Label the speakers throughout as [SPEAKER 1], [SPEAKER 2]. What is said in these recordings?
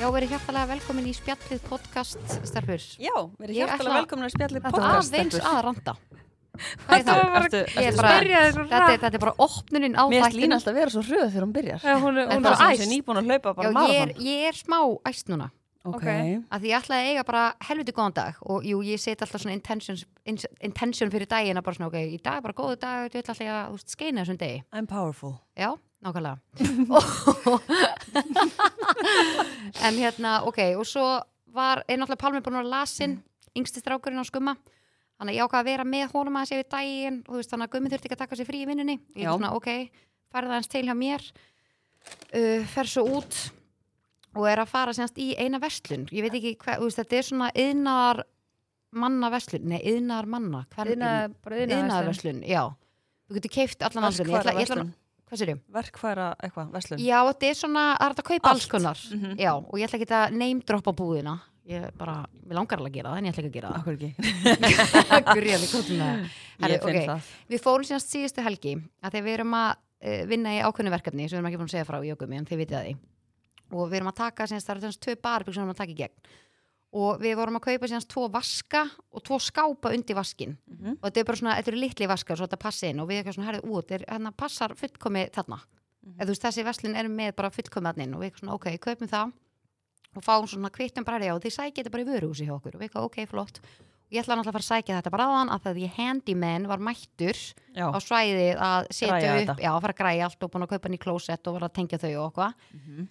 [SPEAKER 1] Já, verið hjartalega velkomin í spjallið podcast, Stelbur.
[SPEAKER 2] Já, verið
[SPEAKER 1] Ég
[SPEAKER 2] hjartalega
[SPEAKER 1] ætla-
[SPEAKER 2] velkomin að spjallið
[SPEAKER 1] Þetta var
[SPEAKER 2] podcast
[SPEAKER 1] aðeins
[SPEAKER 2] stelpur.
[SPEAKER 1] að randa. Hvað er
[SPEAKER 3] Þetta
[SPEAKER 1] það?
[SPEAKER 3] var bara,
[SPEAKER 2] Ertu-
[SPEAKER 1] Ég er
[SPEAKER 2] ertu
[SPEAKER 1] bara,
[SPEAKER 3] byrja þér svo
[SPEAKER 1] þetta, er,
[SPEAKER 3] hratt
[SPEAKER 1] þetta er bara opnunin á
[SPEAKER 2] Mér erst
[SPEAKER 1] þættinum.
[SPEAKER 2] lína alltaf að vera svo hröð þegar hún byrjar
[SPEAKER 3] Já, hún er,
[SPEAKER 1] Þetta
[SPEAKER 2] En
[SPEAKER 3] hún
[SPEAKER 2] það
[SPEAKER 3] er
[SPEAKER 1] var
[SPEAKER 2] sem
[SPEAKER 3] æst
[SPEAKER 2] sé nýbúin að hlaupa bara
[SPEAKER 1] Já, ég er,
[SPEAKER 2] marathon
[SPEAKER 1] ég er smá æst núna.
[SPEAKER 2] Ok,
[SPEAKER 3] ok.
[SPEAKER 1] Af því ég ætlaði að eiga bara helviti góðan dag og jú, ég set alltaf svona intention, intention fyrir daginn að bara svona, ok, í dag er bara góðu dag, þú ætla alltaf að þú veist, skeina þessum degi.
[SPEAKER 2] I'm powerful
[SPEAKER 1] Já, nákvæmlega. Og- en hérna, ok, og svo var, er náttúrulega Palmi búin að vera lasin, yngsti strákurinn á skumma, þannig að ég ákvað að vera með honum að þessi við daginn, og þú veist, þannig að gummi þurfti ekki að taka sér frí í vinnunni. Ég
[SPEAKER 2] Já.
[SPEAKER 1] er svona, ok, farið aðeins til hjá mér, uh, fer svo út og er að fara semst í eina verslun. Ég veit ekki hvað, þú veist, þetta er svona yðnar manna verslun, nei, yðnar manna, hvern,
[SPEAKER 3] Iðnaðar- bara iðnaðarverslun.
[SPEAKER 1] yðnar verslun, já. Þú getur keift allan andrunni, ég ætla,
[SPEAKER 2] Verkfæra
[SPEAKER 1] ég ætla,
[SPEAKER 2] verslun
[SPEAKER 1] hvað sér ég?
[SPEAKER 2] Verkfæra eitthvað, verslun
[SPEAKER 1] Já, þetta er svona, það er þetta að kaupa alls
[SPEAKER 2] Allt.
[SPEAKER 1] konar
[SPEAKER 2] Mhm.
[SPEAKER 1] Já, og ég ætla ekki að name droppa búðina Ég bara, mér langar alveg að gera það en ég ætla ekki að gera
[SPEAKER 2] Akkur ekki
[SPEAKER 1] það Gurjan í kollina Herri,
[SPEAKER 2] Ég finn
[SPEAKER 1] ok.
[SPEAKER 2] það
[SPEAKER 1] Við fórum síðast síðustu helgi að þegar við erum að eh, vinna í ákveðnu verkefni sem við erum ekki búin að segja frá í okkur en þið vitið að því og við erum að taka, síðast, það eru þessi tvö barbygg sem við erum að taka í gegn og við vorum að kaupa síðast tvo vaska og tvo skápa undir vaskin
[SPEAKER 2] Mhm.
[SPEAKER 1] og þetta er bara svona, þetta eru litli vaskar svo þetta passi inn og við erum svona, herrið út þannig að hérna, passar fullkomi þarna
[SPEAKER 2] Mhm.
[SPEAKER 1] eða þú veist þessi verslin er með bara fullkomi þarna inn og við erum svona, ok, kaupum það og fáum svona kvittum bara já, þið sækja þetta bara í vöruhúsi hjá okkur og við erum ok, flott og ég ætla náttúrulega að fara að sækja þetta bara aðan að það því handyman var mættur
[SPEAKER 2] Já,
[SPEAKER 1] á svæðið að setja
[SPEAKER 2] Græja
[SPEAKER 1] upp,
[SPEAKER 2] þetta.
[SPEAKER 1] já, að fara að græja allt og búin að kaupa hann í klósett og var að tengja þau og okkur.
[SPEAKER 2] Mhm.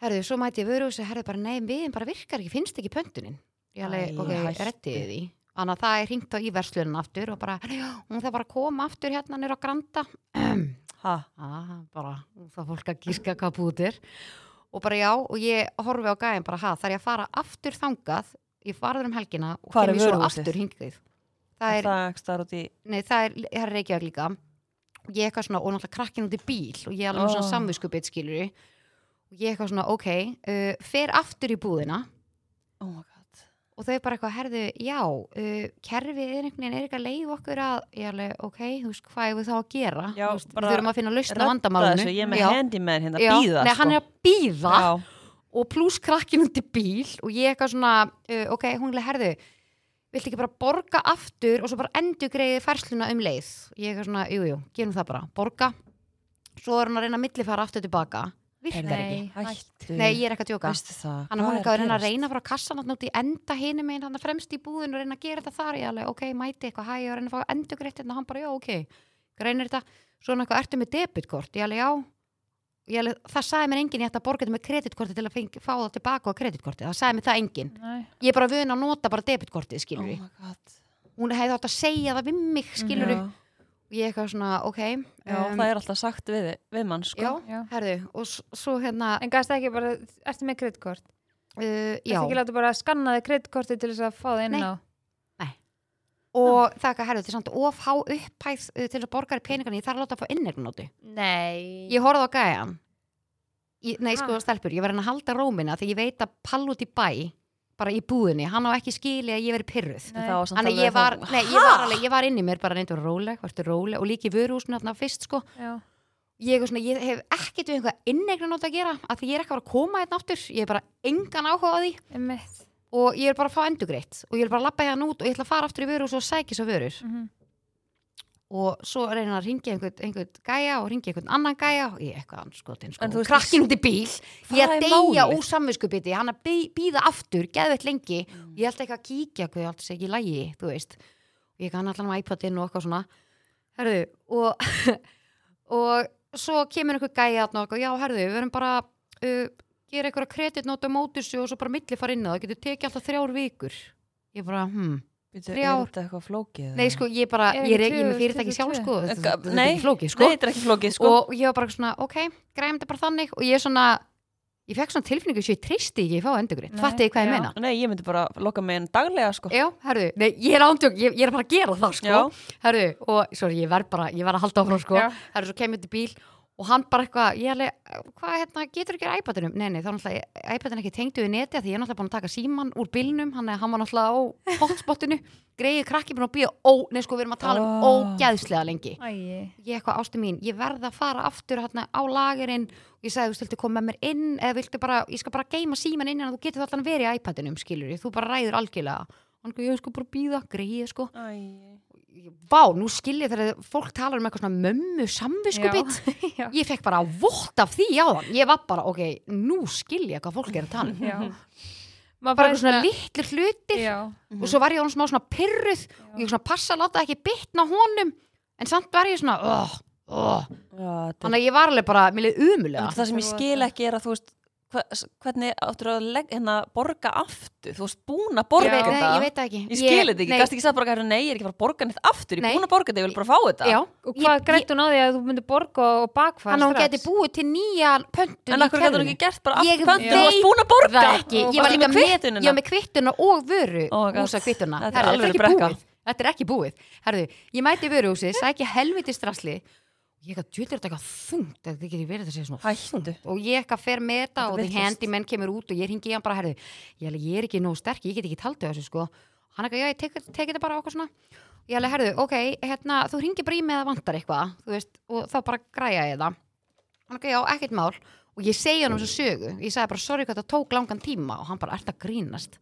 [SPEAKER 1] Herðu, svo mæti ég vöru og segi, herðu bara, nei, viðin bara virkar ekki, finnst ekki pöntunin. Ég alveg,
[SPEAKER 2] Æ,
[SPEAKER 1] ok,
[SPEAKER 2] hættu.
[SPEAKER 1] rettiði því. Þannig að það er hringt á í verslunin aftur og bara, "Herðu, hún þarf bara að koma aftur hérna nýra á granda.
[SPEAKER 2] ha,
[SPEAKER 1] Ah, bara, það er fólk að gíska hvað búið er. Og bara já, og ég horfi á gæðin bara, ha, þar ég að fara aftur þangað, ég farður um helgina og
[SPEAKER 2] Hvar er
[SPEAKER 1] kem ég svo
[SPEAKER 2] vöruhúsið?
[SPEAKER 1] aftur hingið.
[SPEAKER 2] það
[SPEAKER 1] Það er
[SPEAKER 2] er ekki starf út í
[SPEAKER 1] nei það er, það er Reykjavík líka og ég eitthvað svona, og náttúrulega krakkin út í bíl og ég er alveg með
[SPEAKER 2] Oh.
[SPEAKER 1] svona samvinskupið skilur og ég eitthvað svona, ok uh, fer aftur í búðina
[SPEAKER 2] Oh my god
[SPEAKER 1] og þau bara eitthvað, herðu, já uh, kerfið er einhvern veginn, er eitthvað leið okkur að ég alveg, ok, þú veist, hvað er við þá að gera
[SPEAKER 2] Já,
[SPEAKER 1] Þú veist,
[SPEAKER 2] bara
[SPEAKER 1] við þurfum að finna lausn á
[SPEAKER 2] Redda
[SPEAKER 1] vandamálinu
[SPEAKER 2] þessu, Ég er með handyman hérna,
[SPEAKER 1] Já,
[SPEAKER 2] býða
[SPEAKER 1] nei, hann er að býða
[SPEAKER 2] Já,
[SPEAKER 1] og pluss krakkin undir bíl og ég eitthvað svona, uh, ok, hún er herðu viltu ekki bara borga aftur og svo bara endur greiði færsluna um leið ég eitthvað svona, jújú, jú, gerum það bara borga, svo er hún að reyna að millifæra aftur tilbaka, virkar
[SPEAKER 2] Heyrðu,
[SPEAKER 1] ekki
[SPEAKER 2] hættu
[SPEAKER 1] nei, ég er ekki að djóka
[SPEAKER 2] Veistu það,
[SPEAKER 1] hann
[SPEAKER 2] hvað
[SPEAKER 1] hún er ekki að reyna að
[SPEAKER 2] gerast?
[SPEAKER 1] reyna frá kassan að í enda hinu megin, hann fremst í búðin og reyna að gera þetta þar, ég alveg, ok, mæti eitthvað hæ, ég var að reyna að fá endur greitt hérna, hann bara, já, ok reynir þetta, svona eitthvað, ertu með debitkort ég alveg, já, ég alveg, það sagði mér enginn ég ætti að borga þetta með kreditkorti til að feng, fá það tilbaka á kreditkorti, það sagði mér það enginn
[SPEAKER 3] Nei.
[SPEAKER 1] ég er bara vun að nota bara debitkortið, skilur
[SPEAKER 2] Oh my god
[SPEAKER 1] hún hefði átt að segja það við mig, skilur
[SPEAKER 2] Mhm. Já,
[SPEAKER 1] ég eitthvað svona, ok um,
[SPEAKER 2] já, það er alltaf sagt við, við mann sko
[SPEAKER 1] já,
[SPEAKER 3] Já.
[SPEAKER 1] herðu, og s- svo hérna uh,
[SPEAKER 3] En gasta ekki bara, ertu með kreditkort?
[SPEAKER 1] já,
[SPEAKER 3] Ertu ekki láta bara að skanna þig kreditkorti til þess að fá það inn
[SPEAKER 1] Nei.
[SPEAKER 3] á?
[SPEAKER 1] og það er ekki að herðu, þetta er samt of há upphæð uh, til að borga í peningarni, ég þarf að láta að fá innegnóti
[SPEAKER 3] Nei.
[SPEAKER 1] ég horfði á gæjan ég, nei sko
[SPEAKER 3] Ha?
[SPEAKER 1] stelpur, ég var henni að halda rómina því ég veit að pall út í bæ bara í búðinni, hann á ekki skili að ég veri pyrruð
[SPEAKER 3] Nei.
[SPEAKER 2] Það var samt
[SPEAKER 1] þannig að
[SPEAKER 2] alveg
[SPEAKER 1] ég var,
[SPEAKER 2] það-
[SPEAKER 1] nei, ég var alveg, ég var inn í mér bara reyndur róleg, vartu róleg og líki vöruhúsinu þarna fyrst sko,
[SPEAKER 3] Já.
[SPEAKER 1] ég, er svona, ég hef ekkert við einhvað innegna nót að gera, af því ég er ekki að fara að koma hérna aftur, ég er bara engan áhuga á því
[SPEAKER 3] Einmitt.
[SPEAKER 1] og ég er bara að fá endugreitt og ég er bara að labba hérna út og ég ætla að fara aftur í vöruhús og sækja svo vörur
[SPEAKER 3] Mhm.
[SPEAKER 1] og svo reynir hann að ringja einhvern, einhvern gæja og ringja einhvern annan gæja og ég eitthvað anskotin sko,
[SPEAKER 2] En þú veist-
[SPEAKER 1] krakkin út í bíl ég
[SPEAKER 2] Hvað
[SPEAKER 1] að
[SPEAKER 2] er
[SPEAKER 1] deyja
[SPEAKER 2] málið?
[SPEAKER 1] úr samvinskupiti hann að bý- býða aftur, geðveitt lengi ég ætla eitthvað að kíkja, hvað ég alltaf sé ekki í lægi þú veist, og ég kann allan á iPodin og eitthvað svona herðu, og og svo kemur einhver gæja þarna og eitthvað, já herðu, við verum bara uh, gera einhverja kreditnóta á mótursu og svo bara milli fara inn á það, getur tekið alltaf þrjár vikur ég bara, hm,
[SPEAKER 2] Býtu, er
[SPEAKER 1] Þrjár.
[SPEAKER 2] þetta eitthvað flókið?
[SPEAKER 1] nei sko, ég bara
[SPEAKER 3] Er
[SPEAKER 1] ég er
[SPEAKER 3] ekki
[SPEAKER 1] ekki með
[SPEAKER 3] 2022?
[SPEAKER 1] fyrirtæki sjálf sko, þetta þetta er
[SPEAKER 2] Nei.
[SPEAKER 1] ekki flókið sko
[SPEAKER 2] Nei, þetta er ekki flókið sko
[SPEAKER 1] og ég var bara svona, ok, græm þetta bara þannig og ég svona, ég fekk svona tilfinningu sem ég tristi ekki að fá endurgrið,
[SPEAKER 3] Nei,
[SPEAKER 1] fattu ég hvað ég
[SPEAKER 3] já.
[SPEAKER 1] meina
[SPEAKER 2] Nei, ég myndi bara loka mig inn daglega sko
[SPEAKER 1] já, herðu, nei, ég er ándjók, ég, ég er bara að gera það sko,
[SPEAKER 2] Já.
[SPEAKER 1] herðu, og sorry, ég verð bara, ég verð að halda áfram sko,
[SPEAKER 3] Já.
[SPEAKER 1] herðu, svo kem ég til bíl og hann bara eitthvað, ég alveg, hvað hérna, getur ekki að iPadinum? Nei, nei, þá náttúrulega iPadin ekki tengdu við neti af því ég er náttúrulega búin að taka síman úr bílnum, hann, hann var náttúrulega á hotspotinu, greiði krakki búin að býja ó, nei sko, við erum að tala um
[SPEAKER 2] Oh.
[SPEAKER 1] ógæðslega lengi.
[SPEAKER 3] Æi.
[SPEAKER 1] Ég eitthvað ástu mín, ég verð að fara aftur hérna á lagerinn og ég sagði, þú stilti koma með mér inn eða viltu bara, ég skal bara geima síman inn en þú getur alltaf verið í iPadinum, skilur þú bara ræður algjörlega. Hann, ég sko bara býða, greið sko vá, nú skil ég þegar fólk talar um eitthvað svona mömmu samviskubit
[SPEAKER 3] Já.
[SPEAKER 1] ég fekk bara vott af því á þann ég var bara, ok, nú skil ég hvað fólk er að tala um.
[SPEAKER 3] Já. Maður
[SPEAKER 1] bara
[SPEAKER 3] fær
[SPEAKER 1] eitthvað svona litlir hlutir
[SPEAKER 3] Mhm. Já.
[SPEAKER 1] og svo var ég honum smá svona pyrruð og ég svona passa að láta ekki bitna á honum en samt var ég svona oh, oh.
[SPEAKER 2] Þannig
[SPEAKER 1] þannig að ég var alveg bara, mér leið
[SPEAKER 2] að
[SPEAKER 1] umulega
[SPEAKER 2] það sem ég skil ekki er að þú veist hva- s- hvernig áttur að legg, hérna, borga aftur þú veist búin að
[SPEAKER 1] ég
[SPEAKER 2] borga
[SPEAKER 1] veit, nei,
[SPEAKER 2] þetta
[SPEAKER 1] ég veit það ekki
[SPEAKER 2] Ég skil þetta ekki,
[SPEAKER 1] nei,
[SPEAKER 2] gæst ekki sagt bara hérna, nei, ég er ekki að fara að borga neitt aftur, ég er
[SPEAKER 1] Nei.
[SPEAKER 2] búin að borga þetta, ég vil bara fá þetta.
[SPEAKER 1] já,
[SPEAKER 3] Og
[SPEAKER 1] Ég-
[SPEAKER 3] hvað
[SPEAKER 1] ég-
[SPEAKER 3] grætt hún á því að þú myndir borga og bakfæra
[SPEAKER 1] hann að hún geti búið til nýja pöntun
[SPEAKER 2] En
[SPEAKER 1] í
[SPEAKER 2] akkur getur
[SPEAKER 1] kerfinu.
[SPEAKER 2] ekki gert bara
[SPEAKER 1] Ég
[SPEAKER 2] aftur pöntu, þú
[SPEAKER 1] veit
[SPEAKER 2] varst búin að borga.
[SPEAKER 1] það ekki, ég
[SPEAKER 3] Og
[SPEAKER 1] var
[SPEAKER 2] varstu
[SPEAKER 1] líka
[SPEAKER 2] með
[SPEAKER 1] með,
[SPEAKER 2] kvittunina?
[SPEAKER 1] ég var með kvittuna og vöru
[SPEAKER 2] Oh my god.
[SPEAKER 1] húsa kvittuna,
[SPEAKER 2] Þetta er
[SPEAKER 1] herðu,
[SPEAKER 2] alvöru
[SPEAKER 1] þetta er ekki
[SPEAKER 2] brekka.
[SPEAKER 1] búið þetta er ekki búið, herðu, ég mæti vöruhúsi sæki helviti strassli ég eitthvað djöldur þetta eitthvað þungt þetta getur verið þetta sé svona
[SPEAKER 2] Hættu.
[SPEAKER 1] og ég eitthvað fer með þetta og
[SPEAKER 2] Þetta er
[SPEAKER 1] the
[SPEAKER 2] vitlaust.
[SPEAKER 1] handyman kemur út og ég ringi í hann bara herðu, ég, alveg, ég er ekki nóg sterk, ég get ekki taldið þessu sko hann eitthvað, já ég tek, tek þetta bara á okkur svona ég alveg herðu, ok, hérna þú ringir bara í mig að vantar eitthvað þú veist, og þá bara græja ég það hann eitthvað, já, ekkert mál og ég segi hann um þessu sögu, ég sagði bara sorry hvað það tók langan tíma og hann bara, ert að grínast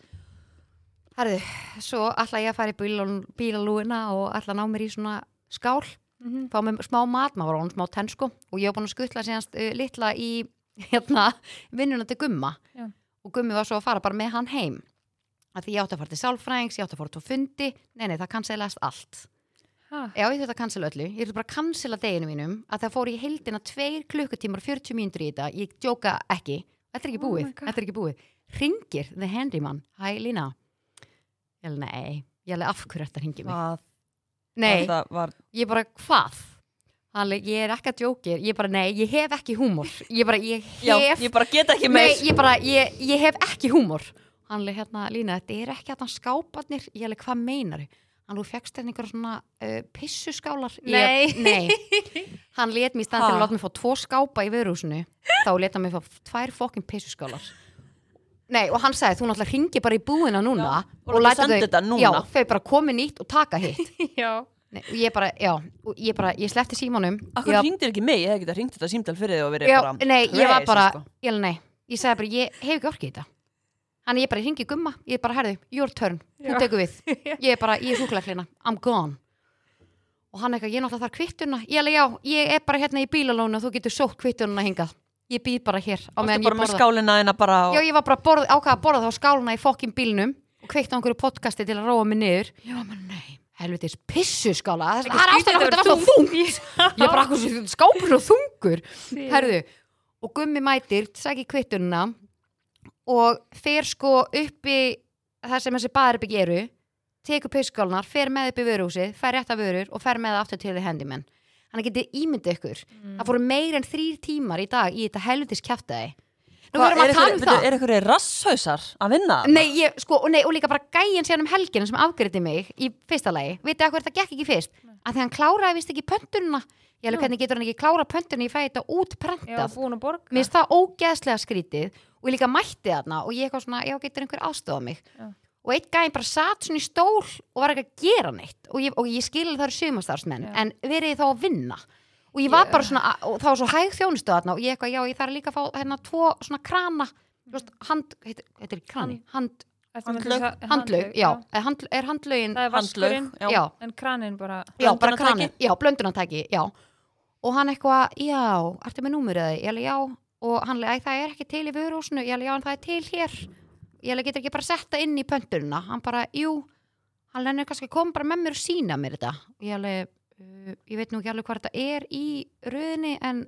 [SPEAKER 1] herðu, svo ætla ég að fara í bílal- bílalúguna og ætla að ná mér í svona skál
[SPEAKER 3] Mhm.
[SPEAKER 1] fá mér smá mat, maður var á hún smá tenn sko og ég var búin að skutla síðanst uh, litla í hérna, vinnuna til Gumma
[SPEAKER 3] Já.
[SPEAKER 1] og Gummi var svo að fara bara með hann heim að því ég átti að fara til sálfræðings, ég átti að fara til fundi nei, nei, það kanselast allt
[SPEAKER 3] Ha.
[SPEAKER 1] já, ég þurfti að kansela öllu, ég þurfti bara að kansela deginu mínum að það fór í heildina tveir klukkutímar og 40 mínútur í þetta, ég djóka ekki þetta er ekki
[SPEAKER 3] Oh my
[SPEAKER 1] búið,
[SPEAKER 3] God.
[SPEAKER 1] þetta er ekki búið ringir the handyman, hæ Lína ég alveg nei, ég alveg af hverju þetta ringir mig,
[SPEAKER 2] Hvað
[SPEAKER 1] nei
[SPEAKER 2] þetta var
[SPEAKER 1] ég bara, hvað? Alveg, ég er ekki að djókir, ég bara, nei, ég hef ekki húmor ég bara, ég
[SPEAKER 2] Já,
[SPEAKER 1] hef
[SPEAKER 2] ég bara get ekki meir.
[SPEAKER 1] nei, ég bara, ég, ég hef ekki húmor Hanlega, hérna, Lína, þetta er ekki að hann skáparnir ég alveg, hvað meinar hann, þú fegst þetta einhver svona uh, pissuskálar ég, nei hann let mér í stand til að
[SPEAKER 2] Ha?
[SPEAKER 1] láta mig fá tvo skápa í vörúsinu þá let hann mig fá tvær fokkin pissuskálar nei, og hann sagði, þú náttúrulega ringi bara í búina núna
[SPEAKER 2] Já, og láta senda þetta núna.
[SPEAKER 1] já, þau bara komi nýtt og taka hitt
[SPEAKER 3] Já.
[SPEAKER 1] Nei, og ég bara, já, og ég bara, ég sleppti símanum
[SPEAKER 2] Akkur
[SPEAKER 1] já,
[SPEAKER 2] hringdir ekki mig, ég hef ekki hringt þetta símtal fyrir þig og verið
[SPEAKER 1] já,
[SPEAKER 2] bara
[SPEAKER 1] nei, ég var
[SPEAKER 2] crazy,
[SPEAKER 1] bara,
[SPEAKER 2] sko.
[SPEAKER 1] ég alveg nei ég sagði bara, ég hef ekki orkið í þetta þannig ég bara hringi í gumma, ég bara, herðu, your turn
[SPEAKER 3] Já.
[SPEAKER 1] hún tekur við, ég er bara, ég er húklaklina I'm gone og hann eitthvað, ég náttúrulega þarf kvittuna ég alveg, já, ég er bara hérna í bílalónu og þú getur sótt kvittununa hingað ég býð bara hér á
[SPEAKER 2] Varstu
[SPEAKER 1] meðan ég
[SPEAKER 2] bara með
[SPEAKER 1] borða
[SPEAKER 2] skálina þína bara og...
[SPEAKER 1] já, ég var bara borð, ákvað að borða þá skáluna í fokkin bílnum og kveikta á einhverju podcasti til að róa mig niður já, menn, nei, helvitis pissu skála það það er ástæðan hvernig það var svo þungt ég bara, akkur sem skápur og þungur herðu, og gummi mætir sæki kvittununa og fer sko uppi þar sem þessi baðarbygg eru tekur pisskálnar, fer með upp í vöruhúsið fer rétt af vörur og fer með það aftur til þið hendimenn hann getið ímyndið ykkur það fóru meir en þrýr tímar í dag í þetta helvitis kjaftaði Nú
[SPEAKER 2] Hvað,
[SPEAKER 1] erum
[SPEAKER 2] er
[SPEAKER 1] að tala um
[SPEAKER 2] einhverjir-
[SPEAKER 1] það
[SPEAKER 2] Er einhverju rasshausar að vinna? þarna?
[SPEAKER 1] Nei, ég, sko, og nei, og líka bara gæjan síðan um helginu sem afgriði mig í fyrsta lagi Vitið að hver það gekk ekki fyrst? Að því hann kláraði vist ekki pöntununa Ég alveg
[SPEAKER 3] Já.
[SPEAKER 1] hvernig getur hann ekki klára pöntununa Ég fæ þetta
[SPEAKER 3] Já,
[SPEAKER 1] útprentað
[SPEAKER 3] búin að borga.
[SPEAKER 1] Mér finnst það ógeðslega skrítið Og ég líka mætti þarna og ég eitthvað svona Já, getur einhver aðstofa mig
[SPEAKER 3] Já.
[SPEAKER 1] Og einn gæjan bara satt svona í stól og var ekki að gera neitt Og ég, og ég skilur það eru sumastarfsmenn
[SPEAKER 3] Já.
[SPEAKER 1] En verið þið þá að vinna Og ég var
[SPEAKER 3] Ég-
[SPEAKER 1] bara svona, og það var svo hæg þjónustu þarna og ég eitthvað, já, ég þarf líka að fá hérna tvo svona krana, þú veist, hand, heitir, heitir ekki krani, hand,
[SPEAKER 3] Ertu með
[SPEAKER 2] Handlaug.
[SPEAKER 3] þessa-
[SPEAKER 1] handlaug, já, er, handl, er handlaugin
[SPEAKER 3] Það er vaskurinn,
[SPEAKER 2] Handlaug, já.
[SPEAKER 1] já,
[SPEAKER 3] en kranin bara,
[SPEAKER 1] já, bara
[SPEAKER 2] blöndunartæki.
[SPEAKER 1] kranið, já, blöndunartæki já, og hann eitthvað já, ertu með númur eða, ég alveg já og hann alveg, "Æ, það er ekki til í vörúsinu ég alveg já, en það er til hér ég alveg getur ekki bara sett það inn í pöntununa hann bara, jú, hann lennir kannski að koma bara með mér og sína mér þetta og ég alveg, uh, ég veit nú ekki alveg hvað þetta er í röðinni en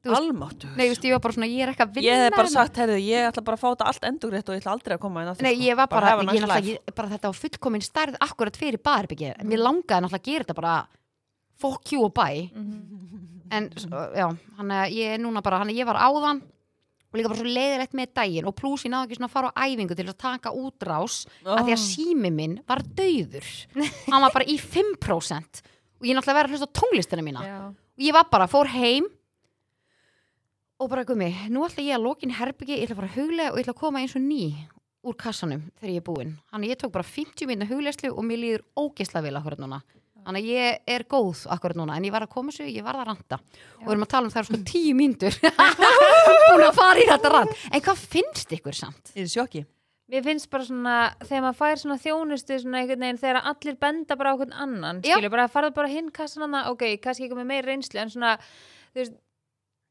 [SPEAKER 1] þú veist-
[SPEAKER 2] Almáttugur.
[SPEAKER 1] nei, þú veist, ég var bara svona, ég er ekki að vinna
[SPEAKER 2] Ég hef
[SPEAKER 1] hérna."
[SPEAKER 2] bara sagt, heyrðu, ég ætla bara að fá þetta allt endugrétt og ég ætla aldrei að koma inn að
[SPEAKER 1] Nei, ég var bara,
[SPEAKER 2] hafa
[SPEAKER 1] ég
[SPEAKER 2] næst
[SPEAKER 1] náttúrulega,
[SPEAKER 2] life. Mhm.
[SPEAKER 1] ég, bara þetta var fullkomin stærð akkurat fyrir barbyggið, mér langaði náttúrulega að gera þetta bara fuck you og bye
[SPEAKER 2] Mhm.
[SPEAKER 1] en s- já, hann að ég er núna bara hann að ég var áðan og líka bara svo leiðilegt með daginn og pluss ég náði ekki svona að fara á æfingu til að taka útrás
[SPEAKER 2] Ó.
[SPEAKER 1] að því að sími minn var dauður hann var bara í 5% og ég náttúrulega verið að hlusta á tónlistina mína
[SPEAKER 3] já,
[SPEAKER 1] og ég var bara, fór heim og bara gumi, nú ætla ég að lokin herbyggi, ég ætla bara að huglega og ég ætla að koma eins og ný úr kassanum þegar ég er búin. Þannig að ég tók bara 50 minna huglegslu og mér líður ógeðslega vel akkurat núna. Þannig að ég er góð akkurat núna, en ég var að koma svo, ég var að ranta. Og við erum að tala um það er sko tíu mínútur búin að fara í þetta rant. En hvað finnst ykkur samt?
[SPEAKER 2] Ég er í sjokki.
[SPEAKER 3] Mér finnst bara svona, þegar maður fær svona þjónustu svona einhvern veginn, þegar allir benda bara á einhvern annan,
[SPEAKER 1] Já.
[SPEAKER 3] skilur, bara farðu bara hinn kassan hana, ok, kannski ekki með meira reynslu, en svona, þú veist,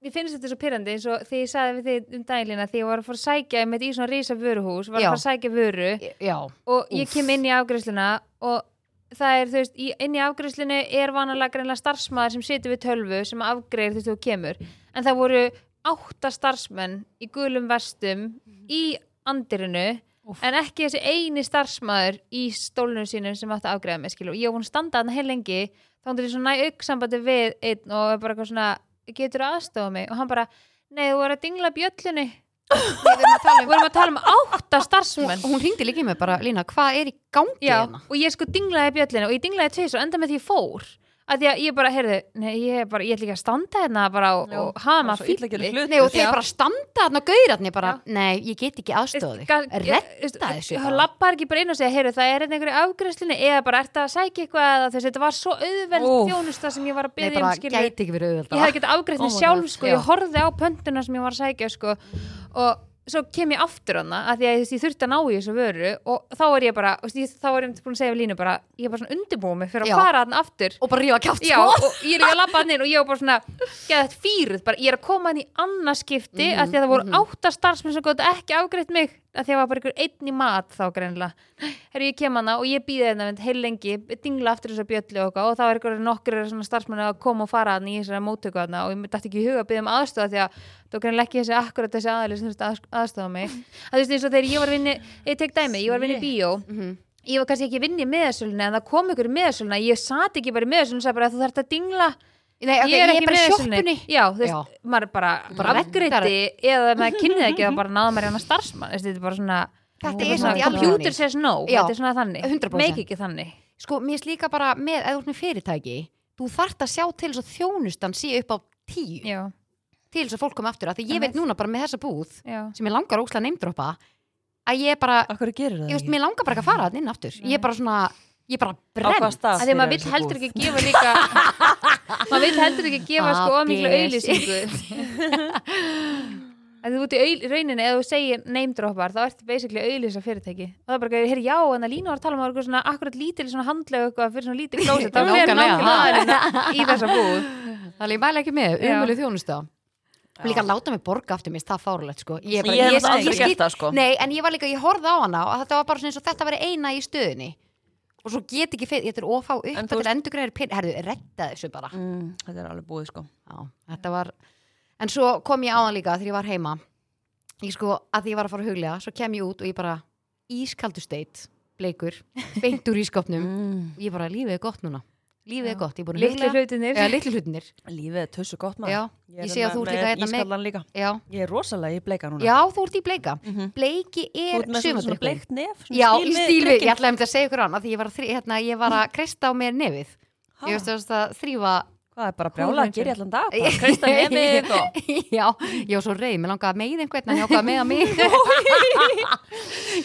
[SPEAKER 3] ég finnst þetta svo pyrrandi eins og því ég saði við þig um dælina, því ég var að fara að sækja með í svona rísa vöruhús, var að
[SPEAKER 1] Já.
[SPEAKER 3] fara að sækja vöru
[SPEAKER 1] Já,
[SPEAKER 3] og ég
[SPEAKER 1] Úff.
[SPEAKER 3] kem inn í afgreiðsluna og það er, þú veist, í- inn í afgreiðslunni er vanalega greinlega starfsmaður sem situr við tölvu sem afgreiðir þú veist þú kemur en það voru átta starfsmenn í gulum vestum
[SPEAKER 1] Mhm.
[SPEAKER 3] í andirinu
[SPEAKER 2] Úff.
[SPEAKER 3] en ekki þessi eini starfsmaður í stólunum sínum sem átti að afgreiða mig skil og ég var búin að standa þarna heil lengi þá hann er svona næ auksambandi við einn og er bara eitthvað svona, getur aðstofa mig og hann bara, nei þú er að dingla bjöllunni
[SPEAKER 1] við erum að tala
[SPEAKER 3] við erum að tala um átta starfsmenn
[SPEAKER 1] Hún ringdi líka í mig bara, Lína, hvað er í gangi
[SPEAKER 3] Já,
[SPEAKER 1] hérna?
[SPEAKER 3] og ég sko dinglaði bjöllinu og ég dinglaði tvis og enda með því ég fór að því að ég bara, heyrðu, nei, ég, er bara, ég ætla ekki að standa hérna bara og,
[SPEAKER 2] Já,
[SPEAKER 3] og hafa maður
[SPEAKER 2] illa
[SPEAKER 3] fýlli
[SPEAKER 2] gerður hlutur.
[SPEAKER 1] Nei, og þeir
[SPEAKER 2] Já.
[SPEAKER 1] bara standa þarna og gauðir þarna ég bara, nei, ég get ekki aðstofa þig. Retta þessu
[SPEAKER 3] það
[SPEAKER 1] bara.
[SPEAKER 3] lappar ekki bara inn og segja, heyrðu, það er hérna einhverju afgreðslinu eða bara ert að sækja eitthvað eða þess að þetta var svo auðveld
[SPEAKER 2] Úff.
[SPEAKER 3] þjónusta sem ég var að
[SPEAKER 1] Nei,
[SPEAKER 3] byrja
[SPEAKER 1] bara
[SPEAKER 3] um skilur
[SPEAKER 1] gæti ekki verið
[SPEAKER 3] ég hefði
[SPEAKER 1] auðvitað.
[SPEAKER 3] getað afgreitt
[SPEAKER 2] Oh
[SPEAKER 3] mig
[SPEAKER 2] my
[SPEAKER 3] sjálf
[SPEAKER 2] God,
[SPEAKER 3] sko,
[SPEAKER 2] já.
[SPEAKER 3] ég horfði á pöntuna sem ég var að sækja sko, og svo kem ég aftur hana að því að ég þurfti að ná í þessu vöru og þá er ég bara, þú veist, ég, þá er ég búin að segja við línu bara, ég er bara svona undirbúið mig fyrir að
[SPEAKER 1] Já.
[SPEAKER 3] fara hana aftur
[SPEAKER 1] Og bara rífa kjátt,
[SPEAKER 3] Já,
[SPEAKER 1] sko.
[SPEAKER 3] og ég er líka að labba hann inn og ég var bara svona geðað fýruð, bara ég er að koma hann í annars skipti mm
[SPEAKER 1] Mhm,
[SPEAKER 3] að því að það voru
[SPEAKER 1] mhm.
[SPEAKER 3] átta starfsmenn sem gott ekki afgreitt mig að því að það var bara ykkur einn í mat þá greinlega Herru, ég kem hana og ég býði hérna heil lengi, dingla aftur þess að bjöllu og, eitthvað og þá er ykkur nokkur svona starfsmenn að koma og fara hann í þessari móttöku hana og ég dætti ekki í huga að byggja um aðstofa því að það var greinlega ekki þessi akkurat þessi aðli sem þurfti að aðstofa mig að þú veist eins og þegar ég var að vinni, ég tek dæmi, ég var að vinni bíó
[SPEAKER 1] Mhm.
[SPEAKER 3] ég var kannski ekki að vinna í meðasölunni en það kom ykkur í meðasölunna, ég sati ekki bara í meðasölunni og sagði bara að þú þarft að dingla
[SPEAKER 1] Nei, ok, ég er
[SPEAKER 3] ekki í
[SPEAKER 1] bara í
[SPEAKER 3] meðasölunni.
[SPEAKER 1] sjoppunni.
[SPEAKER 3] já, þú
[SPEAKER 1] Já.
[SPEAKER 3] veist, maður er bara,
[SPEAKER 1] Bara
[SPEAKER 3] bara afgreiti eða maður kynnið ekki þá bara náða maður í hana starfsmann Þessi, þetta er bara svona,
[SPEAKER 1] Þetta
[SPEAKER 3] bara
[SPEAKER 1] er samt í
[SPEAKER 3] svona
[SPEAKER 1] alvöru
[SPEAKER 3] computer
[SPEAKER 1] þannig.
[SPEAKER 3] says no,
[SPEAKER 1] Já,
[SPEAKER 3] þetta er svona þannig
[SPEAKER 1] 100%.
[SPEAKER 3] make ekki þannig
[SPEAKER 1] Sko, mér er líka bara með, eða þú ert með fyrirtæki, þú þart að sjá til þess að þjónustan sé upp á tíu
[SPEAKER 3] já,
[SPEAKER 1] til þess að fólk koma aftur. af Því ég
[SPEAKER 3] Einmitt.
[SPEAKER 1] veit núna bara með þessa búð,
[SPEAKER 3] já,
[SPEAKER 1] sem ég langar óslega neymdropa, að ég bara,
[SPEAKER 2] Akkur gerir
[SPEAKER 1] ég
[SPEAKER 2] það
[SPEAKER 1] veist, mér langar bara ekki að fara þannig inn aftur. Ég er bara svona, ég er bara
[SPEAKER 2] Á hvaða
[SPEAKER 1] brenn.
[SPEAKER 2] stað?
[SPEAKER 3] að því að
[SPEAKER 2] byrjar
[SPEAKER 3] maður vill
[SPEAKER 2] þessi
[SPEAKER 3] heldur
[SPEAKER 2] búð?
[SPEAKER 3] ekki gefa líka maður vill heldur ekki gefa sko
[SPEAKER 1] Ah,
[SPEAKER 3] ómiklu
[SPEAKER 1] bless.
[SPEAKER 3] auðlýsingu að þú út í auð- rauninni eða þú segir neymdroppar þá ertu basically auðlýsa fyrirtæki og það er bara, hér, já, en að Lína var að tala um að það var svona akkurat lítil svona handlega eitthvað fyrir svona lítil klóset þá fyrir
[SPEAKER 1] Nákvæmlega.
[SPEAKER 3] nákvæmlega aðeina í þessa búð
[SPEAKER 1] Þannig ég mæla ekki með,
[SPEAKER 3] Já.
[SPEAKER 1] umölu þjónusta. Og líka láta mig borga aftur, mér finnst það fárulegt, sko. Ég er bara,
[SPEAKER 2] Ég
[SPEAKER 1] ég,
[SPEAKER 2] hef
[SPEAKER 1] ég,
[SPEAKER 2] náttúrulega aldrei
[SPEAKER 1] skil-
[SPEAKER 2] gert það, sko.
[SPEAKER 1] Nei, en ég var líka, ég horfði á hana og þetta var bara svona eins og þetta verið eina í stöðinni og svo get ekki fyrir, þetta er ofá
[SPEAKER 2] En
[SPEAKER 1] upp
[SPEAKER 2] þú
[SPEAKER 1] til endurgræðir pinn, herðu, retta þessu bara
[SPEAKER 2] Mm, Þetta er alveg búið sko.
[SPEAKER 1] Já, þetta var en svo kom ég á hann líka þegar ég var heima ég sko, að því ég var að fara að huglega svo kem ég út og ég bara ískaldur steit, bleikur, beint úr ískapnum
[SPEAKER 2] Mm.
[SPEAKER 1] ég bara, lífið er gott núna lífið er
[SPEAKER 3] Já.
[SPEAKER 1] gott, ég er búin að
[SPEAKER 3] litlu
[SPEAKER 1] huglega
[SPEAKER 3] hlutinir
[SPEAKER 1] eða litlu hlutinir,
[SPEAKER 2] Lífið er tussu gott maður.
[SPEAKER 1] já,
[SPEAKER 2] er
[SPEAKER 1] ég sé að
[SPEAKER 2] með-
[SPEAKER 1] þú ert líka
[SPEAKER 2] með
[SPEAKER 1] hérna með,
[SPEAKER 2] ískallan líka.
[SPEAKER 1] já,
[SPEAKER 2] Ég er rosalega í bleika núna.
[SPEAKER 1] já, þú ert í bleika
[SPEAKER 2] Mhm.
[SPEAKER 1] bleiki
[SPEAKER 2] Þú
[SPEAKER 1] er
[SPEAKER 2] ert með svona- svona
[SPEAKER 1] sumardrykkur
[SPEAKER 2] bleikt nef. svona
[SPEAKER 1] Já, í
[SPEAKER 2] við
[SPEAKER 1] stíl við, ég
[SPEAKER 2] drykkinn.
[SPEAKER 1] ætlaði um að segja ykkur annað því ég var að, þrý, hérna, ég var að kreista á mér nefið
[SPEAKER 2] Ha?
[SPEAKER 1] ég veist þú veist að þrýfa
[SPEAKER 2] Hvað er bara brjála að
[SPEAKER 3] Húðin
[SPEAKER 2] gera í allan dag? Bara kreista nefið og...
[SPEAKER 1] Já, ég var svo reið, mér langaði að meið einhvern en ég ákvaði að meiða mig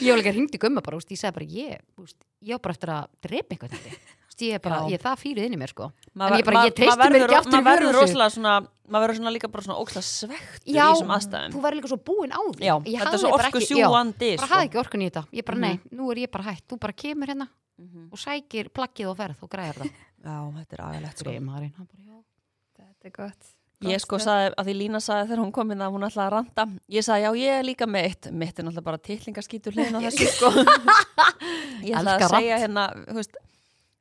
[SPEAKER 1] Ég var líka hringdi gumma bara, úst, ég sagði bara ég, úst, ég á bara eftir að drepa einhvern þetta Úst, ég er bara,
[SPEAKER 2] Já.
[SPEAKER 1] ég er það fýrið inn í mér sko
[SPEAKER 2] Maður-
[SPEAKER 1] En ég bara,
[SPEAKER 2] maður-
[SPEAKER 1] ég treysti
[SPEAKER 2] maður
[SPEAKER 1] mér
[SPEAKER 2] verður-
[SPEAKER 1] ekki aftur í
[SPEAKER 2] maður verður
[SPEAKER 1] vörðu.
[SPEAKER 2] rosalega svona maður verður svona líka bara svona óksla svektur í
[SPEAKER 1] Já,
[SPEAKER 2] þessum aðstæðum
[SPEAKER 1] Þú verður líka svo búin á því
[SPEAKER 2] já,
[SPEAKER 1] Ég
[SPEAKER 2] þetta
[SPEAKER 1] hafði
[SPEAKER 2] er svo sko.
[SPEAKER 1] bara
[SPEAKER 2] orku
[SPEAKER 1] ekki-
[SPEAKER 2] sjúandi
[SPEAKER 1] Já, bara hafði ekki orkun í þetta Ég
[SPEAKER 2] Mhm.
[SPEAKER 1] bara, nei, nú er ég bara hætt Þú bara kemur hérna og sækir plakkið og ferð og græjar það
[SPEAKER 2] já, þetta er aðeinslegt sko.
[SPEAKER 1] Greimaðurinn, hann bara, já
[SPEAKER 3] þetta er gott
[SPEAKER 2] ég sko saði, að því Lína saði þegar hún kom inn að hún ætlaði að ranta ég saði, já, ég er líka meitt mitt er náttúrulega bara titlingaskítur hliðin á þessu sko. ég ætlaði
[SPEAKER 1] Elska
[SPEAKER 2] að segja hérna þú veist,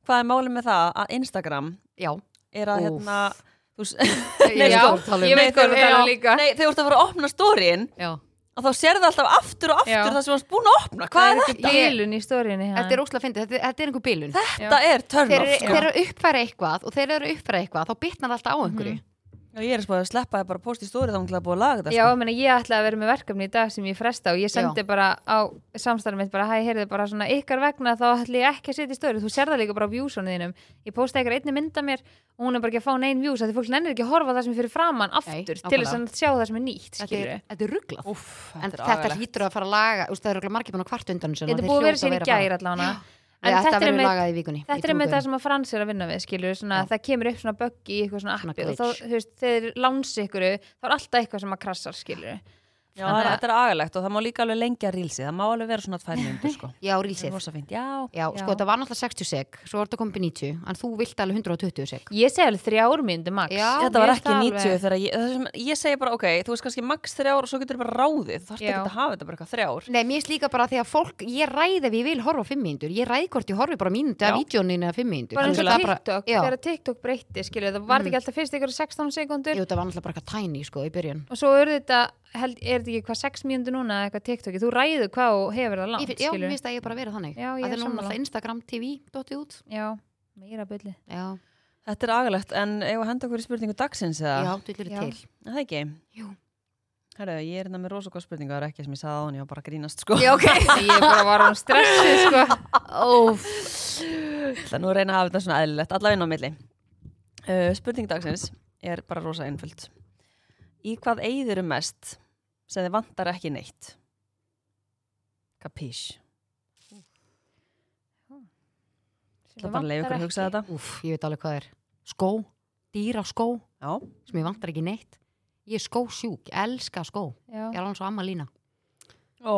[SPEAKER 2] hvað er málið með það að Instagram
[SPEAKER 1] Já,
[SPEAKER 2] er að
[SPEAKER 1] Úff.
[SPEAKER 2] hérna þú veist-
[SPEAKER 1] Ég
[SPEAKER 2] sko,
[SPEAKER 1] veit hvað þú talar um.
[SPEAKER 3] ég veit hvað þú
[SPEAKER 2] þegar-
[SPEAKER 3] talar um
[SPEAKER 2] já,
[SPEAKER 3] líka.
[SPEAKER 2] nei, þegar þú ert að fara að opna stórin
[SPEAKER 1] já
[SPEAKER 2] og þá sérðu alltaf aftur og aftur
[SPEAKER 3] Já.
[SPEAKER 2] það sem þú varst búin að opna, hvað er þetta?
[SPEAKER 3] bílun í stórinni
[SPEAKER 1] Þetta er óslega fyndið, þetta, þetta er einhver bilun
[SPEAKER 2] Þetta er turn
[SPEAKER 1] þeir,
[SPEAKER 2] off
[SPEAKER 1] eru-
[SPEAKER 2] sko.
[SPEAKER 3] Mhm,
[SPEAKER 1] þeir eru að uppfæra eitthvað og þeir eru að uppfæra eitthvað þá bitnar það alltaf á einhverju
[SPEAKER 2] Já, ég er spáð að sleppa það bara post í stóri þá hún til að búa að laga þetta
[SPEAKER 3] Já,
[SPEAKER 1] sko.
[SPEAKER 3] ég meina, ég ætlaði að vera með verkefni í dag sem ég fresta og ég sendi bara á samstarfum mitt bara, hæ, heyrðu bara svona ykkar vegna þá ætli ég ekki að setja í stöður, þú sér það líka bara á viewsonu þínum, ég posta eitthvað einni mynda mér og hún er bara ekki að fá neinn views, af því fólk nennir ekki að horfa á það sem er fyrir framann aftur til þess að sjá það sem er nýtt,
[SPEAKER 1] þetta
[SPEAKER 3] skilur
[SPEAKER 1] er, þetta er rugglað
[SPEAKER 2] sko. Úff,
[SPEAKER 1] en
[SPEAKER 2] þetta er
[SPEAKER 1] þetta
[SPEAKER 2] agalegt.
[SPEAKER 1] hlýtur að fara að laga úst, það er rugglað margir búin að kvart undan þessu,
[SPEAKER 3] Þetta
[SPEAKER 1] þeir
[SPEAKER 3] er búið að vera
[SPEAKER 1] hljóta
[SPEAKER 3] sér í
[SPEAKER 1] bara-
[SPEAKER 3] gær allavega
[SPEAKER 1] Já,
[SPEAKER 3] en
[SPEAKER 1] þetta
[SPEAKER 3] þetta er
[SPEAKER 1] verður
[SPEAKER 3] með
[SPEAKER 1] lagað í vikunni
[SPEAKER 3] Þetta er með það sem að Frans er að vinna við, skilur, svona að það kemur upp svona bögg í eitthvað svona
[SPEAKER 1] Svona
[SPEAKER 3] appi og þá,
[SPEAKER 1] glitch.
[SPEAKER 3] þú veist, þegar þeir lánsi ykkur, þá er alltaf eitthvað sem að krassar, skilur.
[SPEAKER 2] Já, þetta er agalegt og það má líka alveg lengja rílsið, það má alveg vera svona tvær myndir sko.
[SPEAKER 1] já,
[SPEAKER 2] Það er
[SPEAKER 1] rílsið
[SPEAKER 2] rosa fínt, já.
[SPEAKER 1] já, sko, þetta var náttúrulega 60 seg, svo var þetta komið upp í 90 en þú vilt alveg 120 seg
[SPEAKER 3] Ég segi alveg þrjár myndu max.
[SPEAKER 1] Já,
[SPEAKER 2] þetta var
[SPEAKER 3] mér
[SPEAKER 2] ekki
[SPEAKER 3] alveg-
[SPEAKER 2] 90 þegar ég, það sem, ég segi bara ok, þú veist kannski max þrjár og svo getur bara ráðið, þú þarfst
[SPEAKER 3] Já.
[SPEAKER 2] ekki að hafa þetta bara eitthvað þrjár.
[SPEAKER 1] Nei, mér er líka bara því að fólk, ég ræði ef ég vil horfa á fimm mínútur, ég ræði hvort ég horfi bara mínútu af
[SPEAKER 2] Já.
[SPEAKER 1] vídjóninu eða fimm mínútur.
[SPEAKER 3] Bara eins og
[SPEAKER 1] Þannig að það
[SPEAKER 3] TikTok,
[SPEAKER 1] já,
[SPEAKER 3] þegar TikTok breytti, skilur, það var ekki alltaf fyrst ykkur 16
[SPEAKER 1] jú,
[SPEAKER 3] sekundur
[SPEAKER 1] það var náttúrulega bara eitthvað tæni, sko, í byrjun.
[SPEAKER 3] og svo eru þetta, held, er þetta ekki hvað 6 mínútur núna eða eitthvað TikTok, þú ræður hvað og hefur
[SPEAKER 1] Ég,
[SPEAKER 3] það langt,
[SPEAKER 1] finn- já, mér
[SPEAKER 3] skilur.
[SPEAKER 1] finnst að ég bara verið þannig.
[SPEAKER 3] Já, ég
[SPEAKER 1] Af því
[SPEAKER 3] er
[SPEAKER 1] núna
[SPEAKER 3] sammála.
[SPEAKER 1] alltaf Instagram TV dotti út.
[SPEAKER 3] Já, meira byrli.
[SPEAKER 1] Já,
[SPEAKER 2] Þetta er agalegt, en ef að henda okkur í spurningu dagsins eða?
[SPEAKER 1] já, þú
[SPEAKER 3] Já.
[SPEAKER 1] til.
[SPEAKER 2] Er Það ekki?
[SPEAKER 1] Jú.
[SPEAKER 2] Herru, ég er hérna með rosa góð spurningu, það er ekki sem ég sagði á hann, ég var bara að grínast sko.
[SPEAKER 3] Já, ok. ég bara var um stressið, sko.
[SPEAKER 1] Óf.
[SPEAKER 2] Það nú að reyna að hafa þetta svona eðlilegt, allavega inn á milli. Uh, spurning dagsins er bara rosa einföld. Í hvað eigður um mest sem þið vantar ekki neitt? Kapís. Það bara leif ykkur að hugsa þetta.
[SPEAKER 1] Úf, ég veit alveg hvað er. Skó, dýra skó,
[SPEAKER 2] Já,
[SPEAKER 1] sem ég vantar ekki neitt. Ég er skósjúk, elska skó. Ég
[SPEAKER 3] Já,
[SPEAKER 1] er alveg svo amma lína.
[SPEAKER 2] ó,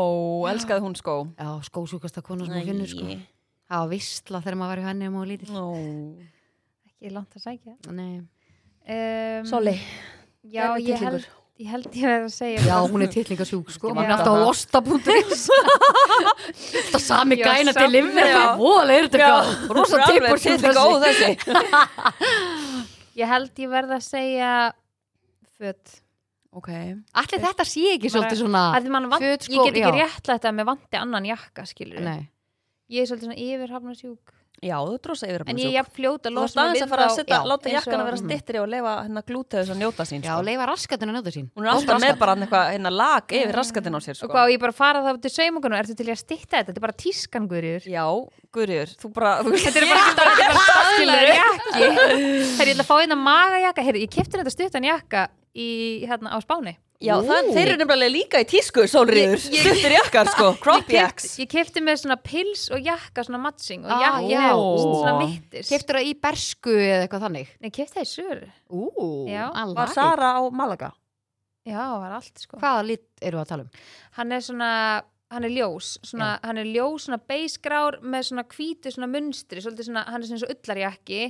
[SPEAKER 2] elskaði hún sko. skó.
[SPEAKER 1] Já, skósjúkasta kona sem ég finnur, sko.
[SPEAKER 2] Æi.
[SPEAKER 1] Það var vistla þegar maður var í henni um og lítið.
[SPEAKER 2] Ó,
[SPEAKER 3] ekki langt að sækja.
[SPEAKER 1] Nei.
[SPEAKER 3] Um,
[SPEAKER 2] Soli.
[SPEAKER 3] Já,
[SPEAKER 2] Hver er
[SPEAKER 3] ég
[SPEAKER 2] tittlingur?
[SPEAKER 3] held, ég held ég verið að segja
[SPEAKER 1] Já, hún er tillingasjúk sko, hún
[SPEAKER 2] Ég
[SPEAKER 1] er
[SPEAKER 2] vanda
[SPEAKER 1] alltaf á
[SPEAKER 2] það.
[SPEAKER 1] losta.is Alltaf sami
[SPEAKER 3] Já,
[SPEAKER 1] gæna til
[SPEAKER 3] samt-
[SPEAKER 1] limmi
[SPEAKER 2] já.
[SPEAKER 1] Voðalega er þetta eitthvað Rosa tippur sem
[SPEAKER 2] tillinga ó þessi.
[SPEAKER 3] Ég held ég verð að segja föt.
[SPEAKER 2] Ok.
[SPEAKER 1] Allir þetta sé ekki svolítið svona
[SPEAKER 3] Af því mann vant,
[SPEAKER 1] Ah. föt, skó,
[SPEAKER 3] ég get ekki
[SPEAKER 1] já.
[SPEAKER 3] réttlætt að mér vanti annan jakka, skilur.
[SPEAKER 1] Nei,
[SPEAKER 3] Ég er svolítið svona yfirhafna
[SPEAKER 2] Já, þú drósa yfir að
[SPEAKER 3] En ég er jafn fljót
[SPEAKER 2] Þú
[SPEAKER 3] að losa
[SPEAKER 2] varst aðeins að fara að
[SPEAKER 3] þá-
[SPEAKER 2] setja,
[SPEAKER 3] Já,
[SPEAKER 2] láta
[SPEAKER 3] eins og- Mhm.
[SPEAKER 2] jakkana vera stittri og leifa hérna glútið þess að njóta sín.
[SPEAKER 1] já,
[SPEAKER 2] sko.
[SPEAKER 1] leifa raskatinn að njóta sín
[SPEAKER 2] Hún er alltaf með bara hann eitthvað hérna lag yfir raskatinn á sér
[SPEAKER 3] Mm.
[SPEAKER 2] sko.
[SPEAKER 3] Og hvað, og ég bara fara þá til saumungunum, ertu til í að stitta þetta? Þetta er bara tískan, Guðriður.
[SPEAKER 2] Já, Guðriður, þú bara þú veist,
[SPEAKER 3] Þetta er bara ekki þetta er bara staðlaður jakki. Herri, ég ætla að fá hérna magajakka. Herri, ég kefti þetta stuttan jakka í, hérna, á Spáni.
[SPEAKER 2] Já, það, þeir eru nefnilega líka í tísku, Sólriður Stuttir jakkar sko, crop jacks
[SPEAKER 3] Ég kefti með svona pils og jakka, svona matching og
[SPEAKER 1] Ah,
[SPEAKER 3] jakki,
[SPEAKER 1] já.
[SPEAKER 3] ah, svona vittis.
[SPEAKER 1] Keftur það í bersku eða eitthvað þannig
[SPEAKER 3] Nei, kefti það í sögur.
[SPEAKER 1] Ú,
[SPEAKER 3] Já,
[SPEAKER 2] Var
[SPEAKER 1] alveg
[SPEAKER 2] Sara á Malaga?
[SPEAKER 3] Já, það var allt, sko.
[SPEAKER 1] Hvaða lit eru að tala um?
[SPEAKER 3] Hann er svona, hann er ljós, svona, hann er ljós, svona beisgrár með svona hvítu, svona munstri, svolítið svona, hann er svona svo ullarjakki.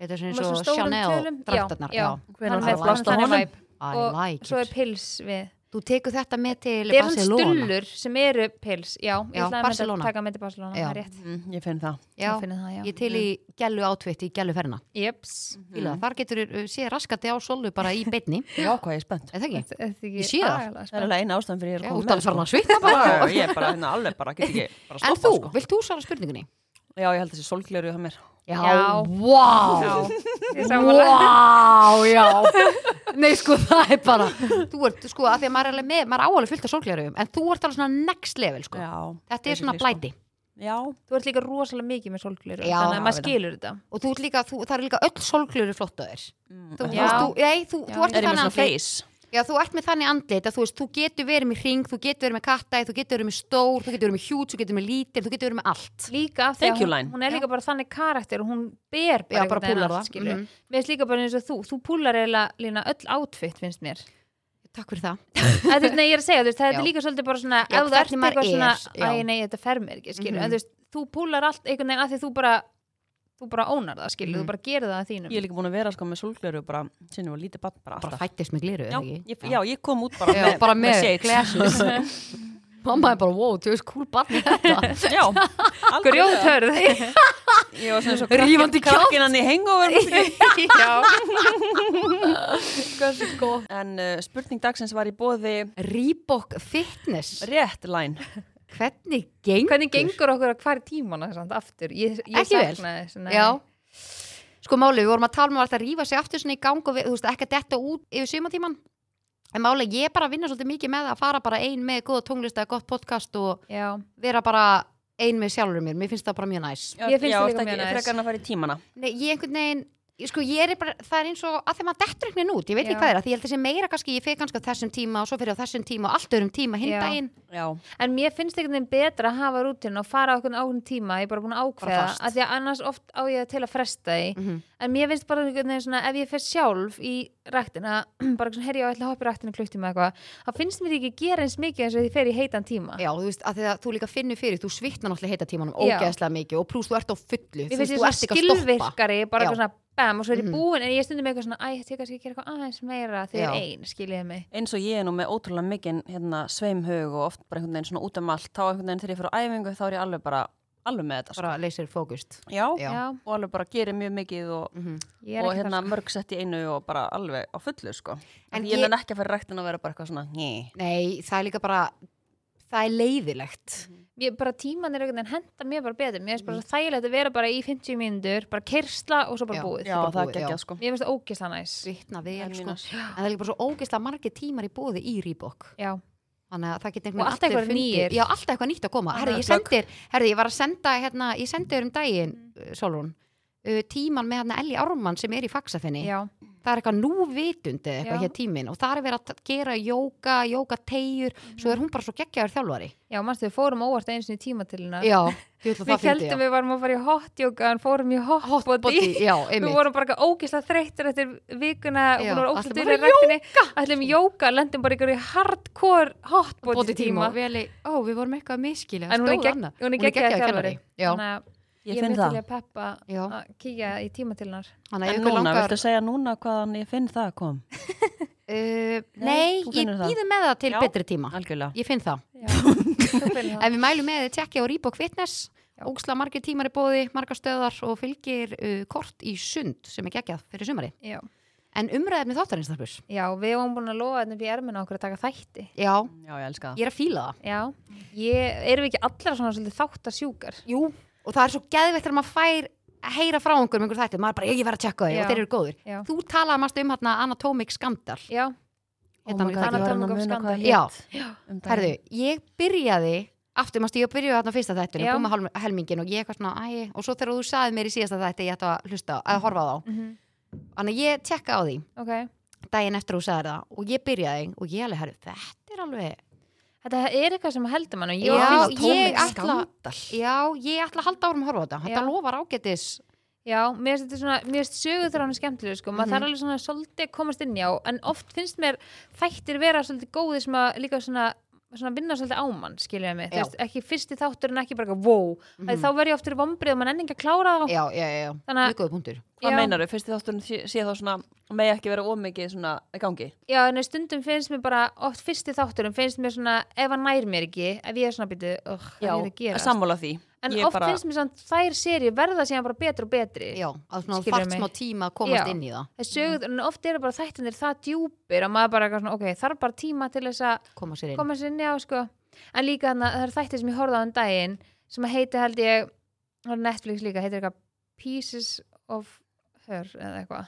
[SPEAKER 1] Þetta er svona
[SPEAKER 3] Hún er
[SPEAKER 1] eins
[SPEAKER 3] svona
[SPEAKER 1] og
[SPEAKER 3] stórum
[SPEAKER 1] Chanel
[SPEAKER 3] tölum. Já,
[SPEAKER 1] drættarnar
[SPEAKER 3] já.
[SPEAKER 2] Hvenær
[SPEAKER 3] Hann
[SPEAKER 1] var
[SPEAKER 3] er með-
[SPEAKER 1] last
[SPEAKER 2] á
[SPEAKER 3] hann er
[SPEAKER 2] honum?
[SPEAKER 3] vibe.
[SPEAKER 1] I
[SPEAKER 3] Og
[SPEAKER 1] like
[SPEAKER 3] Svo er
[SPEAKER 1] it
[SPEAKER 3] pils við.
[SPEAKER 1] Þú tekur þetta með til
[SPEAKER 3] Þetta er svona
[SPEAKER 1] Barcelona
[SPEAKER 3] stullur sem eru pils Já, ég
[SPEAKER 1] Já,
[SPEAKER 3] ætlaði að
[SPEAKER 1] Barcelona.
[SPEAKER 3] mynda- taka með til Barcelona
[SPEAKER 1] Já.
[SPEAKER 3] Það er rétt
[SPEAKER 2] Mm, Ég finn það
[SPEAKER 1] Já,
[SPEAKER 3] Ég finni það, já Mm.
[SPEAKER 1] ég til í gælu átvitt í gælu ferna
[SPEAKER 3] Jeps
[SPEAKER 1] Fíla, það. Þar getur þú sé raskati á sólu bara í beinni
[SPEAKER 2] Já, hvað ég er spennt
[SPEAKER 1] Er það ekki?
[SPEAKER 3] Þetta er ekki
[SPEAKER 1] Ég sé það.
[SPEAKER 3] agalega
[SPEAKER 2] Það er
[SPEAKER 3] spennt.
[SPEAKER 2] alveg eina ástæðan fyrir ég er
[SPEAKER 1] Já, út
[SPEAKER 2] að koma
[SPEAKER 1] alveg farin
[SPEAKER 2] með,
[SPEAKER 1] að svitna
[SPEAKER 2] sko.
[SPEAKER 1] bara
[SPEAKER 2] Já, Ég er bara hérna alveg bara, get ekki bara
[SPEAKER 1] En
[SPEAKER 2] stoppað,
[SPEAKER 1] þú,
[SPEAKER 2] sko.
[SPEAKER 1] vilt þú svara spurningunni?
[SPEAKER 2] Já, ég held þessi sólgleru hjá mér
[SPEAKER 3] Já.
[SPEAKER 1] Vá
[SPEAKER 3] Ég sammála.
[SPEAKER 1] Vá, já Nei, sko, það er bara Þú ert, sko, að því að maður er alveg með Maður er áalveg fullt af sólglerugum En þú ert alveg svona next level, sko
[SPEAKER 2] Já,
[SPEAKER 1] Þetta er svona
[SPEAKER 2] basically,
[SPEAKER 1] blæti
[SPEAKER 2] sko. Já,
[SPEAKER 3] Þú ert líka rosalega mikið með solglur
[SPEAKER 1] Já,
[SPEAKER 3] Þannig að maður
[SPEAKER 2] já,
[SPEAKER 3] skilur þetta
[SPEAKER 1] Og þú ert líka, þú, það er líka öll sólgleru flott að þér Þú,
[SPEAKER 3] Já.
[SPEAKER 1] veist, þú, nei, þú,
[SPEAKER 3] Já.
[SPEAKER 1] þú ert með
[SPEAKER 2] er ég með
[SPEAKER 1] þannig
[SPEAKER 2] svona
[SPEAKER 1] andlit
[SPEAKER 2] face
[SPEAKER 1] Já, þú ert með þannig andlit að þú veist, þú getur verið með hring, þú getur verið með kattæð, þú getur verið með stór, þú getur verið með hjút, þú getur verið með lítil, þú getur verið með allt.
[SPEAKER 3] Líka af því
[SPEAKER 2] Thank
[SPEAKER 3] að
[SPEAKER 2] you,
[SPEAKER 3] hún,
[SPEAKER 2] Line.
[SPEAKER 3] hún er líka bara þannig karakter og hún
[SPEAKER 1] Já, bara
[SPEAKER 3] ber bara, einhvern veginn
[SPEAKER 1] púllar
[SPEAKER 3] allt,
[SPEAKER 1] það.
[SPEAKER 3] skilurðu.
[SPEAKER 1] Mhm.
[SPEAKER 3] Mér finnst líka bara eins og þú Þú púlar eiginlega lína öll outfit finnst mér
[SPEAKER 1] Takk fyrir það.
[SPEAKER 3] Það er nei, ég er að segja, þú veist, það
[SPEAKER 1] Já.
[SPEAKER 3] er líka svolítið bara svona
[SPEAKER 1] Já,
[SPEAKER 3] ef þú ert
[SPEAKER 1] hvernig maður
[SPEAKER 3] eitthvað
[SPEAKER 1] er,
[SPEAKER 3] svona,
[SPEAKER 1] já.
[SPEAKER 3] æ nei, þetta fer mér ekki, skilur,
[SPEAKER 1] Mhm.
[SPEAKER 3] en þú veist, þú púlar allt einhvern veginn að því þú bara þú bara ónar það, skilur,
[SPEAKER 1] Mhm.
[SPEAKER 3] þú bara gerir það að þínum
[SPEAKER 2] Ég er líka búin að vera sko með sólgleru bara, sinni var lítið bann, bara
[SPEAKER 1] Bara
[SPEAKER 2] alltaf
[SPEAKER 1] fættist með gliru, eða
[SPEAKER 2] Já,
[SPEAKER 1] ekki?
[SPEAKER 2] ég, já, ég kom út bara
[SPEAKER 1] Já,
[SPEAKER 2] með,
[SPEAKER 1] bara með
[SPEAKER 2] shades.
[SPEAKER 1] glasses. Mamma er bara, wow, þú veist, cool barni þetta.
[SPEAKER 2] Já, algjörlega.
[SPEAKER 3] grjóthörð
[SPEAKER 2] Ég var svona svo
[SPEAKER 1] Rífandi kjátt.
[SPEAKER 2] krakkinan í hengover
[SPEAKER 3] Já.
[SPEAKER 1] sko.
[SPEAKER 2] En uh, spurning dagsins var í bóði
[SPEAKER 1] Reebok Fitness,
[SPEAKER 2] rétt læn
[SPEAKER 1] hvernig gengur?
[SPEAKER 3] hvernig gengur okkur að hvar tíman aftur, ég, ég
[SPEAKER 1] Ekki vel.
[SPEAKER 3] sakna þess nei.
[SPEAKER 1] Já, sko málið, við vorum að tala um að alltaf rífa sig aftur svona í gang og við, þú veist, ekki að detta út yfir sumatíman en málið, ég er bara að vinna svolítið mikið með að fara bara ein með góða tónlist eða gott podcast og
[SPEAKER 3] já,
[SPEAKER 1] vera bara ein með sjálfur mér, mér finnst það bara mjög næs
[SPEAKER 3] Ég finnst það líka mjög
[SPEAKER 2] næst.
[SPEAKER 3] næs.
[SPEAKER 2] Frekar en að fara í tímana.
[SPEAKER 1] Nei, ég einhvern veginn ég- Sko, ég er bara, það er eins og að þegar maður dettur einhvern veginn út, ég veit ekki
[SPEAKER 3] Já.
[SPEAKER 1] hvað er að því ég held þessi meira kannski, ég feg kannski á þessum tíma og svo fyrir á þessum tíma og allt öðrum tíma hinn
[SPEAKER 3] Já.
[SPEAKER 1] daginn
[SPEAKER 2] Já,
[SPEAKER 3] en mér finnst einhvern veginn betra að hafa rútinu og fara á einhvern ákveðin tíma, ég er bara búin að ákveða
[SPEAKER 1] fast.
[SPEAKER 3] að því að annars oft á ég það til að fresta því
[SPEAKER 1] mm -hmm.
[SPEAKER 3] en mér finnst bara einhvern veginn svona ef ég fer sjálf í ræktina, bara svona herja og ætla að hoppa í ræktina klukkutíma eða eitthvað, þá finnst mér ég ekki gera eins mikið eins og því fer í heitan tíma
[SPEAKER 1] Já, þú veist, að því að þú líka finnur fyrir, þú svitnar náttúrulega heita tímanum
[SPEAKER 3] Já.
[SPEAKER 1] ógeðslega mikið og pluss þú ert á fullu,
[SPEAKER 3] Mér
[SPEAKER 1] þú
[SPEAKER 3] finnst
[SPEAKER 1] veist, þú ert ekki
[SPEAKER 3] ég svona
[SPEAKER 1] að stoppa
[SPEAKER 3] skilvirkari bara
[SPEAKER 1] Já.
[SPEAKER 3] eitthvað svona bam og svo er ég
[SPEAKER 1] Mhm.
[SPEAKER 3] búin en ég stundum með eitthvað svona æ, þetta ég kannski að gera eitthvað aðeins meira þegar
[SPEAKER 1] Já.
[SPEAKER 3] ég er ein, skiljiði mig
[SPEAKER 2] eins og ég er nú með ótrúlega mikinn hérna, sveimhug og oft bara einhvern veginn svona út um allt. Þá einhvern veginn þegar ég fyrir á æfingu þá er ég alveg bara, alveg með þetta. Sko.
[SPEAKER 1] bara leysir fókust
[SPEAKER 2] Já,
[SPEAKER 1] Já.
[SPEAKER 3] Já,
[SPEAKER 2] og alveg bara gerir mjög mikið og,
[SPEAKER 1] mm
[SPEAKER 3] ég er
[SPEAKER 2] og
[SPEAKER 3] ekki
[SPEAKER 2] hérna
[SPEAKER 3] þar
[SPEAKER 2] mörg sett í einu og bara alveg á fullu, sko.
[SPEAKER 1] En
[SPEAKER 2] En ég
[SPEAKER 1] ég-
[SPEAKER 2] menn ekki að fara rættin að vera bara eitthvað svona, ný.
[SPEAKER 1] Nei, það er líka bara það er leiðilegt
[SPEAKER 3] sko. Ég- bara tíman er einhvern veginn henda mér bara betur mér finnst bara svo þægilegt að vera bara í 50 mínútur bara kersla og svo bara
[SPEAKER 1] Mhm. Já.
[SPEAKER 3] búið
[SPEAKER 2] Já,
[SPEAKER 1] bara
[SPEAKER 2] það
[SPEAKER 1] búið,
[SPEAKER 2] er
[SPEAKER 1] já.
[SPEAKER 2] geggjað, sko.
[SPEAKER 3] mér finnst það ógisla næs
[SPEAKER 1] svitna
[SPEAKER 2] Það er
[SPEAKER 1] vel,
[SPEAKER 2] mjög
[SPEAKER 1] sko
[SPEAKER 2] næs.
[SPEAKER 1] en það er líka bara svo ógeðslega margir tímar í bóði í Rýbok
[SPEAKER 3] Já,
[SPEAKER 1] þannig að það geta
[SPEAKER 3] Og alltaf eitthvað nýir.
[SPEAKER 1] já, alltaf eitthvað nýtt að koma herri, ég,
[SPEAKER 2] Annað
[SPEAKER 1] sendir, herri, ég var að senda, hérna, ég sendi þér um daginn mm. Solrún, uh, tíman með hérna Elli Ármann sem er í faxafinni
[SPEAKER 3] já,
[SPEAKER 1] það er eitthvað núvitund eða eitthvað
[SPEAKER 3] Já.
[SPEAKER 1] hér tímin og það er verið að gera jóka, jóka tegjur svo er hún bara svo geggjaður þjálfari
[SPEAKER 3] já, mannstu við fórum óvart eins og í tímatilina
[SPEAKER 1] já, ég ætla
[SPEAKER 3] Við
[SPEAKER 1] það fyndi
[SPEAKER 3] heldum við varum að fara í hotjóka en fórum í
[SPEAKER 1] já,
[SPEAKER 3] hotbody Við
[SPEAKER 1] einmitt
[SPEAKER 3] vorum bara ógislega þreyttir eftir vikuna og
[SPEAKER 1] Já,
[SPEAKER 3] hún var
[SPEAKER 1] ætlum
[SPEAKER 3] ógislega
[SPEAKER 1] bara
[SPEAKER 3] dýra rættinni ætlum í jóka, lendum bara ykkur í hardcore hotbody
[SPEAKER 1] bóti tíma
[SPEAKER 3] tíma
[SPEAKER 1] og við, Elli, ó, við vorum eitthvað að miskilja
[SPEAKER 3] en hún er,
[SPEAKER 1] stóð
[SPEAKER 3] gegn,
[SPEAKER 1] annað.
[SPEAKER 3] hún er
[SPEAKER 1] Hún er
[SPEAKER 3] geggjaði
[SPEAKER 1] geggjaður
[SPEAKER 3] þjálfari
[SPEAKER 1] já,
[SPEAKER 3] þannig að
[SPEAKER 2] Ég
[SPEAKER 3] er
[SPEAKER 2] finn
[SPEAKER 3] mjög til
[SPEAKER 2] það.
[SPEAKER 3] í að peppa
[SPEAKER 1] já,
[SPEAKER 3] að kíkja í tímatilnar
[SPEAKER 1] þannig að
[SPEAKER 2] En
[SPEAKER 1] ykkur
[SPEAKER 2] núna,
[SPEAKER 1] langar
[SPEAKER 2] viltu segja núna hvaðan ég finn það kom?
[SPEAKER 1] Uh, nei,
[SPEAKER 2] Nei,
[SPEAKER 1] ég
[SPEAKER 2] þú finnur það.
[SPEAKER 1] býði með það til
[SPEAKER 2] Já.
[SPEAKER 1] betri tíma
[SPEAKER 2] Algjörlega.
[SPEAKER 1] Ég finn það
[SPEAKER 3] algjörlega
[SPEAKER 1] En við mælum með þið tjekkja á Reebok Fitness
[SPEAKER 3] Já.
[SPEAKER 1] Ógsla margir tímar í bóði, margar stöðar og fylgir uh, kort í sund sem er geggjað fyrir sumari
[SPEAKER 3] já,
[SPEAKER 1] En umræðefni þáttarins þarfur
[SPEAKER 3] já, við höfum búin að lofa þetta upp í ermina okkur að taka þætti
[SPEAKER 1] Já,
[SPEAKER 2] Já, ég elska það.
[SPEAKER 1] ég er að fíla það
[SPEAKER 3] já, ég, erum við ekki allar svona svolítið þáttasjúkar
[SPEAKER 1] Jú, og það er svo geðveikt þegar maður fær að heyra frá einhverjum einhver þætti maður er bara, ég verð að tjekka þau
[SPEAKER 3] Já.
[SPEAKER 1] og þeir eru góður
[SPEAKER 3] Já.
[SPEAKER 1] Þú talaði mest um hérna Anatomic Scandal
[SPEAKER 3] já,
[SPEAKER 2] Oh
[SPEAKER 1] Hérna
[SPEAKER 2] my god,
[SPEAKER 1] hann-
[SPEAKER 2] ég var hann
[SPEAKER 3] Anatomy
[SPEAKER 2] að
[SPEAKER 3] of
[SPEAKER 2] muna hvað
[SPEAKER 3] Scandal.
[SPEAKER 2] það
[SPEAKER 1] Já.
[SPEAKER 2] hétt. Um
[SPEAKER 1] Herðu, ég byrjaði aftur maður stíða að byrja þarna á fyrsta þættinu
[SPEAKER 3] Já.
[SPEAKER 1] og búið með helmingin og ég eitthvað svona, æ, og svo þegar þú saði mér í síðasta þætti ég ætti að hlusta, að horfa á þá
[SPEAKER 3] mm
[SPEAKER 1] Þannig að ég tekka á því
[SPEAKER 3] ok
[SPEAKER 1] daginn eftir að þú sagði það og ég byrjaði og ég alveg, herru, þetta er alveg
[SPEAKER 3] þetta er eitthvað sem heldur mann og
[SPEAKER 1] Já,
[SPEAKER 3] ég finnst
[SPEAKER 1] ég
[SPEAKER 3] tónlist-
[SPEAKER 1] ætla- Já, ég ætla að halda árum að horfa á þetta Þetta
[SPEAKER 3] Já.
[SPEAKER 1] lofar ágætis
[SPEAKER 3] já, mér finnst þetta svona, mér finnst sögur þar hann skemmtilega sko, maður
[SPEAKER 1] Mhm.
[SPEAKER 3] þarf alveg svona svolítið að komast inn já, en oft finnst mér þættir vera svolítið góðir sem að líka svona svona vinna svolítið á mann, skiljaði mig
[SPEAKER 1] Já.
[SPEAKER 3] Þú veist, ekki fyrsti þáttur en ekki bara eitthvað, wow mm
[SPEAKER 1] Mhm.
[SPEAKER 3] þá verð ég oftur vombrið og mann enn ekki að klára þá
[SPEAKER 1] Já, já, já, já,
[SPEAKER 3] Þannig að-
[SPEAKER 1] mjög góð punktur
[SPEAKER 2] Hvað
[SPEAKER 3] Já.
[SPEAKER 2] meinar þau? Fyrst þátturinn sé sé þá svona, megi ekki vera ómikið svona í gangi.
[SPEAKER 3] Já, en stundum finnst mér bara oft fyrsti þátturum finnst mér svona, ef hann nær mér ekki ef ég er svona býtu, oh,
[SPEAKER 2] Já,
[SPEAKER 3] hvað er það að gera
[SPEAKER 2] sammála því.
[SPEAKER 3] en
[SPEAKER 2] Ég
[SPEAKER 3] oft
[SPEAKER 2] bara-
[SPEAKER 3] finnst mér svona, þær seri verða síðan bara betri og betri
[SPEAKER 1] Já, að svona
[SPEAKER 3] Skilurðu
[SPEAKER 1] þart
[SPEAKER 3] mig?
[SPEAKER 1] smá tíma að komast
[SPEAKER 3] Já.
[SPEAKER 1] inn í það
[SPEAKER 3] Það sögur, en oft eru bara þættinir það djúpir að maður bara eitthvað svona, ok, þarf bara tíma til þess að
[SPEAKER 1] koma sér inn
[SPEAKER 3] koma sér inn á, sko. En líka þannig að það eru þættir sem ég horfði á um daginn sem að heiti held ég, það er Netflix líka, heitir eitthvað Pieces of Her eða eitthvað.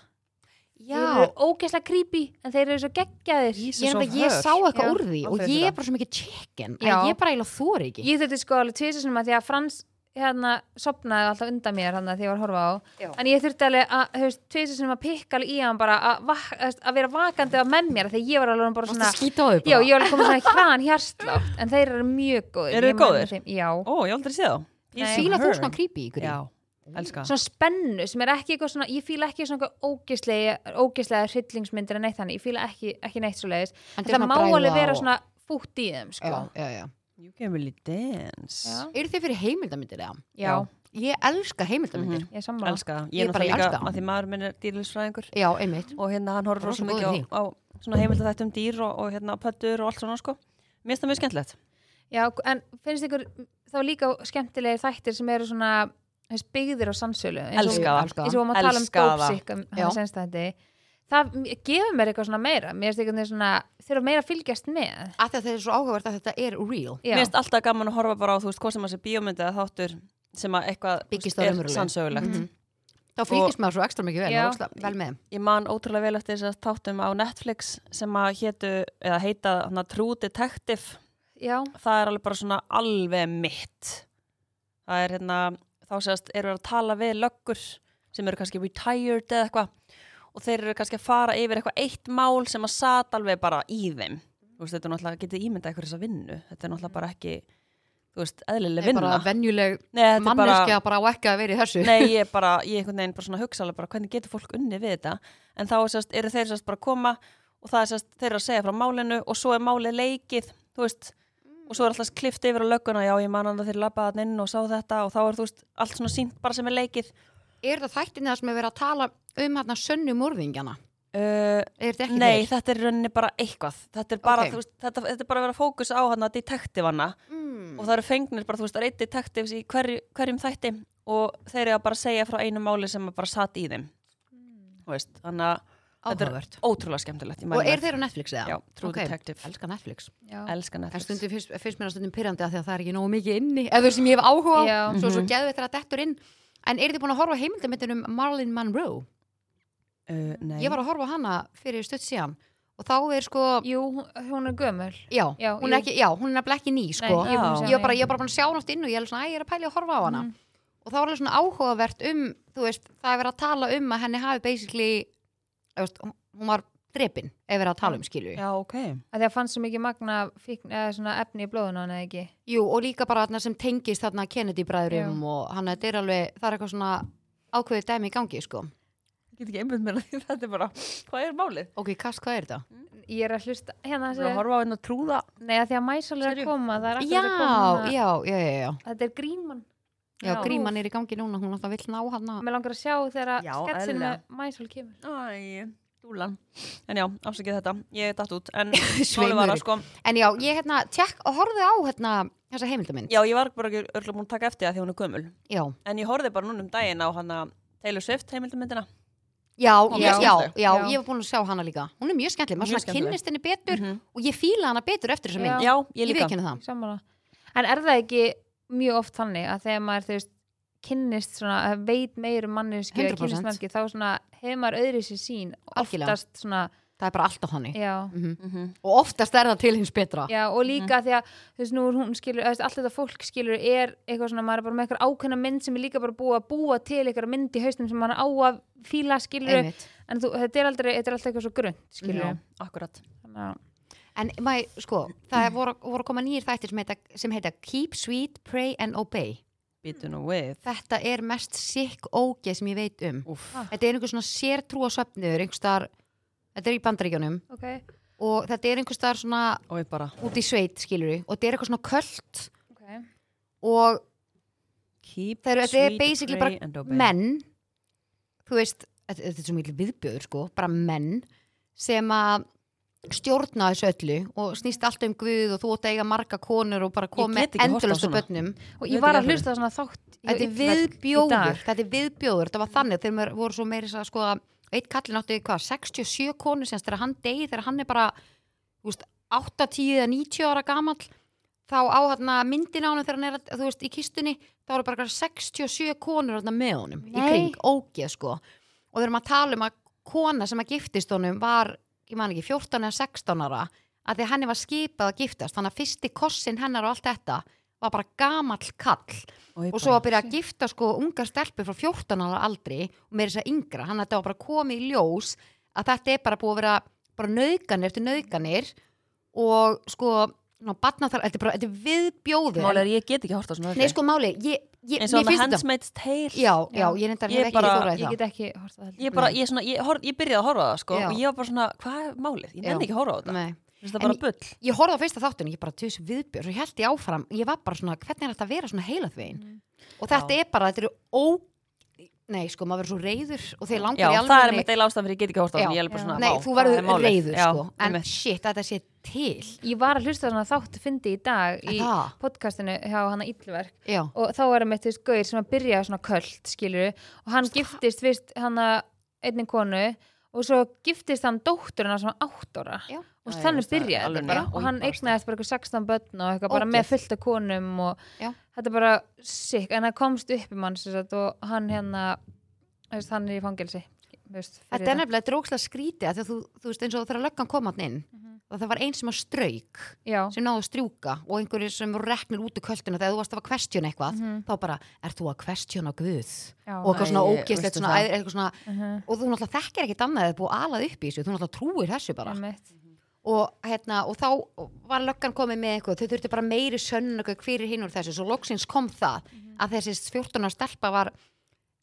[SPEAKER 3] Þeir eru
[SPEAKER 1] Já,
[SPEAKER 3] ógeðslega creepy en þeir eru svo geggjaðir.
[SPEAKER 1] ég, er nefnilega- ég sá eitthvað
[SPEAKER 3] Já,
[SPEAKER 1] úr því og
[SPEAKER 2] aldrei
[SPEAKER 1] ég er
[SPEAKER 2] þetta.
[SPEAKER 1] bara svo mikið chicken að
[SPEAKER 3] Já.
[SPEAKER 1] ég bara eiginlega þóri ekki
[SPEAKER 3] Ég þurfti sko alveg tvisið sem að því að Frans hérna sopnaði alltaf undan mér hann að því ég var að horfa á
[SPEAKER 1] Já.
[SPEAKER 3] en ég þurfti alveg að, þú veist, tvisið sem að pikka alveg í hann bara að, vak, þú veist, að vera vakandi á með mér þegar ég var alveg bara
[SPEAKER 1] Varstu
[SPEAKER 3] svona
[SPEAKER 1] að skýta á þau
[SPEAKER 3] Já,
[SPEAKER 1] bara?
[SPEAKER 3] ég var alveg komið svona í hraðan hjárslátt en þeir eru mjög góðir
[SPEAKER 2] Eru
[SPEAKER 3] Ég mæli
[SPEAKER 2] góðir?
[SPEAKER 3] með þeim, Já,
[SPEAKER 2] Ó, ég aldrei sé þá.
[SPEAKER 3] Nei.
[SPEAKER 1] Fýla þú svona creepy ykkur
[SPEAKER 2] Já, elska.
[SPEAKER 3] svona spennu sem er ekki eitthvað svona ég fíla ekki svona ógislega ógislega hryllingsmyndir en neitt þannig ég fíla ekki, ekki neitt svo leiðis en það má alveg vera svona fútt í þeim sko.
[SPEAKER 1] Já, já, já
[SPEAKER 2] You can really dance.
[SPEAKER 3] Já.
[SPEAKER 1] Eru þið fyrir heimildamindir eða? Mhm.
[SPEAKER 3] Já.
[SPEAKER 1] Ég elska heimildamindir
[SPEAKER 3] ég er sammála
[SPEAKER 2] Elska það.
[SPEAKER 1] Ég
[SPEAKER 2] Ég er
[SPEAKER 1] bara
[SPEAKER 2] náttúrulega
[SPEAKER 1] elska
[SPEAKER 2] líka,
[SPEAKER 1] það.
[SPEAKER 2] að því maður minn er dýrlisfræðingur
[SPEAKER 1] Já, einmitt
[SPEAKER 2] og hérna hann horfir
[SPEAKER 1] Rosa
[SPEAKER 2] rosa
[SPEAKER 1] góður í
[SPEAKER 2] mikið á, á svona heimild þættum dýr og, og hérna pöttur og allt svona sko. Mér finnst það mjög skemmtilegt.
[SPEAKER 3] Já, en finnst ykkur þá líka skemmtilegir þættir sem eru svona þú veist, byggðir á sannsölu eins og-
[SPEAKER 2] Elska það.
[SPEAKER 1] Elska
[SPEAKER 3] eins og við vorum að tala um
[SPEAKER 2] Elska það.
[SPEAKER 3] dópsik um
[SPEAKER 1] Já.
[SPEAKER 3] hann senst þetta það m- gefur mér eitthvað svona meira mér finnst eitthvað svona þurfa meira að fylgjast með
[SPEAKER 1] Af því að þetta er svo áhugavert að þetta er real
[SPEAKER 3] Já.
[SPEAKER 2] Mér finnst alltaf gaman að horfa bara á þú veist hvað sem að sé bíómynd eða þáttur sem að eitthvað þú
[SPEAKER 1] Byggist
[SPEAKER 2] veist,
[SPEAKER 1] á
[SPEAKER 2] er
[SPEAKER 1] raunverulegu. Mhm.
[SPEAKER 2] sannsögulegt.
[SPEAKER 1] þá fylgist maður svo ekstra mikið vel,
[SPEAKER 3] Já.
[SPEAKER 1] maður ósla- vel með þeim
[SPEAKER 2] ég man ótrúlega vel eftir þess að tátum á Netflix sem að hétu, eða heita hana, True Detective
[SPEAKER 3] já,
[SPEAKER 2] það er alveg bara svona alveg mitt það er hérna þá séðast eru að tala við löggur sem eru kannski retired eða eitthvað og þeir eru kannski að fara yfir eitthvað eitt mál sem að sat alveg bara í þeim þú veist, þetta er náttúrulega, getið ímyndað eitthvað þessa vinnu þetta er náttúrulega bara ekki þú veist, eðlileg
[SPEAKER 1] Þetta er
[SPEAKER 2] vinna
[SPEAKER 1] bara venjuleg
[SPEAKER 2] nei, þetta er bara,
[SPEAKER 1] manneskja bara á ekki að vera í þessu
[SPEAKER 2] nei, ég er bara, ég einhvern veginn bara svona hugsa alveg bara hvernig getur fólk unni við þetta en þá sérst, eru þeir sérst bara að koma og það er sérst, þeir eru að segja frá málinu og svo er málið leikið, þú veist og svo er alltaf klift yfir á lögguna, já ég man að þeir labbaða þarna inn og sá þetta og þá er þú veist allt svona sínt bara sem er leikið
[SPEAKER 1] Er það þættin það sem er verið að tala um hérna sönnu morðingjana?
[SPEAKER 2] uh,
[SPEAKER 1] Er þetta ekki
[SPEAKER 2] Nei,
[SPEAKER 1] þeir?
[SPEAKER 2] þetta er í rauninni bara eitthvað þetta er bara,
[SPEAKER 1] Ok.
[SPEAKER 2] þú veist, þetta, þetta er bara að vera fókus á hana detektivana
[SPEAKER 1] Mm.
[SPEAKER 2] og það eru fengnir bara, þú veist, það er einn detektivs í hverju, hverjum þætti og þeir eru að bara segja frá einu máli sem að bara satt í þeim
[SPEAKER 1] Mm.
[SPEAKER 2] þú veist, þannig að þetta er
[SPEAKER 1] Áhugavert.
[SPEAKER 2] ótrúlega skemmtilegt
[SPEAKER 1] Og er þeir á Netflix eða?
[SPEAKER 2] Já, True
[SPEAKER 1] Ok,
[SPEAKER 2] Detective.
[SPEAKER 1] Elskar Netflix.
[SPEAKER 3] já.
[SPEAKER 2] Elska
[SPEAKER 1] En
[SPEAKER 2] Netflix
[SPEAKER 1] stundum finnst, finnst mér að stundum pyrrandi að því að það er ekki nógu mikið inni. Eða sem ég hef áhuga á,
[SPEAKER 3] Já.
[SPEAKER 1] svo
[SPEAKER 2] Mhm.
[SPEAKER 1] svo geðu þetta að dettur inn. En er þið búin að horfa á heimildamöndin um Marilyn Monroe?
[SPEAKER 2] uh, Nei,
[SPEAKER 1] Ég var að horfa á hana fyrir stutt síðan og þá er sko,
[SPEAKER 3] Jú, hún er gömul
[SPEAKER 1] já,
[SPEAKER 3] Já,
[SPEAKER 1] hún er
[SPEAKER 3] jú.
[SPEAKER 1] ekki, já, hún er nefnilega ekki ný sko.
[SPEAKER 3] Nei, ég, er búin að
[SPEAKER 2] Já. Mm.
[SPEAKER 3] sjá
[SPEAKER 1] ég var bara,
[SPEAKER 3] hana,
[SPEAKER 1] ég var bara búin að sjá nátt inn og ég er alveg svona, æ, ég er að pæli að horfa á hana
[SPEAKER 3] Mhm.
[SPEAKER 1] og það var alveg svona áhugavert um þú veist, það er verið að tala um að henni hafi basically, þú veist, hún var drepin, ef verið að tala um skilu
[SPEAKER 2] já, ok
[SPEAKER 3] Af því að fannst svo mikið magna fíkn, eða svona efni í blóðun hann eða ekki
[SPEAKER 1] Jú, og líka bara þarna sem tengist þarna Kennedy bræðurum og hann þetta er alveg, það er eitthvað svona ákveðið dæmi í gangi, sko
[SPEAKER 2] Ég get ekki einbjönd mér að því, þetta er bara Hvað er málið?
[SPEAKER 1] Ok, kast, hvað er þetta?
[SPEAKER 3] Ég er að hlusta hérna
[SPEAKER 2] Þú er að
[SPEAKER 3] þessi
[SPEAKER 2] horfa á einn og trúða
[SPEAKER 3] Nei, af því að mæsal er að
[SPEAKER 2] Sérðu?
[SPEAKER 3] koma Það er
[SPEAKER 1] Já,
[SPEAKER 3] akkurat að koma
[SPEAKER 1] já, já, já, já,
[SPEAKER 3] Þetta er grínmann
[SPEAKER 1] já,
[SPEAKER 2] Já.
[SPEAKER 1] gríman er í gangi núna, hún alltaf vill ná hann að
[SPEAKER 3] Mér langar að sjá þegar
[SPEAKER 2] Já,
[SPEAKER 3] sketsin
[SPEAKER 2] eðlilega.
[SPEAKER 3] með mæsal kemur
[SPEAKER 2] Æ, dúlan En já, afsakið þetta, ég datt út En málið var
[SPEAKER 1] Sveimurinn.
[SPEAKER 2] að sko
[SPEAKER 1] En já, ég hérna, tjekk og horfið á hérna þessa heimildamind
[SPEAKER 2] Já, ég var bara ekki örgulega búin að taka eftir það því hún er gömul
[SPEAKER 1] Já,
[SPEAKER 2] En ég horfði bara núna um daginn á hana Taylor Swift heimildamyndina
[SPEAKER 1] já,
[SPEAKER 2] Hún
[SPEAKER 1] já,
[SPEAKER 2] er
[SPEAKER 1] já,
[SPEAKER 2] skemmtileg.
[SPEAKER 1] já,
[SPEAKER 3] Já.
[SPEAKER 1] ég var búin að sjá hana líka Hún er mjög skemmtileg,
[SPEAKER 2] Mjög
[SPEAKER 1] maður svona
[SPEAKER 2] skemmtileg.
[SPEAKER 1] kynnist henni betur
[SPEAKER 2] Mhm.
[SPEAKER 1] og ég fíla hana betur eftir þessa
[SPEAKER 3] Já.
[SPEAKER 1] mynd
[SPEAKER 2] Já, ég
[SPEAKER 1] Ég
[SPEAKER 2] líka
[SPEAKER 1] veit það
[SPEAKER 3] Sammála. En er það ekki mjög oft þannig að þegar maður þú veist, kynnist svona, að veit meir um manneski
[SPEAKER 1] 100%.
[SPEAKER 3] kynnist manneski, þá svona hefur maður öðri sér sín
[SPEAKER 1] Algjörlega.
[SPEAKER 3] oftast svona,
[SPEAKER 1] Það er bara alltaf hannig
[SPEAKER 3] já,
[SPEAKER 2] Mhm.
[SPEAKER 1] Og oftast er það til hins betra
[SPEAKER 3] já, og líka því að þú veist, nú er hún skilur, eða, allt þetta fólk skilur er eitthvað svona, maður er bara með eitthvað ákveðna mynd sem er líka bara búið að búa til eitthvað mynd í haustum sem maður á að fíla skilur
[SPEAKER 1] Einmitt.
[SPEAKER 3] en þú, þetta er aldrei, þetta er alltaf eitthvað svo grunnt skilur
[SPEAKER 2] Já,
[SPEAKER 3] mm.
[SPEAKER 2] akkurat
[SPEAKER 3] þannig
[SPEAKER 1] En mæ, sko, það er voru, voru að koma nýjir þættir sem heita, sem heita Keep Sweet, Pray and Obey
[SPEAKER 2] Býtu nú við
[SPEAKER 1] Þetta er mest sikk ógeð sem ég veit um
[SPEAKER 2] Úff,
[SPEAKER 3] Ah.
[SPEAKER 1] Þetta er einhver svona sértrúa söfniður einhverstaðar, þetta er í bandaríkjónum
[SPEAKER 3] að okay.
[SPEAKER 1] og þetta er einhverstaðar svona
[SPEAKER 2] og ég bara
[SPEAKER 1] út í sveit, skilur og þetta er eitthvað svona költ
[SPEAKER 3] Okay.
[SPEAKER 1] og
[SPEAKER 2] Keep
[SPEAKER 1] Það eru- þetta er basically bara
[SPEAKER 2] and obey
[SPEAKER 1] menn þú veist, þetta þetta er svo mikil viðbjöður sko, bara menn sem að stjórna þessu öllu og snýst allt um guð og þú ótt að eiga marga konur og bara
[SPEAKER 2] Ég
[SPEAKER 1] koma
[SPEAKER 2] get
[SPEAKER 1] með
[SPEAKER 2] ekki horft á
[SPEAKER 1] endurlustu
[SPEAKER 2] svona.
[SPEAKER 1] bönnum
[SPEAKER 3] og
[SPEAKER 2] Ég veit
[SPEAKER 3] ég
[SPEAKER 2] ekki
[SPEAKER 3] var að
[SPEAKER 2] af hverju.
[SPEAKER 3] hlusta á svona þátt hjá
[SPEAKER 1] þetta er
[SPEAKER 3] Illverk í dag.
[SPEAKER 1] viðbjóður þetta er viðbjóður, þetta var þannig þegar maður voru svo meiri að sko að eitt kallin átti hvað, 67 konur sem þegar hann degi þegar hann er bara þú veist, 8, 10 eða 90 ára gamall þá á hérna myndin á hann þegar hann er að- þú veist, í kistunni þá eru bara eitthvað 67 konur hérna með honum í
[SPEAKER 3] Nei.
[SPEAKER 1] kring, ógeð sko og þegar maður tala um að kona sem að giftist honum var, ég man ekki, 14 eða 16 ára að því að henni var skipað að giftast þannig að fyrsti kossin hennar og allt þetta var bara gamall kall
[SPEAKER 2] Og ég
[SPEAKER 1] og svo
[SPEAKER 2] bara
[SPEAKER 1] að byrja að gifta sko ungar stelpur frá 14 ára aldri og meira þess að yngra, hann að þetta var bara komið í ljós að þetta er bara búið að vera bara nauðganir eftir nauðganir og sko ná, batna þar, þetta er bara, þetta er viðbjóður
[SPEAKER 2] Málið er ég get ekki hort á svona
[SPEAKER 1] Nei sko máli, ég, ég,
[SPEAKER 2] eins
[SPEAKER 1] mér
[SPEAKER 2] og hann
[SPEAKER 1] finnst þetta
[SPEAKER 2] handsmaid's tale
[SPEAKER 1] Já, já, ég reyndar
[SPEAKER 2] Ég
[SPEAKER 1] hef ekki
[SPEAKER 2] bara-
[SPEAKER 1] þóraði
[SPEAKER 3] ég
[SPEAKER 1] það
[SPEAKER 3] get ekki horft að
[SPEAKER 2] ég, bara, ég, svona, ég, hor, ég byrjaði að horfa á það sko,
[SPEAKER 1] Já.
[SPEAKER 2] og ég var bara svona, hvað er málið? Ég nenni
[SPEAKER 1] Já.
[SPEAKER 2] ekki að horfa á þetta
[SPEAKER 1] Nei.
[SPEAKER 2] Finnst það
[SPEAKER 1] En
[SPEAKER 2] bara bull
[SPEAKER 1] Ég horfði á fyrsta þáttun, ég bara tjóðis viðbjör og held ég áfram, ég var bara svona, hvernig er þetta að vera svona heilað veginn?
[SPEAKER 2] Mm.
[SPEAKER 1] Og þetta er bara, þetta eru ó... Nei, sko, maður verður svo reyður og þeir langar
[SPEAKER 2] Já,
[SPEAKER 1] í
[SPEAKER 2] það er
[SPEAKER 1] alveg
[SPEAKER 2] mitt eil ástæðan fyrir ég get ekki að horfa á
[SPEAKER 1] Já.
[SPEAKER 2] það Ég er alveg
[SPEAKER 3] Já.
[SPEAKER 2] bara svona,
[SPEAKER 1] Nei,
[SPEAKER 2] vá,
[SPEAKER 1] þú
[SPEAKER 2] hvað er
[SPEAKER 1] verður
[SPEAKER 2] málið?
[SPEAKER 1] reyður
[SPEAKER 2] Já,
[SPEAKER 1] sko En
[SPEAKER 2] einmitt.
[SPEAKER 1] shit, þetta sé til
[SPEAKER 3] Ég var að hlusta á svona þátt fyndi í dag í
[SPEAKER 1] Það.
[SPEAKER 3] podcastinu hjá hana Íllverk
[SPEAKER 1] Já,
[SPEAKER 3] og þá er mitt þess gauðir sem að byrja svona köld skilur og hann giftist fyrst hana einni konu og svo giftist hann dótturina sem var átt ára
[SPEAKER 1] já,
[SPEAKER 3] og
[SPEAKER 2] Já, já,
[SPEAKER 3] þannig
[SPEAKER 2] það er
[SPEAKER 3] byrjaði
[SPEAKER 2] alveg
[SPEAKER 3] þetta bara
[SPEAKER 2] nýtt.
[SPEAKER 3] og hann
[SPEAKER 2] Ógeðslegt.
[SPEAKER 3] eignaðist bara eitthvað 16 börn og eitthvað bara
[SPEAKER 1] Ógeð.
[SPEAKER 3] með fullt af konum og
[SPEAKER 1] Já.
[SPEAKER 3] þetta er bara sikk en það komst upp um hann sem sagt, og hann hérna Þú veist, hann er í fangelsi þú veist, fyrir
[SPEAKER 1] Þetta er nefnilega drókslega skrítið af því að þú, þú veist eins og þegar löggan kom hann inn og það var einn sem að strauk
[SPEAKER 3] Já,
[SPEAKER 1] sem náðu að strjúka og einhverju sem voru reknir út úr kvöldinu þegar þú varst að fara að questiona eitthvað
[SPEAKER 3] Mhm.
[SPEAKER 1] þá bara, er þú að questiona Guð
[SPEAKER 3] já,
[SPEAKER 1] og eitthvað svona
[SPEAKER 2] Æ,
[SPEAKER 1] ógeðslegt
[SPEAKER 2] veistu
[SPEAKER 1] svona,
[SPEAKER 2] það?
[SPEAKER 1] æ- eitthvað svona,
[SPEAKER 3] Mhm,
[SPEAKER 1] og þú náttúrulega þekkir ekkert annað eða búið alað upp í þessu, þú náttúrulega trúir þessu bara
[SPEAKER 3] einmitt.
[SPEAKER 1] og, hérna, og þá var löggan komið með eitthvað þau þurfti bara meiri sönn hver er hinn úr þessu svo loksins kom það
[SPEAKER 3] Mhm.
[SPEAKER 1] að þessi 14 ára stelpa var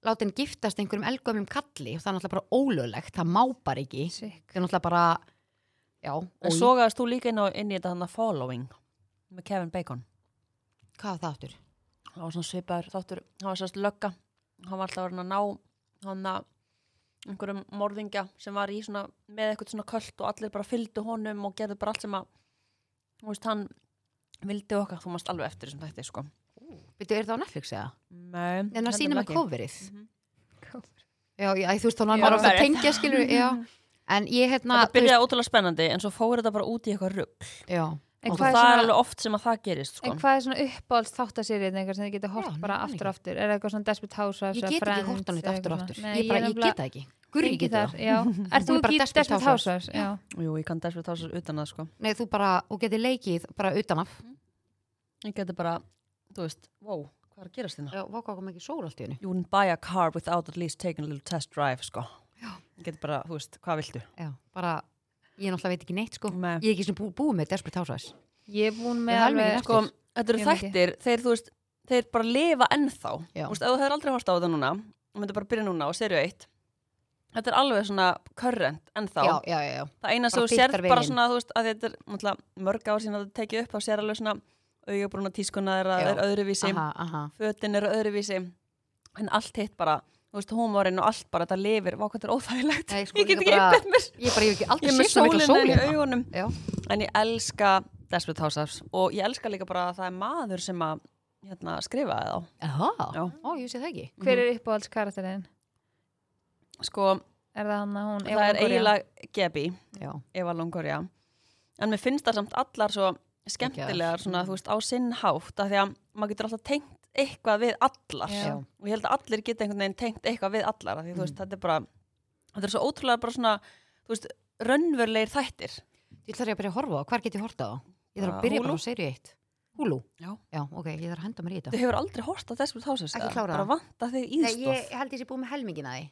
[SPEAKER 1] látin giftast einhverjum elgömmum kalli og það er náttúrulega bara ólöglegt, það má bara ekki
[SPEAKER 3] Sick.
[SPEAKER 1] það er náttúrulega bara já, og
[SPEAKER 2] En sogaðast þú líka inn, á, inn í þetta hann following með Kevin Bacon.
[SPEAKER 1] hvað var það áttur?
[SPEAKER 2] Það var svona svipaður þáttur, það var sérst lögga. Hann var alltaf að reyna að ná hann að einhverjum morðingja sem var í svona, með eitthvað svona költ og allir bara fylgdu honum og gerðu bara allt sem að þú veist, hann vildi og okkar, þú mást alveg eftir þessum þetta, sko.
[SPEAKER 1] Byrju, er það á Netflix eða?
[SPEAKER 2] Nei,
[SPEAKER 1] En það sýnir með coverið.
[SPEAKER 3] Cover.
[SPEAKER 1] Já, já, þú veist, þá
[SPEAKER 3] Já.
[SPEAKER 1] náttúrulega bara að
[SPEAKER 2] Coverið.
[SPEAKER 1] tengja, skilur, já. En ég, hérna,
[SPEAKER 2] Þetta byrjaði ótrúlega spennandi en svo fór þetta bara út í eitthvað rugg
[SPEAKER 1] veist, já.
[SPEAKER 3] En
[SPEAKER 2] og það
[SPEAKER 3] hvað er
[SPEAKER 2] er
[SPEAKER 3] svona,
[SPEAKER 2] alveg oft sem að það gerist sko.
[SPEAKER 3] en hvað er svona uppáhalds þáttasýrið eitthvað sem þið getur hort
[SPEAKER 1] Já,
[SPEAKER 3] bara
[SPEAKER 1] nei,
[SPEAKER 3] aftur
[SPEAKER 1] ekki.
[SPEAKER 3] og aftur? Er það eitthvað svona Desperate Housewives
[SPEAKER 1] Ég
[SPEAKER 3] eða
[SPEAKER 1] get ekki
[SPEAKER 3] Friends
[SPEAKER 1] hort á
[SPEAKER 3] eða
[SPEAKER 1] þetta aftur og
[SPEAKER 3] eitthvað
[SPEAKER 1] aftur.
[SPEAKER 3] svona? Nei,
[SPEAKER 1] Ég bara, ég
[SPEAKER 3] nefnilega-
[SPEAKER 1] get það ekki. Gurri
[SPEAKER 3] Engi
[SPEAKER 1] getur
[SPEAKER 3] þar,
[SPEAKER 1] það.
[SPEAKER 3] já. Er þú
[SPEAKER 1] Hún er bara
[SPEAKER 3] ekki
[SPEAKER 1] Desperate
[SPEAKER 3] Desperate Housewives? Já.
[SPEAKER 2] Jú, ég kann desperate houses utan að sko.
[SPEAKER 1] Nei, þú bara, þú getur leikið bara utanaf.
[SPEAKER 2] Ég geti bara, þú veist, wow, hvað er að gerast hérna? þérna?
[SPEAKER 1] Já, vaka okkur mikið sól allt í hennu.
[SPEAKER 2] You wouldn't buy a car without at least taking a little test drive sko.
[SPEAKER 1] Já.
[SPEAKER 2] Ég geti bara, þú veist, hvað viltu?
[SPEAKER 1] Já, bara, ég náttúrulega veit ekki neitt, sko.
[SPEAKER 2] Með,
[SPEAKER 1] Ég er ekki svona bú, búið með Desperate Housewives.
[SPEAKER 3] Ég er búin með
[SPEAKER 1] Ég hef mikið
[SPEAKER 3] alveg,
[SPEAKER 1] eftir.
[SPEAKER 2] sko, þetta eru
[SPEAKER 3] Ég veit ekki.
[SPEAKER 2] þættir þeir, þú veist, þeir bara lifa ennþá
[SPEAKER 1] Já.
[SPEAKER 2] Þú veist, ef þú hefur aldrei horst á þetta núna og myndir bara byrja núna og serið eitt Þetta er alveg svona current ennþá
[SPEAKER 1] Já, já, já, já.
[SPEAKER 2] það eina sem
[SPEAKER 1] Bara
[SPEAKER 2] þú sér
[SPEAKER 1] fylgdarveginn.
[SPEAKER 2] bara svona, þú veist, að þetta er náttúrulega mörg ár síðan að þetta tekið upp, þá sér alveg svona augabrúna tískuna er,
[SPEAKER 1] Já.
[SPEAKER 2] er öðruvísi,
[SPEAKER 1] Aha, aha.
[SPEAKER 2] fötin eru öðruvísi en allt hitt bara, þú veist, humorinn og allt bara, þetta lifir, vá hvað þetta er óþægilegt
[SPEAKER 1] Nei, sko,
[SPEAKER 2] ég get
[SPEAKER 1] líka
[SPEAKER 2] ekki
[SPEAKER 1] bara-
[SPEAKER 2] einbett mér
[SPEAKER 1] Ég bara, ég hef ekki
[SPEAKER 2] ég
[SPEAKER 1] aldrei
[SPEAKER 2] er
[SPEAKER 1] séð
[SPEAKER 2] með
[SPEAKER 1] svo mikla
[SPEAKER 2] sólina
[SPEAKER 1] sól
[SPEAKER 2] í
[SPEAKER 1] hérna.
[SPEAKER 2] augunum
[SPEAKER 1] Já.
[SPEAKER 2] en ég elska Desperate Housewives og ég elska líka bara að það er maður sem að hérna, skrifa þá
[SPEAKER 1] Aha.
[SPEAKER 2] Já.
[SPEAKER 1] Ó, ég sé það ekki.
[SPEAKER 3] hver er uppáhalds karakterinn?
[SPEAKER 2] sko,
[SPEAKER 3] Er það hann að hún? Eva
[SPEAKER 2] það er
[SPEAKER 3] Longoria?
[SPEAKER 2] eiginlega Gebi,
[SPEAKER 1] Já.
[SPEAKER 2] Eva Longoria en mér finnst það samt allar svo skemmtilegar svona, þú veist, á sinn hátt af því að maður getur alltaf tengt eitthvað við allar
[SPEAKER 3] Já.
[SPEAKER 2] og ég held að allir geta einhvern veginn tengt eitthvað við allar af því þú veist,
[SPEAKER 1] Mhm.
[SPEAKER 2] þetta er bara þetta er svo ótrúlega bara svona, þú veist, raunverulegir þættir
[SPEAKER 1] Ég þarf ég að byrja að horfa á, hvar get ég horta á? Ég þarf
[SPEAKER 2] Bara
[SPEAKER 1] að byrja
[SPEAKER 2] Hulu.
[SPEAKER 1] bara á serið eitt. Hulu?
[SPEAKER 2] Já.
[SPEAKER 1] ok, ég þarf að henda mér í þetta.
[SPEAKER 2] þú hefur aldrei hort á Desperate Houses
[SPEAKER 1] Ekki
[SPEAKER 2] eða?
[SPEAKER 1] klárað
[SPEAKER 2] bara
[SPEAKER 1] það.
[SPEAKER 2] vanta þig íðstof
[SPEAKER 1] held ég sé búið með helmingina því.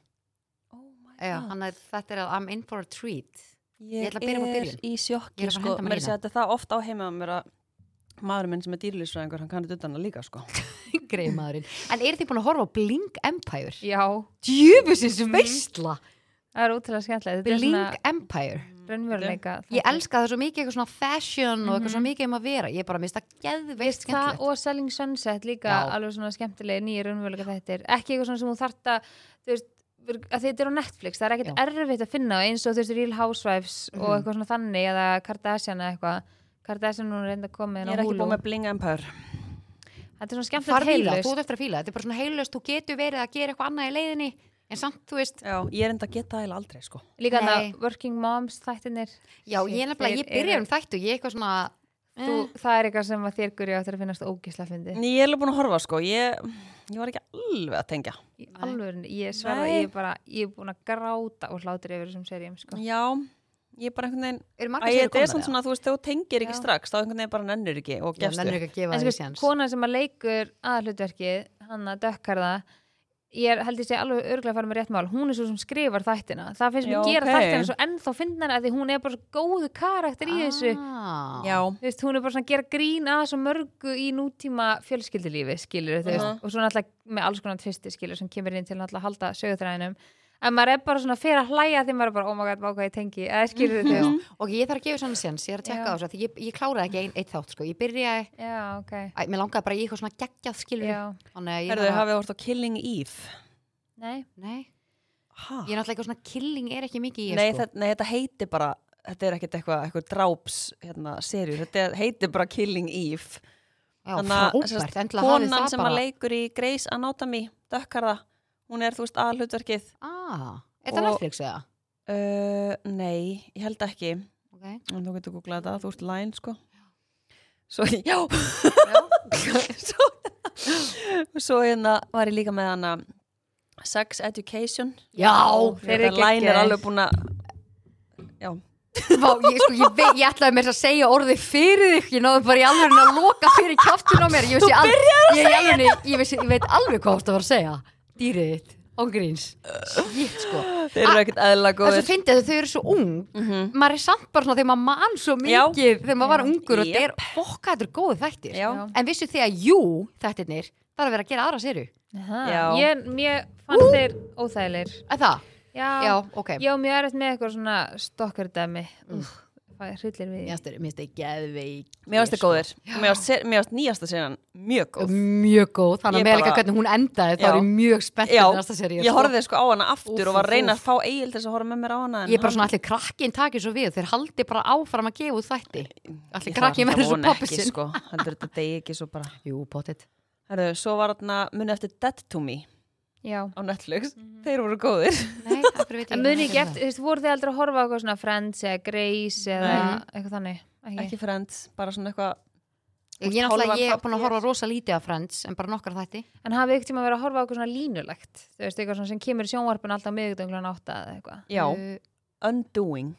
[SPEAKER 2] oh my
[SPEAKER 1] Já,
[SPEAKER 2] god.
[SPEAKER 1] hann er, þetta er að I'm in for a treat.
[SPEAKER 2] Ég,
[SPEAKER 1] ætla að byrja með
[SPEAKER 2] er
[SPEAKER 1] byrjun.
[SPEAKER 2] í
[SPEAKER 1] Ég
[SPEAKER 2] sjokki
[SPEAKER 1] er að fara að
[SPEAKER 2] sko,
[SPEAKER 1] henda mér hérna.
[SPEAKER 2] mér
[SPEAKER 1] í
[SPEAKER 2] sé að þetta er það ofta á heima mér að maðurinn minn sem er dýrlýsfræðingur hann kannið utan að líka sko
[SPEAKER 1] Greið maðurinn. En eru þið búin að horfa á Blink Empire?
[SPEAKER 3] Já,
[SPEAKER 1] Djöfusins veistla!
[SPEAKER 3] það er útrúlega skemmtilegt. Þetta er svona
[SPEAKER 1] Blink Empire.
[SPEAKER 3] raunveruleika.
[SPEAKER 1] Ég elska það svo mikið eitthvað svona fashion og eitthvað
[SPEAKER 3] Mhm.
[SPEAKER 1] svo mikið um að vera. Ég er bara mista geðveikt
[SPEAKER 3] það
[SPEAKER 1] skemmtilegt.
[SPEAKER 3] og Selling Sunset líka
[SPEAKER 1] Já.
[SPEAKER 3] alveg svona skemmtilega nýja raunveruleika þættir. Ekki eitthvað svona sem þú þart að, þú veist, ver- að þetta er á Netflix, það er ekkert
[SPEAKER 1] Já.
[SPEAKER 3] erfitt að finna eins og þú veist Real Housewives og
[SPEAKER 1] Mhm.
[SPEAKER 3] eitthvað svona þannig eða Kardashian eða eitthvað. Kardashian núna reynda að koma
[SPEAKER 2] Ég
[SPEAKER 3] inn á
[SPEAKER 2] er ekki
[SPEAKER 3] Hulu.
[SPEAKER 2] búin með Bling Empire
[SPEAKER 3] Þetta er svona skemmtilegt
[SPEAKER 1] Farð í það, þú
[SPEAKER 3] heilust.
[SPEAKER 1] ert eftir að fíla. það. Þetta er bara svona heilust, þú getur verið að gera eitthvað annað í leiðinni, en samt, þú veist,
[SPEAKER 2] Já, ég er enda að geta það eiginlega aldrei sko
[SPEAKER 3] Líka
[SPEAKER 1] Nei.
[SPEAKER 3] þannig Working Moms þættinir.
[SPEAKER 1] já, ég er nefnilega,
[SPEAKER 3] Þeir
[SPEAKER 1] ég byrja
[SPEAKER 3] eru-
[SPEAKER 1] um þættu, ég er eitthvað svona,
[SPEAKER 3] Þú, það er eitthvað sem að þér gurja áttur að finnast ógísla fyndi.
[SPEAKER 2] En Ég er alveg búin að horfa sko ég, ég var ekki alveg að tengja
[SPEAKER 3] Í alvöru, ég sverða,
[SPEAKER 2] Nei.
[SPEAKER 3] ég er bara, ég er búin að gráta og hlátur yfir þessum serjum, sko.
[SPEAKER 2] Já, ég er bara einhvern veginn
[SPEAKER 3] Eh.
[SPEAKER 1] eru
[SPEAKER 2] Æ,
[SPEAKER 1] margar
[SPEAKER 2] ég-
[SPEAKER 1] sér
[SPEAKER 2] Þetta er samt svona, þú veist, þegar þú tengir ekki
[SPEAKER 3] Já.
[SPEAKER 2] strax þá einhvern veginn bara nennir ekki og
[SPEAKER 1] Já,
[SPEAKER 2] gefst
[SPEAKER 1] nennir
[SPEAKER 2] upp
[SPEAKER 1] ekki að gefa
[SPEAKER 3] En
[SPEAKER 1] það í
[SPEAKER 3] sko,
[SPEAKER 1] séns.
[SPEAKER 3] kona sem að leikur að hlutverkið, hann að dökkar það, ég er, held ég sé alveg örglega að fara með rétt mál, hún er svo sem skrifar þættina. Það finnst mér
[SPEAKER 2] Já,
[SPEAKER 3] gera
[SPEAKER 2] ok.
[SPEAKER 3] þættina svo ennþá fyndnara að því hún er bara svo góðu karakter í þessu.
[SPEAKER 1] Ah.
[SPEAKER 2] Já,
[SPEAKER 3] Þú Veist, hún er bara svona að gera grín að svo mörgu í nútíma fjölskyldilífi, skilur þú
[SPEAKER 2] Mhm.
[SPEAKER 3] veist, og svo náttúrulega með alls konar tvisti, skilur, sem kemur inn til náttúrulega að halda sögutræðinum. En maður er bara svona fyrir að hlæja þegar maður er bara, oh my god, vá hvað ég tengi, eða skilur
[SPEAKER 1] Já,
[SPEAKER 3] þú veist.
[SPEAKER 2] Mhm.
[SPEAKER 1] ok, ég þarf að gefa svona sens, ég er að tekka á
[SPEAKER 3] Já.
[SPEAKER 1] þessu af því ég, ég kláraði ekki ein, eitt þátt, sko, ég byrjaði
[SPEAKER 3] Já, ok.
[SPEAKER 1] Æ, mér langaði bara í eitthvað svona geggjað skilur
[SPEAKER 3] Já,
[SPEAKER 1] Þannig að ég
[SPEAKER 2] herðu,
[SPEAKER 1] bara-
[SPEAKER 2] hafið hort á Killing Eve
[SPEAKER 3] nei.
[SPEAKER 1] Nei,
[SPEAKER 2] ha?
[SPEAKER 1] ég er náttúrulega eitthvað svona killing er ekki mikið í
[SPEAKER 2] nei,
[SPEAKER 1] sko.
[SPEAKER 2] þetta, nei, þetta heitir bara þetta er ekkert eitthvað, eitthvað dráps hérna, serjur, þetta er- heitir bara Killing Eve
[SPEAKER 1] Já,
[SPEAKER 2] Þannig að sem
[SPEAKER 1] frábært,
[SPEAKER 2] sagt,
[SPEAKER 1] endilega hafið
[SPEAKER 2] konan
[SPEAKER 1] það
[SPEAKER 2] sem
[SPEAKER 1] bara
[SPEAKER 2] að leikur í Grey's Anatomy dökkarða, hún er þú veist aðhlutverkið
[SPEAKER 1] ah, Er það
[SPEAKER 2] Og-
[SPEAKER 1] Netflix eða?
[SPEAKER 2] uh, nei, ég held ekki
[SPEAKER 1] Okay.
[SPEAKER 2] en þú getur googlað þetta, þú ert læn sko svo, já svo, svo hérna var ég líka með hana Sex Education
[SPEAKER 1] Já,
[SPEAKER 2] Þetta
[SPEAKER 3] þeir eru
[SPEAKER 2] line er
[SPEAKER 3] geggjaðir.
[SPEAKER 2] alveg búin að Já,
[SPEAKER 1] Vá, ég, sko, ég, vei, ég ætlaði mér að segja orðið fyrir þig ég náði bara í alveg að loka fyrir kjáftun á mér ég, vissi al- ég, ég, alveg, ég, vissi, ég veit alveg hvað það var að segja dýrið þitt, ángríns Shit, sko.
[SPEAKER 2] þeir eru ekkert
[SPEAKER 1] það
[SPEAKER 2] eðla
[SPEAKER 1] er svo
[SPEAKER 2] góðir
[SPEAKER 1] fyndið að þau eru svo ung
[SPEAKER 2] Mhm.
[SPEAKER 1] maður er samt bara svona þegar maður man svo mikið
[SPEAKER 2] Já.
[SPEAKER 1] þegar maður var ungur og
[SPEAKER 2] Jep.
[SPEAKER 1] þetta er fokka þetta er góð þættir
[SPEAKER 2] Já,
[SPEAKER 3] Já.
[SPEAKER 1] en vissu þegar jú þættirnir það er að vera að gera aðra séru
[SPEAKER 2] Já.
[SPEAKER 3] Aha. Ég, mér fannst þeir óþægilegir.
[SPEAKER 1] að það,
[SPEAKER 3] Já,
[SPEAKER 1] já, ok Mm.
[SPEAKER 3] Já, mér er eftir með eitthvað svona stokkardæmi. Úf, það hryllir
[SPEAKER 1] mér
[SPEAKER 3] við. því.
[SPEAKER 1] finnst þeir- mér finnst þeir geðveik
[SPEAKER 2] mér varst þetta góður Mér varst se- mér varst nýjasta senan mjög góð
[SPEAKER 1] mjög góð, þannig
[SPEAKER 2] Ég
[SPEAKER 1] að með líka
[SPEAKER 2] bara-
[SPEAKER 1] hvernig hún endaði þá
[SPEAKER 2] Já.
[SPEAKER 1] er ég mjög spennt
[SPEAKER 2] Já,
[SPEAKER 1] fyrir næsta seríu
[SPEAKER 2] Ég
[SPEAKER 1] sko.
[SPEAKER 2] horfði sko á hana aftur
[SPEAKER 1] Úff,
[SPEAKER 2] og var
[SPEAKER 1] úff,
[SPEAKER 2] að reyna
[SPEAKER 1] úff.
[SPEAKER 2] að fá eigil til þess að horfa með mér á hana en
[SPEAKER 1] ég er bara
[SPEAKER 2] hann-
[SPEAKER 1] svona allir krakkin takir svo við þeir haldi bara áfram að gefa út þætti allir
[SPEAKER 2] Ég þarf
[SPEAKER 1] krakkin
[SPEAKER 2] þetta
[SPEAKER 1] verður svo
[SPEAKER 2] vona
[SPEAKER 1] pappi
[SPEAKER 2] ekki,
[SPEAKER 1] sinn
[SPEAKER 2] sko. Heldur þetta degi ekki svo bara
[SPEAKER 1] jú, potið
[SPEAKER 2] Herðu, svo var þarna muni eftir Dead to Me
[SPEAKER 3] Já.
[SPEAKER 2] á Netflix
[SPEAKER 1] Mhm.
[SPEAKER 2] Þeir voru góðir
[SPEAKER 1] nei, af hverju veit ég
[SPEAKER 3] En muni ekki eftir, þú veist, voru þið aldrei að horfa á eitthvað svona Friends eða Grace eða
[SPEAKER 1] Nei.
[SPEAKER 3] eitthvað þannig?
[SPEAKER 2] Ekki Friends, bara svona eitthvað
[SPEAKER 1] ég er náttúrulega, ég er
[SPEAKER 2] Hálfan
[SPEAKER 1] búin að horfa rosa lítið af Friends en bara nokkar þætti
[SPEAKER 3] En hafið ykkur tíma verið að horfa á eitthvað svona línulegt? Þú veist, eitthvað svona sem kemur í sjónvarpinu alltaf miðugdönglun átta eða eitthvað?
[SPEAKER 2] Já,
[SPEAKER 1] Uh,
[SPEAKER 2] Undoing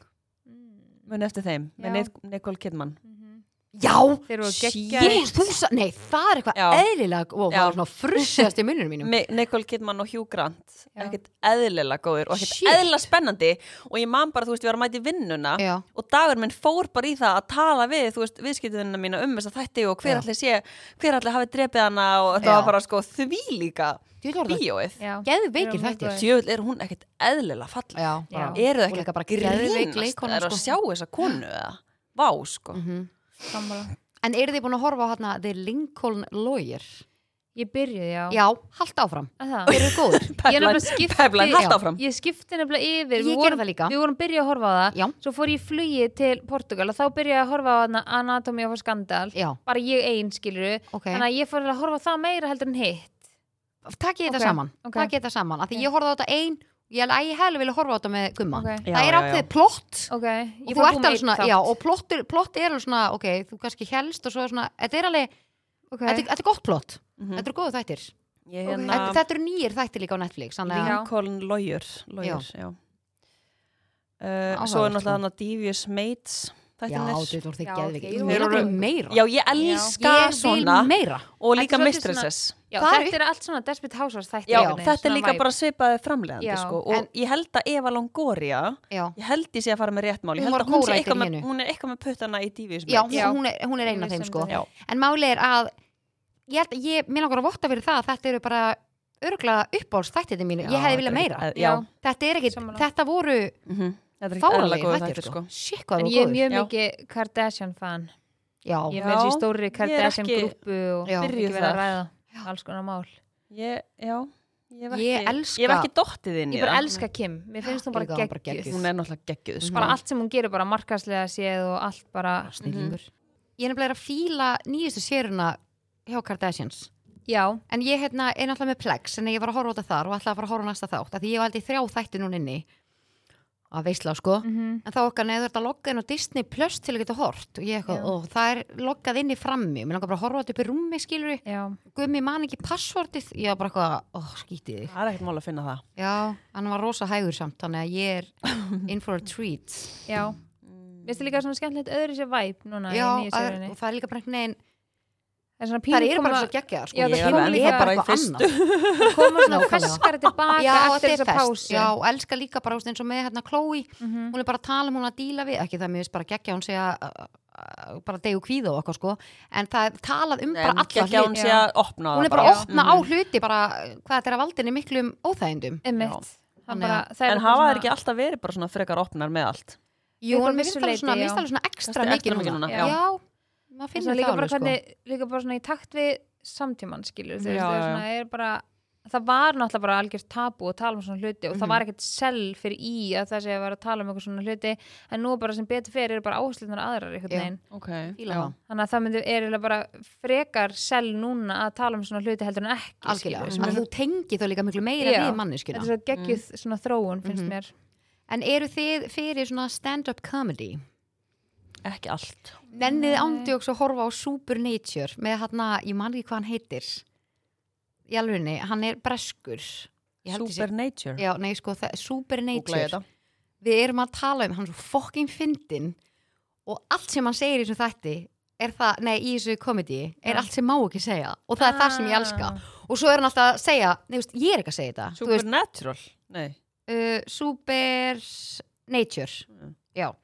[SPEAKER 2] Muni eftir þeim,
[SPEAKER 3] Já.
[SPEAKER 2] með Nic- Nicole Kidman
[SPEAKER 3] Mhm.
[SPEAKER 1] já,
[SPEAKER 3] Þeir voru geggjaðir.
[SPEAKER 1] Yes, þú sa- nei, það er eitthvað
[SPEAKER 2] Já.
[SPEAKER 1] eðlilega og það
[SPEAKER 2] Já.
[SPEAKER 1] var svona frussiðast í mununum mínum
[SPEAKER 2] Mi- Nicole Kidman og Hugh Grant
[SPEAKER 3] Já.
[SPEAKER 2] ekkert eðlilega góðir og ekkert
[SPEAKER 1] Shit.
[SPEAKER 2] eðlilega spennandi og ég man bara, þú veist, ég var að mæti vinnuna
[SPEAKER 1] já,
[SPEAKER 2] og dagur minn fór bara í það að tala við, þú veist, viðskiptunina mína um þess að þætti og hver
[SPEAKER 1] Já.
[SPEAKER 2] allir sé, hver allir hafi drepið hana og þetta
[SPEAKER 1] Já.
[SPEAKER 2] var bara sko því líka
[SPEAKER 1] þú veit orða
[SPEAKER 2] bíóið.
[SPEAKER 3] Já.
[SPEAKER 1] geðveikir
[SPEAKER 3] Já, mjög
[SPEAKER 1] þættir
[SPEAKER 3] góðir.
[SPEAKER 2] Sjöfull er hún ekkert eðlilega falla.
[SPEAKER 1] já, bara
[SPEAKER 3] Já.
[SPEAKER 2] Eru
[SPEAKER 1] Og
[SPEAKER 2] það
[SPEAKER 1] líka
[SPEAKER 2] ekki
[SPEAKER 1] bara
[SPEAKER 2] að
[SPEAKER 1] geðveik
[SPEAKER 2] grínast?
[SPEAKER 1] leikkona,
[SPEAKER 2] Er að
[SPEAKER 1] sko.
[SPEAKER 2] sjá þessa konu eða? Vá, sko.
[SPEAKER 1] Mhm.
[SPEAKER 3] Sammála.
[SPEAKER 1] en eru þið búin að horfa á hérna The Lincoln Lawyer
[SPEAKER 3] Ég byrjuði, já.
[SPEAKER 1] já, halda áfram,
[SPEAKER 3] Að það?
[SPEAKER 1] þeir eru góður
[SPEAKER 3] Ég nefnilega
[SPEAKER 2] Pepline,
[SPEAKER 3] skipti-
[SPEAKER 2] Pepline,
[SPEAKER 1] Já.
[SPEAKER 2] haldt áfram.
[SPEAKER 3] Ég skipti nefnilega yfir,
[SPEAKER 1] Ég
[SPEAKER 3] við
[SPEAKER 1] gerði
[SPEAKER 3] vorum,
[SPEAKER 1] það líka.
[SPEAKER 3] við vorum byrjuð að horfa á það,
[SPEAKER 1] já,
[SPEAKER 3] svo fór ég í flugi til Portugal og þá byrjuði ég að horfa á hana Anatomy of a Scandal,
[SPEAKER 1] já,
[SPEAKER 3] bara ég einn skiluru,
[SPEAKER 1] ok
[SPEAKER 3] þannig að ég fór að horfa á það meira heldur en hitt.
[SPEAKER 1] takk ég þetta
[SPEAKER 3] Ok,
[SPEAKER 1] saman
[SPEAKER 3] ok.
[SPEAKER 1] takk ég þetta saman, af því
[SPEAKER 3] Ok.
[SPEAKER 1] ég horfði á þetta ein ég að ég hefði vilja horfa á þetta með gumma
[SPEAKER 3] Ok,
[SPEAKER 2] Já,
[SPEAKER 1] það er
[SPEAKER 2] já, já.
[SPEAKER 1] ákveðið plott
[SPEAKER 3] ok.
[SPEAKER 1] og
[SPEAKER 3] Ég
[SPEAKER 1] þú
[SPEAKER 3] fór
[SPEAKER 1] ert
[SPEAKER 3] að búa með
[SPEAKER 1] alveg
[SPEAKER 3] einn
[SPEAKER 1] svona,
[SPEAKER 3] þátt.
[SPEAKER 1] já, og plott er, plott er alveg svona, ok, þú kannski helst og svo er svona, þetta er alveg,
[SPEAKER 3] Ok.
[SPEAKER 1] þetta, er- þetta er gott plott
[SPEAKER 2] Mhm.
[SPEAKER 1] þetta eru góðu þættir,
[SPEAKER 2] Ég
[SPEAKER 3] Ok.
[SPEAKER 2] hérna...
[SPEAKER 1] þetta, þetta eru nýjir þættir líka á Netflix, þannig að
[SPEAKER 3] Já.
[SPEAKER 2] Lincoln Lawyer, lawyer já. Uh,
[SPEAKER 1] Áhugavert,
[SPEAKER 2] svo er náttúrulega
[SPEAKER 1] sko.
[SPEAKER 2] hann að Devious Mates
[SPEAKER 1] já,
[SPEAKER 2] þættinir.
[SPEAKER 1] þetta voru þið
[SPEAKER 3] Já,
[SPEAKER 1] geðviki
[SPEAKER 3] ok.
[SPEAKER 1] ég vil
[SPEAKER 2] Þeir
[SPEAKER 1] alveg
[SPEAKER 2] eru-
[SPEAKER 1] meira,
[SPEAKER 2] Já, ég elska
[SPEAKER 1] ég
[SPEAKER 2] svona
[SPEAKER 1] vil meira
[SPEAKER 2] og
[SPEAKER 3] Þetta
[SPEAKER 2] líka
[SPEAKER 3] er svolítið
[SPEAKER 2] Mistresses.
[SPEAKER 3] Já,
[SPEAKER 1] Það er
[SPEAKER 3] þetta er allt svona Desperate Housewives þættir. hérna,
[SPEAKER 2] Já,
[SPEAKER 1] Já.
[SPEAKER 2] þetta er líka bara svipaði framlegandi
[SPEAKER 3] Já.
[SPEAKER 2] sko. og
[SPEAKER 1] En-
[SPEAKER 2] ég held að Eva Longoria
[SPEAKER 1] já,
[SPEAKER 2] ég held ég sé að fara með rétt mál ég
[SPEAKER 1] Hún
[SPEAKER 2] held
[SPEAKER 1] var
[SPEAKER 2] að hún, sé
[SPEAKER 1] kórætir
[SPEAKER 2] eitthvað
[SPEAKER 1] í
[SPEAKER 2] með,
[SPEAKER 1] hinu.
[SPEAKER 2] hún er eitthvað með puttana í Devious
[SPEAKER 1] já,
[SPEAKER 2] Mates
[SPEAKER 1] hún,
[SPEAKER 3] Já.
[SPEAKER 1] hún, er, hún er eina
[SPEAKER 3] Ég
[SPEAKER 1] þeim
[SPEAKER 3] sem
[SPEAKER 1] sko
[SPEAKER 3] það.
[SPEAKER 2] Já.
[SPEAKER 1] en máli er að ég, held, ég, mér langar að votta fyrir það að þetta eru bara örgla uppbólst þættir mínu, ég hefði vilja meira
[SPEAKER 2] Já, já.
[SPEAKER 1] þetta er ekki,
[SPEAKER 3] Sammála.
[SPEAKER 1] þetta voru
[SPEAKER 2] Mhm. þetta er ekkert eðla
[SPEAKER 1] fáralegi
[SPEAKER 2] góð
[SPEAKER 1] þættir
[SPEAKER 2] þættir
[SPEAKER 1] sko
[SPEAKER 2] sko.
[SPEAKER 1] shit hvað
[SPEAKER 3] En
[SPEAKER 1] það
[SPEAKER 3] ég er
[SPEAKER 1] voru góður
[SPEAKER 3] mjög
[SPEAKER 2] Já.
[SPEAKER 3] mikið Kardashian fan. Ég
[SPEAKER 1] já,
[SPEAKER 3] er með þessi
[SPEAKER 2] Já,
[SPEAKER 3] stóri
[SPEAKER 2] ég er
[SPEAKER 3] Kardashian
[SPEAKER 2] ekki-
[SPEAKER 3] grúpu
[SPEAKER 1] Já.
[SPEAKER 3] og ekki
[SPEAKER 2] Byrjuð
[SPEAKER 3] verið
[SPEAKER 2] þar.
[SPEAKER 3] að ræða alls konar mál.
[SPEAKER 2] ég, já, ég, hef
[SPEAKER 1] Ég
[SPEAKER 2] ekki-
[SPEAKER 1] elska-
[SPEAKER 2] ég hef ekki dottið inn í
[SPEAKER 3] Ég bara
[SPEAKER 2] það
[SPEAKER 3] elska Kim. Mér finnst hún bara
[SPEAKER 1] Líka hún bara
[SPEAKER 3] geggjuð.
[SPEAKER 1] geggjuð. Mm.
[SPEAKER 2] hún er náttúrulega geggjuð sko.
[SPEAKER 3] Bara allt sem hún gerur, bara markaslega séð og allt bara...
[SPEAKER 1] snillingur
[SPEAKER 3] Mhm.
[SPEAKER 1] ég er nefnilega að fíla nýjustu séruna hjá Kardashians
[SPEAKER 3] Já,
[SPEAKER 1] en ég hérna, er náttúrulega með Plex en ég var að horfa á þetta þar og ætla að fara að horfa á næsta þátt af því ég var aldrei þrjá þætti núna inni að veisla sko
[SPEAKER 3] mhm,
[SPEAKER 1] en þá okkar neður þetta loggað inn á Disney Plus til að geta hort og, ég,
[SPEAKER 3] Já.
[SPEAKER 1] eitthvað, og það er loggað inn í frammi mér langar bara að horfa á þetta upp í rúmi skilur
[SPEAKER 3] já.
[SPEAKER 1] gummi man ekki passvortið ég var bara eitthvað, ó oh, skítið þig
[SPEAKER 2] það er ekkert mál að finna það
[SPEAKER 1] já, hann var rosa hægur samt þannig að ég er in for a treat
[SPEAKER 3] Já, mér finnst það líka svona skemmtilegt öðru sér væp núna hérna
[SPEAKER 1] já,
[SPEAKER 3] í nýju
[SPEAKER 1] að,
[SPEAKER 3] sérunni.
[SPEAKER 1] og það er líka bara einhvern veginn
[SPEAKER 3] Það er svona
[SPEAKER 1] það
[SPEAKER 3] pínu
[SPEAKER 1] eru bara
[SPEAKER 3] koma,
[SPEAKER 1] svo geggjaðar sko.
[SPEAKER 3] Já, það
[SPEAKER 2] ég
[SPEAKER 3] kemur
[SPEAKER 2] er
[SPEAKER 3] líka
[SPEAKER 2] ennþá
[SPEAKER 3] bara
[SPEAKER 2] bara í fyrstu
[SPEAKER 3] koma svona
[SPEAKER 1] Nákvæmlega.
[SPEAKER 3] ferskari tilbaka
[SPEAKER 1] Já, og
[SPEAKER 3] eftir
[SPEAKER 1] þetta er
[SPEAKER 3] þessa
[SPEAKER 1] fest
[SPEAKER 3] pásu.
[SPEAKER 1] Já, og elska líka bara þú veist, eins og með hérna Chloe
[SPEAKER 3] Mhm.
[SPEAKER 1] hún er bara að tala um hún að díla við ekki það mér veist bara geggja hún segja uh, uh, bara degu kvíða og eitthvað sko en það er talað um bara
[SPEAKER 2] en
[SPEAKER 1] alla
[SPEAKER 2] geggja
[SPEAKER 1] hluti
[SPEAKER 2] hún sé að opna
[SPEAKER 1] hún er
[SPEAKER 2] það
[SPEAKER 1] bara að opna á
[SPEAKER 2] Mhm.
[SPEAKER 1] hluti bara uh, hvað þetta er að valdinni miklu um óþægindum
[SPEAKER 3] Einmitt. Það
[SPEAKER 1] Þannig
[SPEAKER 3] bara-
[SPEAKER 2] en
[SPEAKER 3] það er eitthvað
[SPEAKER 2] hafa
[SPEAKER 3] svona-
[SPEAKER 2] það ekki alltaf verið bara svona frekar opnar með allt
[SPEAKER 1] Jú,
[SPEAKER 3] Eitthvað
[SPEAKER 1] en mér finnst
[SPEAKER 3] vissu
[SPEAKER 1] alveg svona, mér
[SPEAKER 3] leyti, já.
[SPEAKER 1] finnst alveg svona ekstra
[SPEAKER 2] Kannski
[SPEAKER 1] mikið
[SPEAKER 2] extra mikið
[SPEAKER 1] núna
[SPEAKER 2] núna,
[SPEAKER 1] Já,
[SPEAKER 2] já.
[SPEAKER 1] maður
[SPEAKER 3] En
[SPEAKER 1] finnur
[SPEAKER 3] svo
[SPEAKER 1] það
[SPEAKER 3] líka bara
[SPEAKER 1] alveg sko
[SPEAKER 3] hvernig, líka bara svona í takt við samtíman skilur þú
[SPEAKER 2] Já,
[SPEAKER 3] veist, það er
[SPEAKER 2] já, já.
[SPEAKER 3] svona, er bara, það var náttúrulega bara algjörst tabu að tala um svona hluti og það
[SPEAKER 1] Mhm.
[SPEAKER 3] var ekkert sel fyrir í að það sé að vera að tala um eitthvað svona hluti en nú er bara sem betur fyrir eru bara áherslunar aðrar einhvern
[SPEAKER 1] Já.
[SPEAKER 3] veginn
[SPEAKER 2] okay.
[SPEAKER 1] Fíla
[SPEAKER 2] já.
[SPEAKER 1] það.
[SPEAKER 3] þannig að það myndi er eiginlega bara frekar sel núna að tala um svona hluti heldur en ekki
[SPEAKER 1] Algjörlega,
[SPEAKER 3] skilurðu,
[SPEAKER 1] af
[SPEAKER 3] sem er
[SPEAKER 1] því þú tengi þau líka miklu meira
[SPEAKER 3] Já.
[SPEAKER 1] við
[SPEAKER 3] þetta
[SPEAKER 1] manneskina
[SPEAKER 3] er svo geggjuð svona þróun finnst
[SPEAKER 1] Mhm.
[SPEAKER 3] mér
[SPEAKER 1] En eru þið fyrir svona stand-up comedy?
[SPEAKER 2] ekki allt
[SPEAKER 1] Nennið
[SPEAKER 3] Nei.
[SPEAKER 1] ándjóks að horfa á Supernature með hann að, ég man ekki hvað hann heitir í alvegni, hann er breskur ég Ég held ég sé-
[SPEAKER 2] Supernature
[SPEAKER 1] Já, nei, sko, það-
[SPEAKER 2] Googlaði
[SPEAKER 1] Supernature
[SPEAKER 2] þetta.
[SPEAKER 1] Við erum að tala um hann er svo fokkin fyndin og allt sem hann segir í þessu þætti er það, nei, í þessu komedi er
[SPEAKER 3] Já.
[SPEAKER 1] allt sem má ekki segja og það er það sem ég elska
[SPEAKER 3] Ah.
[SPEAKER 1] og svo er hann alltaf að segja, nei, þú veist, ég er ekki að segja þetta Þú veist,
[SPEAKER 2] Supernatural Nei,
[SPEAKER 1] uh, Supernature
[SPEAKER 2] Mm.
[SPEAKER 1] Já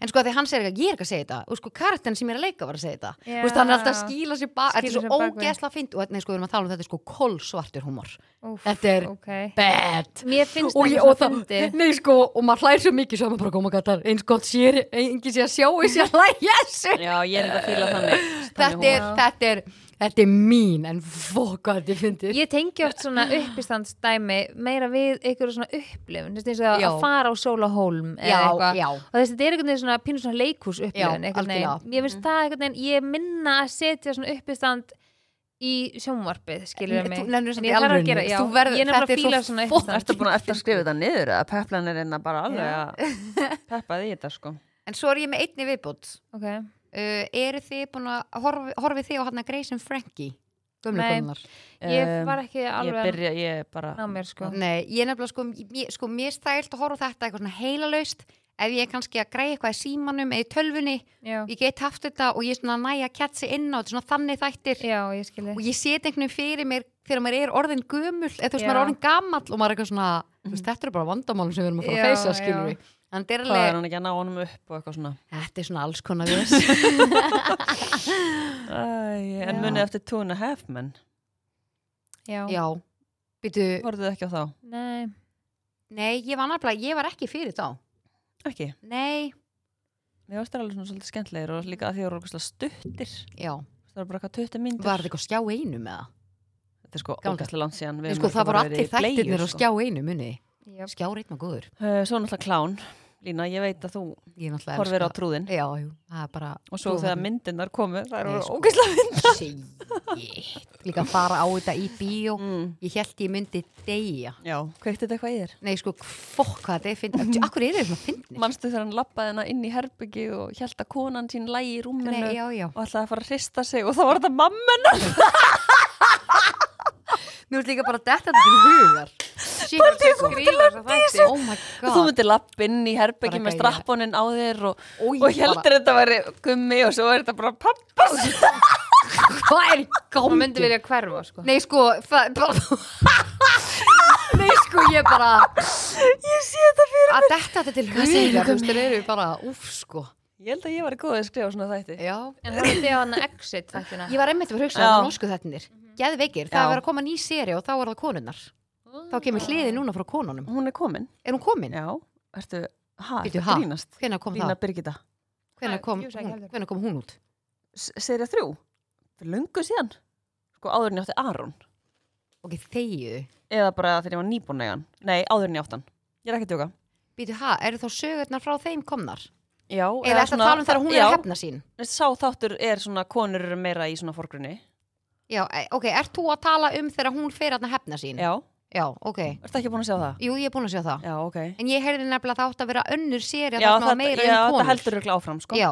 [SPEAKER 1] En sko að því hann segir eitthvað, ég er ekki að segja þetta og sko karakterin sem ég er að leika var að segja þetta
[SPEAKER 3] Já.
[SPEAKER 1] Þú veist, hann er alltaf að skýla sér bara Þetta er
[SPEAKER 3] Skýla sér
[SPEAKER 1] svo
[SPEAKER 3] bak við.
[SPEAKER 1] ógeðsla fynd og nei, sko, við erum að tala um þetta er sko kolsvartur húmor
[SPEAKER 3] Úf,
[SPEAKER 1] Þetta er
[SPEAKER 3] ok.
[SPEAKER 1] bad
[SPEAKER 3] Mér
[SPEAKER 1] og,
[SPEAKER 3] finnst það
[SPEAKER 1] ég,
[SPEAKER 3] ekki
[SPEAKER 1] og,
[SPEAKER 3] svo
[SPEAKER 1] það,
[SPEAKER 3] fyndi.
[SPEAKER 1] nei, sko, og maður hlæðir svo mikið svo að maður bara "Oh koma að gata eins gott sér, engin sé að sjá eins og hlæðja þessu
[SPEAKER 2] já, ég er þetta að fíla þannig
[SPEAKER 1] þetta
[SPEAKER 2] Þannig
[SPEAKER 1] er,
[SPEAKER 3] húmor.
[SPEAKER 1] þetta er, þetta er mín en fokk að þetta finnir
[SPEAKER 3] Ég tengi oft svona uppistandsdæmi meira við einhverju svona upplifun, þú veist eins og að-
[SPEAKER 1] Já.
[SPEAKER 3] að fara á Sólahólm
[SPEAKER 1] já,
[SPEAKER 3] eða eitthvað.
[SPEAKER 1] já,
[SPEAKER 3] og þess að þetta er einhvern veginn svona pínu svona leikhús upplifun
[SPEAKER 1] Já,
[SPEAKER 3] einhvern veginn,
[SPEAKER 1] algjörlega. Mhm.
[SPEAKER 3] ég finnst það einhvern veginn ég minna að setja svona uppistand í sjónvarpið, skilur
[SPEAKER 1] En
[SPEAKER 3] mig
[SPEAKER 1] þú nennir samt
[SPEAKER 3] En ég
[SPEAKER 1] í
[SPEAKER 3] þarf að
[SPEAKER 1] alvörunni.
[SPEAKER 3] gera- já,
[SPEAKER 1] Þú verður-
[SPEAKER 3] ég er
[SPEAKER 1] þetta
[SPEAKER 3] nefnilega að
[SPEAKER 1] er svo
[SPEAKER 3] fíla svona
[SPEAKER 1] fokk-
[SPEAKER 3] uppistand
[SPEAKER 2] Ertu búin að eftir að skrifa þetta niður að peplan er einna bara alveg
[SPEAKER 3] Já.
[SPEAKER 2] að peppa því þetta sko
[SPEAKER 1] en svo er ég með einni viðbútt
[SPEAKER 3] ok,
[SPEAKER 1] uh, eru þið búin að horfi, horfi þið á hann að Grace and Frankie gömlu
[SPEAKER 3] Nei.
[SPEAKER 1] konunar
[SPEAKER 3] ég
[SPEAKER 2] Um,
[SPEAKER 3] var ekki
[SPEAKER 2] Ég
[SPEAKER 3] alveg
[SPEAKER 2] byrja, ég bara
[SPEAKER 3] að ná mér sko
[SPEAKER 1] nei, ég er nefnilega sko, mér, sko mér stælt að horfa á þetta eitthvað svona heilalaust ef ég er kannski að græja eitthvað í símanum eða í tölvunni,
[SPEAKER 3] já,
[SPEAKER 1] ég get haft þetta og ég er svona að næja að kjatsi inn á þetta er svona þannig þættir
[SPEAKER 3] já, ég skilji
[SPEAKER 1] og ég set einhvern veginn fyrir mér þegar maður er orðin gömul eða þú veist
[SPEAKER 3] Já.
[SPEAKER 1] maður er orðin gamall og maður er eitthvað svona þú veist, þetta eru bara vandamálum sem við erum að fara að
[SPEAKER 3] Já,
[SPEAKER 1] feysa skilur
[SPEAKER 3] já.
[SPEAKER 1] við en þetta er
[SPEAKER 2] Mhm. Hvað
[SPEAKER 1] alveg,
[SPEAKER 2] er hann ekki að ná honum upp og eitthvað svona
[SPEAKER 1] þetta er svona alls konar viss
[SPEAKER 2] Æ, En
[SPEAKER 3] Já.
[SPEAKER 2] munið eftir two and a half men
[SPEAKER 3] já,
[SPEAKER 1] já, býtu,
[SPEAKER 2] Horfðu ekki á þá?
[SPEAKER 3] nei,
[SPEAKER 1] nei ég var náttúrulega ég var ekki fyrir þá,
[SPEAKER 2] Ekki
[SPEAKER 1] nei
[SPEAKER 2] Mér varst það alveg svona svolítið skemmtlegir og líka að því að það voru eitthvað stuttir
[SPEAKER 1] já,
[SPEAKER 2] Það voru bara eitthvað 20 myndir
[SPEAKER 1] var þetta eitthvað á skjá einu með það
[SPEAKER 2] Þetta er sko
[SPEAKER 1] Gamla.
[SPEAKER 2] ógæslega langt síðan
[SPEAKER 1] Nei, sko, það voru allir þættirnir á skjá einu muni
[SPEAKER 3] já,
[SPEAKER 1] skjá reytma góður,
[SPEAKER 2] Uh, sko. svo náttúrulega klán, Lína, ég veit að þú
[SPEAKER 1] ég er náttúrulega
[SPEAKER 2] horfir á
[SPEAKER 1] elska-
[SPEAKER 2] trúðin
[SPEAKER 1] já, jú, það er bara
[SPEAKER 2] og svo
[SPEAKER 1] trúðin.
[SPEAKER 2] þegar myndirnar komu, það
[SPEAKER 1] Nei,
[SPEAKER 2] eru
[SPEAKER 1] sko.
[SPEAKER 2] ógæslega
[SPEAKER 1] Shit. líka að fara á þetta í bíó
[SPEAKER 2] mm.
[SPEAKER 1] ég held ég myndi deyja
[SPEAKER 2] Já, kveikti þetta eitthvað í þér?
[SPEAKER 1] Nei, sko, fokk hvað þetta er fyndið. Akkur er þetta svona fyndið?
[SPEAKER 2] Manstu þegar hann lappaði hennar inn í herbyggi og held að konan sín lægi í rúminu
[SPEAKER 1] Nei, já, já.
[SPEAKER 2] og ætlaði að fara að hrista sig og þá var þetta mamma
[SPEAKER 1] Nú er líka bara að detta þetta til hugar. Sýkvæmt ég kom til að þessu. Oh my god.
[SPEAKER 2] Þú myndir lapp inn í herbyggi
[SPEAKER 1] Bara
[SPEAKER 2] með
[SPEAKER 1] gæja.
[SPEAKER 2] strapponinn á þér og,
[SPEAKER 1] Ói,
[SPEAKER 2] og heldur
[SPEAKER 1] bara-
[SPEAKER 2] þetta væri gummi og svo er þetta bara pappa
[SPEAKER 1] Hvað er í
[SPEAKER 3] maður
[SPEAKER 1] gangi?
[SPEAKER 3] myndi vilja hverfa sko
[SPEAKER 1] Nei, sko, það... bara- Nei, sko, ég bara... Ég sé þetta fyrir mér. Að detta þetta til hugar. Hvað segir þú? Þú eru bara, úf, sko.
[SPEAKER 2] Ég held að ég var góð að skrifa svona þætti
[SPEAKER 1] Já.
[SPEAKER 3] en það er því að hann exit þættina Mhm.
[SPEAKER 1] Ég var einmitt að vera að hugsa
[SPEAKER 2] Já.
[SPEAKER 1] að það norsku þettinir. Geðveikir, það
[SPEAKER 2] Já.
[SPEAKER 1] er að koma ný seri og þá er það konunnar. Þá kemur hliði núna frá konunum.
[SPEAKER 2] Hún er komin,
[SPEAKER 1] Er hún komin?
[SPEAKER 2] já, ertu, ha,
[SPEAKER 1] Bíddu,
[SPEAKER 2] ertu
[SPEAKER 1] ha?
[SPEAKER 2] grínast
[SPEAKER 1] Hvenær kom
[SPEAKER 2] Lína
[SPEAKER 1] það?
[SPEAKER 2] Birgitta
[SPEAKER 1] Hvenær
[SPEAKER 3] Nei,
[SPEAKER 1] kom,
[SPEAKER 3] ég vissi ekki
[SPEAKER 1] hún-
[SPEAKER 3] heldur.
[SPEAKER 1] hvenær kom hún út?
[SPEAKER 2] serið þrjú fyrir löngu síðan sko áður en ég átti Aron
[SPEAKER 1] Ok, þegiðu.
[SPEAKER 2] eða bara þegar ég var nýbúin eigan nei áður en ég átti hann ég er ekki að tjóka
[SPEAKER 1] Býtu, ha, eru þá sögurnar frá þeim komnar?
[SPEAKER 2] já
[SPEAKER 1] Eða er þetta að tala um þegar hún er að hefna sín?
[SPEAKER 2] hefna sá þáttur er svona konur eru meira í svona fórgrunni
[SPEAKER 1] Já, e- ok, ert þú að tala um þegar hún fer að hefna sín?
[SPEAKER 2] já
[SPEAKER 1] Já, ok.
[SPEAKER 2] ertu ekki búin að sjá það
[SPEAKER 1] Jú, ég er búin að sjá það.
[SPEAKER 2] já ok
[SPEAKER 1] En ég heyrði nefnilega að það átt að vera önnur séri að
[SPEAKER 2] já
[SPEAKER 1] það var
[SPEAKER 2] það,
[SPEAKER 1] meira um
[SPEAKER 2] já, það
[SPEAKER 1] konur.
[SPEAKER 2] heldur ekki áfram sko
[SPEAKER 1] Já,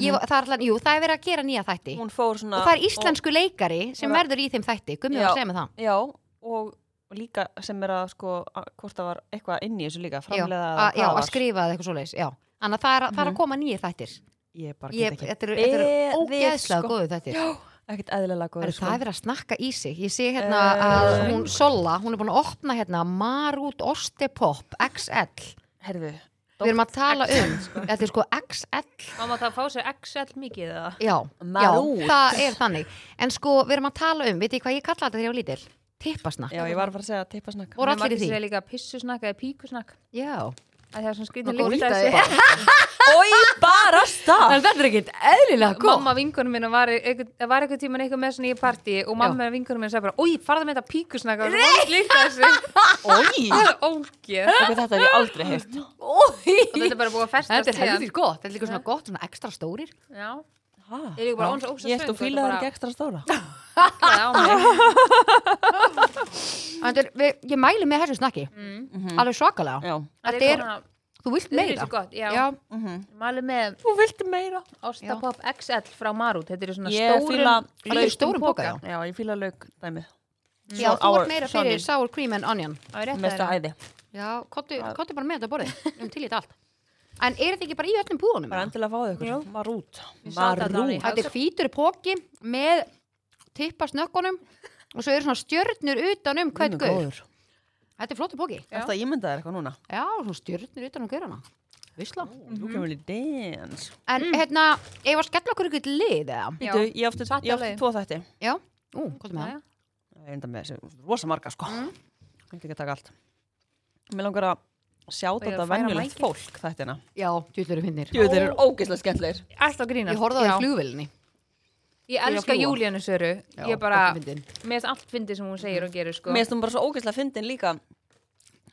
[SPEAKER 1] ég, var- það er alltaf, jú, það er verið að gera nýja þætti.
[SPEAKER 2] hún fór svona
[SPEAKER 1] og það er íslensku leikari sem
[SPEAKER 2] Bara-
[SPEAKER 1] verður í þeim þætti. Gummi
[SPEAKER 2] Já.
[SPEAKER 1] var að segja með það.
[SPEAKER 2] og, já og, og líka sem er að sko að- hvort það var eitthvað inn í þessu líka
[SPEAKER 1] Já,
[SPEAKER 2] framlega
[SPEAKER 1] að, já, að skrifa eða eitthvað svoleiðis, já. Þannig að það er, mm það er að koma nýja þættir.
[SPEAKER 2] ég Mhm. bara
[SPEAKER 1] Ég,
[SPEAKER 2] get
[SPEAKER 1] þetta eru-
[SPEAKER 2] ekki
[SPEAKER 1] þetta eru
[SPEAKER 2] beðið,
[SPEAKER 1] ógeðslega
[SPEAKER 2] sko.
[SPEAKER 1] góðu þættir.
[SPEAKER 2] ekkert eðlilega sko. góð
[SPEAKER 1] Herru, Það er verið að snakka í sig. Ég sé hérna
[SPEAKER 2] Eh.
[SPEAKER 1] að hún Sola, hún er búin að opna hérna Marút Ostepop XL.
[SPEAKER 2] herðu
[SPEAKER 1] Við erum að tala um, þetta er sko XL,
[SPEAKER 3] Má maður það fá sér XL mikið eða?
[SPEAKER 1] já,
[SPEAKER 2] Marút.
[SPEAKER 1] já, það er þannig. En sko, við erum að tala um, veit ég hvað ég kalla þetta þegar ég var lítil? Tippasnakk.
[SPEAKER 2] Já, ég var bara að segja tippasnakk
[SPEAKER 1] Voru allir í því?
[SPEAKER 3] Það er líka pissusnakk eða píkusnakk
[SPEAKER 1] Já.
[SPEAKER 3] að það er svona
[SPEAKER 1] Og
[SPEAKER 3] skrýtin
[SPEAKER 1] góð
[SPEAKER 3] líkt að
[SPEAKER 1] lyktaði
[SPEAKER 3] þessu
[SPEAKER 1] bara.
[SPEAKER 2] Ói, bara stað
[SPEAKER 1] En þetta er ekkit eðlilega góð.
[SPEAKER 3] Mamma vinkunum minna var einhvern, það var einhvern tíman eitthvað með svona í partí og mamma vinkunum minna sagði bara Új, farðu með þetta píkusnakk og það var líkt að þessu
[SPEAKER 2] Ói
[SPEAKER 3] Það er ógeð
[SPEAKER 2] Ok, þetta hef ég aldrei heilt
[SPEAKER 3] og þetta er bara búið að
[SPEAKER 1] Þetta
[SPEAKER 3] festast
[SPEAKER 1] er
[SPEAKER 3] síðan.
[SPEAKER 1] helvítið gott, þetta er líka svona gott, svona ekstra stórir.
[SPEAKER 3] Já,
[SPEAKER 2] ha,
[SPEAKER 3] Ég er líka bara óns- ósa
[SPEAKER 2] Ég eftir
[SPEAKER 3] svöng,
[SPEAKER 2] að fíla
[SPEAKER 3] þetta
[SPEAKER 2] það
[SPEAKER 3] bara-
[SPEAKER 2] ekki ekstra stóra
[SPEAKER 3] það á mig
[SPEAKER 1] En þetta er, við, ég mæli með þessu snakki, alveg svakalega.
[SPEAKER 2] Já
[SPEAKER 1] Mhm.
[SPEAKER 2] Mhm.
[SPEAKER 1] Þetta er, þú vilt meira.
[SPEAKER 3] Þetta er gott, já,
[SPEAKER 1] Já,
[SPEAKER 3] Mæli með
[SPEAKER 2] Þú vilti meira
[SPEAKER 3] Ostapop XL frá Marút Þetta er svona
[SPEAKER 2] Ég
[SPEAKER 3] stórum
[SPEAKER 2] fíla
[SPEAKER 1] þetta er stórum boka, já.
[SPEAKER 2] Já, ég fíla lauk dæmið
[SPEAKER 1] Já, þú
[SPEAKER 2] Sour-
[SPEAKER 1] ert meira fyrir
[SPEAKER 2] sour-
[SPEAKER 1] sour cream and onion
[SPEAKER 3] Það er rétt
[SPEAKER 2] Mesta
[SPEAKER 3] að
[SPEAKER 2] æði.
[SPEAKER 1] Já, kottu kottu bara með þetta borðið um til í þetta allt En er þetta ekki bara í öllum búðunum?
[SPEAKER 2] Bara
[SPEAKER 1] eða?
[SPEAKER 2] endilega fáðu ykkur. Marút.
[SPEAKER 3] Ég sá þetta
[SPEAKER 2] Marút.
[SPEAKER 3] daginn.
[SPEAKER 1] Þetta er hvítur póki með tippa snökkunum og svo eru svona stjörnur utan um hvert guður. Þetta er flottur póki.
[SPEAKER 2] Þetta ímyndaði eitthvað núna.
[SPEAKER 1] Já, svona stjörnur utan um guðurna. Vissla.
[SPEAKER 2] Nú kemur við dans.
[SPEAKER 1] En hérna, ef að skella okkur ykkur lið eða?
[SPEAKER 3] Já.
[SPEAKER 2] Býtu, ég átti
[SPEAKER 3] Satt
[SPEAKER 2] ég átti
[SPEAKER 3] alveg.
[SPEAKER 2] tvo þætti.
[SPEAKER 1] Já. Ú, hvað er með það?
[SPEAKER 3] það
[SPEAKER 2] Ég er enda með þessi rosa marga, sko. Ég myndi ekki að taka allt. Mér langar að sjá
[SPEAKER 3] ég er
[SPEAKER 2] þetta
[SPEAKER 3] að færa
[SPEAKER 2] venjulegt
[SPEAKER 3] mækið.
[SPEAKER 2] fólk þættina.
[SPEAKER 1] Já, djúðlur er finnir.
[SPEAKER 2] Jú, þeir eru ógeðslega skemmtleir.
[SPEAKER 3] Alltaf grínast
[SPEAKER 1] Ég horfði á því
[SPEAKER 3] Já.
[SPEAKER 1] flugvelinni.
[SPEAKER 3] Ég
[SPEAKER 2] að
[SPEAKER 3] elska
[SPEAKER 2] fljúga.
[SPEAKER 3] Júlíanu Söru
[SPEAKER 1] Já,
[SPEAKER 3] Ég bara,
[SPEAKER 1] dálítið fyndin.
[SPEAKER 3] mér finnst allt fyndið sem hún segir og gerir sko
[SPEAKER 2] Mér finnst hún bara svo ógeðslega fyndin líka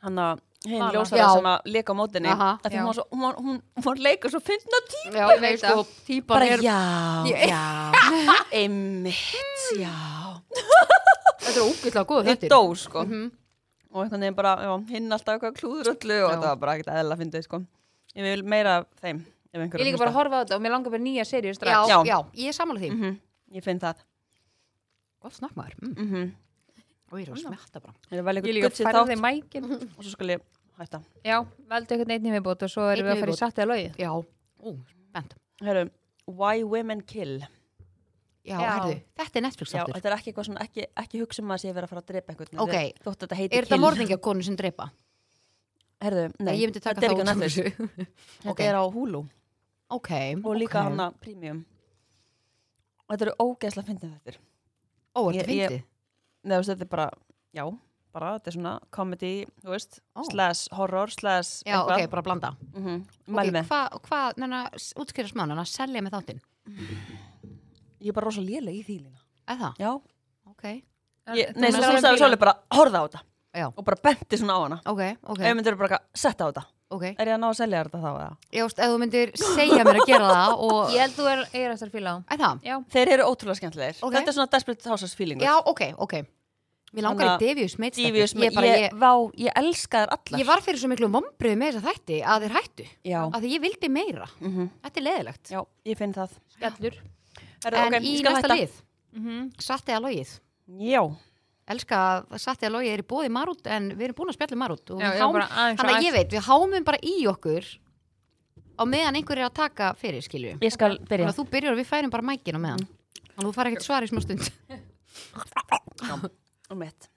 [SPEAKER 2] hann að hinn
[SPEAKER 3] Vala.
[SPEAKER 2] ljósara
[SPEAKER 1] Já.
[SPEAKER 2] sem að leika á mótinni
[SPEAKER 1] Aha.
[SPEAKER 2] að því
[SPEAKER 3] Já.
[SPEAKER 2] hún, var svo- hún, var- hún, hún var leikur svo fyndna tíma
[SPEAKER 1] Já,
[SPEAKER 3] ég
[SPEAKER 1] nei,
[SPEAKER 3] veit
[SPEAKER 1] sko,
[SPEAKER 3] það.
[SPEAKER 1] típan
[SPEAKER 2] bara
[SPEAKER 1] er,
[SPEAKER 2] já,
[SPEAKER 1] Ég-
[SPEAKER 2] já einmitt, já
[SPEAKER 1] þetta er Mhm. ógætlega góð
[SPEAKER 2] ég
[SPEAKER 1] þetta.
[SPEAKER 2] dó sko og einhvern veginn bara, já, hinn alltaf eitthvað klúður öllu og
[SPEAKER 1] Já.
[SPEAKER 2] þetta var bara ekkert eðla fyndið sko ég vil meira af þeim ef einhver er
[SPEAKER 3] Ég
[SPEAKER 2] að
[SPEAKER 3] líka bara að
[SPEAKER 2] hlusta.
[SPEAKER 3] horfa á þetta og mér langar bara í nýja serið
[SPEAKER 1] Já,
[SPEAKER 3] strax
[SPEAKER 1] já,
[SPEAKER 2] Já.
[SPEAKER 1] ég er samanlega því.
[SPEAKER 2] Mhm, ég finn það
[SPEAKER 1] Gott snakk maður. Mm.
[SPEAKER 2] mm -hmm.
[SPEAKER 1] Og ég er að smetta bara.
[SPEAKER 2] ég vil
[SPEAKER 3] Ég
[SPEAKER 2] eitthvað
[SPEAKER 3] líka
[SPEAKER 2] gutt sér
[SPEAKER 3] færði
[SPEAKER 2] þátt
[SPEAKER 3] mækin
[SPEAKER 2] og svo skal ég hætta
[SPEAKER 3] Já, veldu eitthvað neitt nýmiðbót og svo
[SPEAKER 1] Einn
[SPEAKER 3] erum við að fara
[SPEAKER 1] viðbót.
[SPEAKER 3] í satt eða logið
[SPEAKER 1] Já, ú, bent.
[SPEAKER 2] Heru, Why Women Kill
[SPEAKER 1] Já,
[SPEAKER 3] Já.
[SPEAKER 1] herðu, þetta er
[SPEAKER 2] Já,
[SPEAKER 1] Netflix-þáttur.
[SPEAKER 2] þetta er ekki eitthvað svona, ekki, ekki hugsa um að sé verið að fara að drepa einhvern
[SPEAKER 1] Ok.
[SPEAKER 2] þetta- Þótt þetta heiti
[SPEAKER 1] Er þetta morðingjagonu sem drepa?
[SPEAKER 2] Herðu, nei,
[SPEAKER 1] ég myndi taka
[SPEAKER 2] þetta er
[SPEAKER 1] þá út
[SPEAKER 2] ekki á
[SPEAKER 1] úr
[SPEAKER 2] Netflix
[SPEAKER 1] þessu.
[SPEAKER 2] Þetta
[SPEAKER 1] Ok.
[SPEAKER 2] er á Hulu
[SPEAKER 1] Ok.
[SPEAKER 2] og
[SPEAKER 1] ok.
[SPEAKER 2] líka okay. hana Premium Þetta eru ógeðslega fyndin þetta
[SPEAKER 1] Ó, er þetta
[SPEAKER 2] Ég- ég-
[SPEAKER 1] fyndið?
[SPEAKER 2] Nei, þú veist, þetta er bara, já, bara þetta er svona comedy, þú veist
[SPEAKER 1] Ó.
[SPEAKER 2] slash horror, slash
[SPEAKER 1] Já, ok, bara að blanda.
[SPEAKER 2] mm -hmm.
[SPEAKER 1] Ok,
[SPEAKER 2] með
[SPEAKER 1] hvað, hva, næna, útskýra smá, næna, selja með þáttinn.
[SPEAKER 2] Ég er bara rosa léleg í því lína
[SPEAKER 1] Er það?
[SPEAKER 2] Já,
[SPEAKER 1] Ok.
[SPEAKER 2] ég,
[SPEAKER 3] Þú
[SPEAKER 2] nei, svo
[SPEAKER 3] mátt alveg
[SPEAKER 2] sagði
[SPEAKER 3] fíla.
[SPEAKER 2] Sóli bara horða á þetta
[SPEAKER 1] Já.
[SPEAKER 2] og bara benti svona á hana
[SPEAKER 1] Ok, ok,
[SPEAKER 2] Ef myndir bara eitthvað, setta á þetta
[SPEAKER 1] ok.
[SPEAKER 2] Er ég að ná að selja þér þetta þá eða?
[SPEAKER 1] Ég veist, ef þú myndir segja mér að gera það og...
[SPEAKER 3] Ég held þú er, er eftir að fíla á
[SPEAKER 1] Er það?
[SPEAKER 3] Já,
[SPEAKER 2] Þeir eru ótrúlega skemmtilegir
[SPEAKER 1] Ok.
[SPEAKER 2] Þetta er svona desperate housewives feelingur
[SPEAKER 1] Já, ok, ok. Mér langar
[SPEAKER 2] Þannig
[SPEAKER 1] í Devius Mates. þætti.
[SPEAKER 2] Devious,
[SPEAKER 1] Ég, bara, ég,
[SPEAKER 2] vá, ég elska þær allar
[SPEAKER 1] ég var fyrir svo miklu vombriðu með þess að þætti að þeir hættu.
[SPEAKER 2] Já,
[SPEAKER 1] Af því ég vildi meira.
[SPEAKER 2] mhm.
[SPEAKER 1] Þetta er leðilegt.
[SPEAKER 2] já, ég finn það
[SPEAKER 3] skellur
[SPEAKER 2] Heru,
[SPEAKER 1] En í næsta lið,
[SPEAKER 3] Mhm.
[SPEAKER 1] satt eða logið.
[SPEAKER 2] Já,
[SPEAKER 1] elska að Satya Logi er í bóði Marút en við erum búin að spjalla um Marút og
[SPEAKER 3] Já,
[SPEAKER 1] við
[SPEAKER 3] ég var bara aðeins
[SPEAKER 1] þannig
[SPEAKER 3] og
[SPEAKER 1] að ég veit, við hámum bara í okkur á meðan einhver er að taka fyrir skilju
[SPEAKER 2] ég skal
[SPEAKER 1] þannig
[SPEAKER 2] byrja
[SPEAKER 1] að þú byrjar og við færum bara mækin á meðan þannig að þú fara ekkert svar í smá stund
[SPEAKER 2] um mitt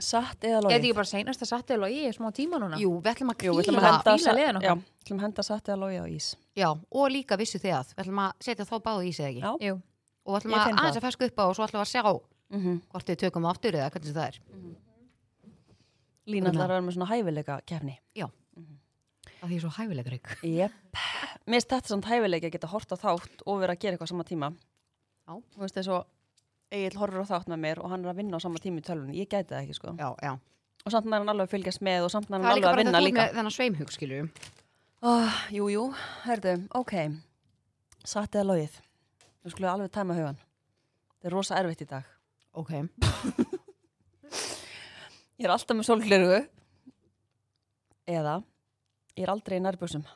[SPEAKER 2] Satt eða
[SPEAKER 3] Ég
[SPEAKER 2] logið
[SPEAKER 3] veit ekki bara seinast að satt eða logið er smá tíma núna
[SPEAKER 1] Jú, við ætlum að
[SPEAKER 2] Jú, við ætlum að
[SPEAKER 1] kvíla
[SPEAKER 2] henda,
[SPEAKER 3] fíla
[SPEAKER 2] sa-
[SPEAKER 3] liðin okkar.
[SPEAKER 2] já, við ætlum að henda satt eða logið á ís
[SPEAKER 1] já, og líka vissu þið að við ætlum að setja þá báðu í sig eða ekki
[SPEAKER 2] Já.
[SPEAKER 3] Jú,
[SPEAKER 1] og við ætlum
[SPEAKER 2] Ég
[SPEAKER 1] að
[SPEAKER 2] finn það.
[SPEAKER 1] aðeins að feska upp á og svo ætlum við að sjá
[SPEAKER 2] mm
[SPEAKER 1] hvort við tökum aftur eða hvernig sem það er
[SPEAKER 2] Lína ætlar að vera með svona hæfileika kefni Mhm.
[SPEAKER 1] af því ég er svo hæfilegur ykkur
[SPEAKER 2] Jep Mér finnst þetta samt hæfileika að geta hort á þátt og vera að gera eitthvað á sama tíma
[SPEAKER 1] Já.
[SPEAKER 2] Þú veist þess að Egil horfir á þátt með mér og hann er að vinna á sama tíma í tölvunni Ég gæti það ekki sko
[SPEAKER 1] já, já.
[SPEAKER 2] Og samt er hann alveg að fylgjast með og samt er hann
[SPEAKER 1] það er
[SPEAKER 2] alveg
[SPEAKER 1] líka
[SPEAKER 2] að
[SPEAKER 1] bara
[SPEAKER 2] vinna
[SPEAKER 1] þetta út
[SPEAKER 2] líka
[SPEAKER 1] með þennan sveimhug skilju
[SPEAKER 2] Oh, jú, jú, herðu, ok Satt eða logið Þú skulle alveg tæma hugan Það er rosa erfitt í dag
[SPEAKER 1] ok,
[SPEAKER 2] Ég er alltaf með sólglerugu Eða Ég er aldrei í nærbúsum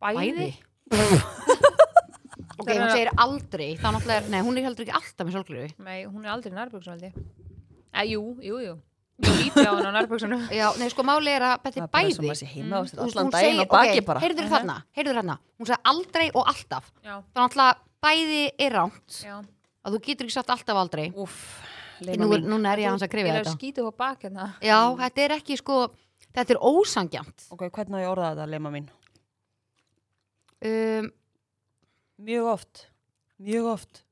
[SPEAKER 1] bæði
[SPEAKER 3] bæði
[SPEAKER 1] ok, hún segir aldrei þá náttúrulega, er- nei, hún er heldur ekki alltaf með sjálfgleru
[SPEAKER 3] Nei, hún er aldrei nærböksum held ég Eh, Jú, jú, jú Ég líti á hann á nærböksunum
[SPEAKER 1] Já, nei, sko máli er að þetta er bæði
[SPEAKER 2] sem að sé heima mm.
[SPEAKER 1] Hún-
[SPEAKER 2] Allan
[SPEAKER 1] hún
[SPEAKER 2] daginn
[SPEAKER 1] segir-
[SPEAKER 2] og baki
[SPEAKER 1] ok,
[SPEAKER 2] bara
[SPEAKER 1] Heyrður þarna, heyrður þarna Hún sagði aldrei og alltaf
[SPEAKER 3] Já,
[SPEAKER 1] Það er náttúrulega bæði er rámt
[SPEAKER 3] já
[SPEAKER 1] að þú getur ekki sagt alltaf aldrei
[SPEAKER 2] Úf,
[SPEAKER 1] Nú, er- Núna er ég aðeins að krifja
[SPEAKER 3] Ég er að
[SPEAKER 1] þetta
[SPEAKER 3] skýta upp á bak hérna
[SPEAKER 1] Já, þetta er ekki sko Þetta er ósangjant
[SPEAKER 2] Ok, hvernig á ég að orða þetta, leima mín?
[SPEAKER 1] um,
[SPEAKER 2] Mjög oft Mjög oft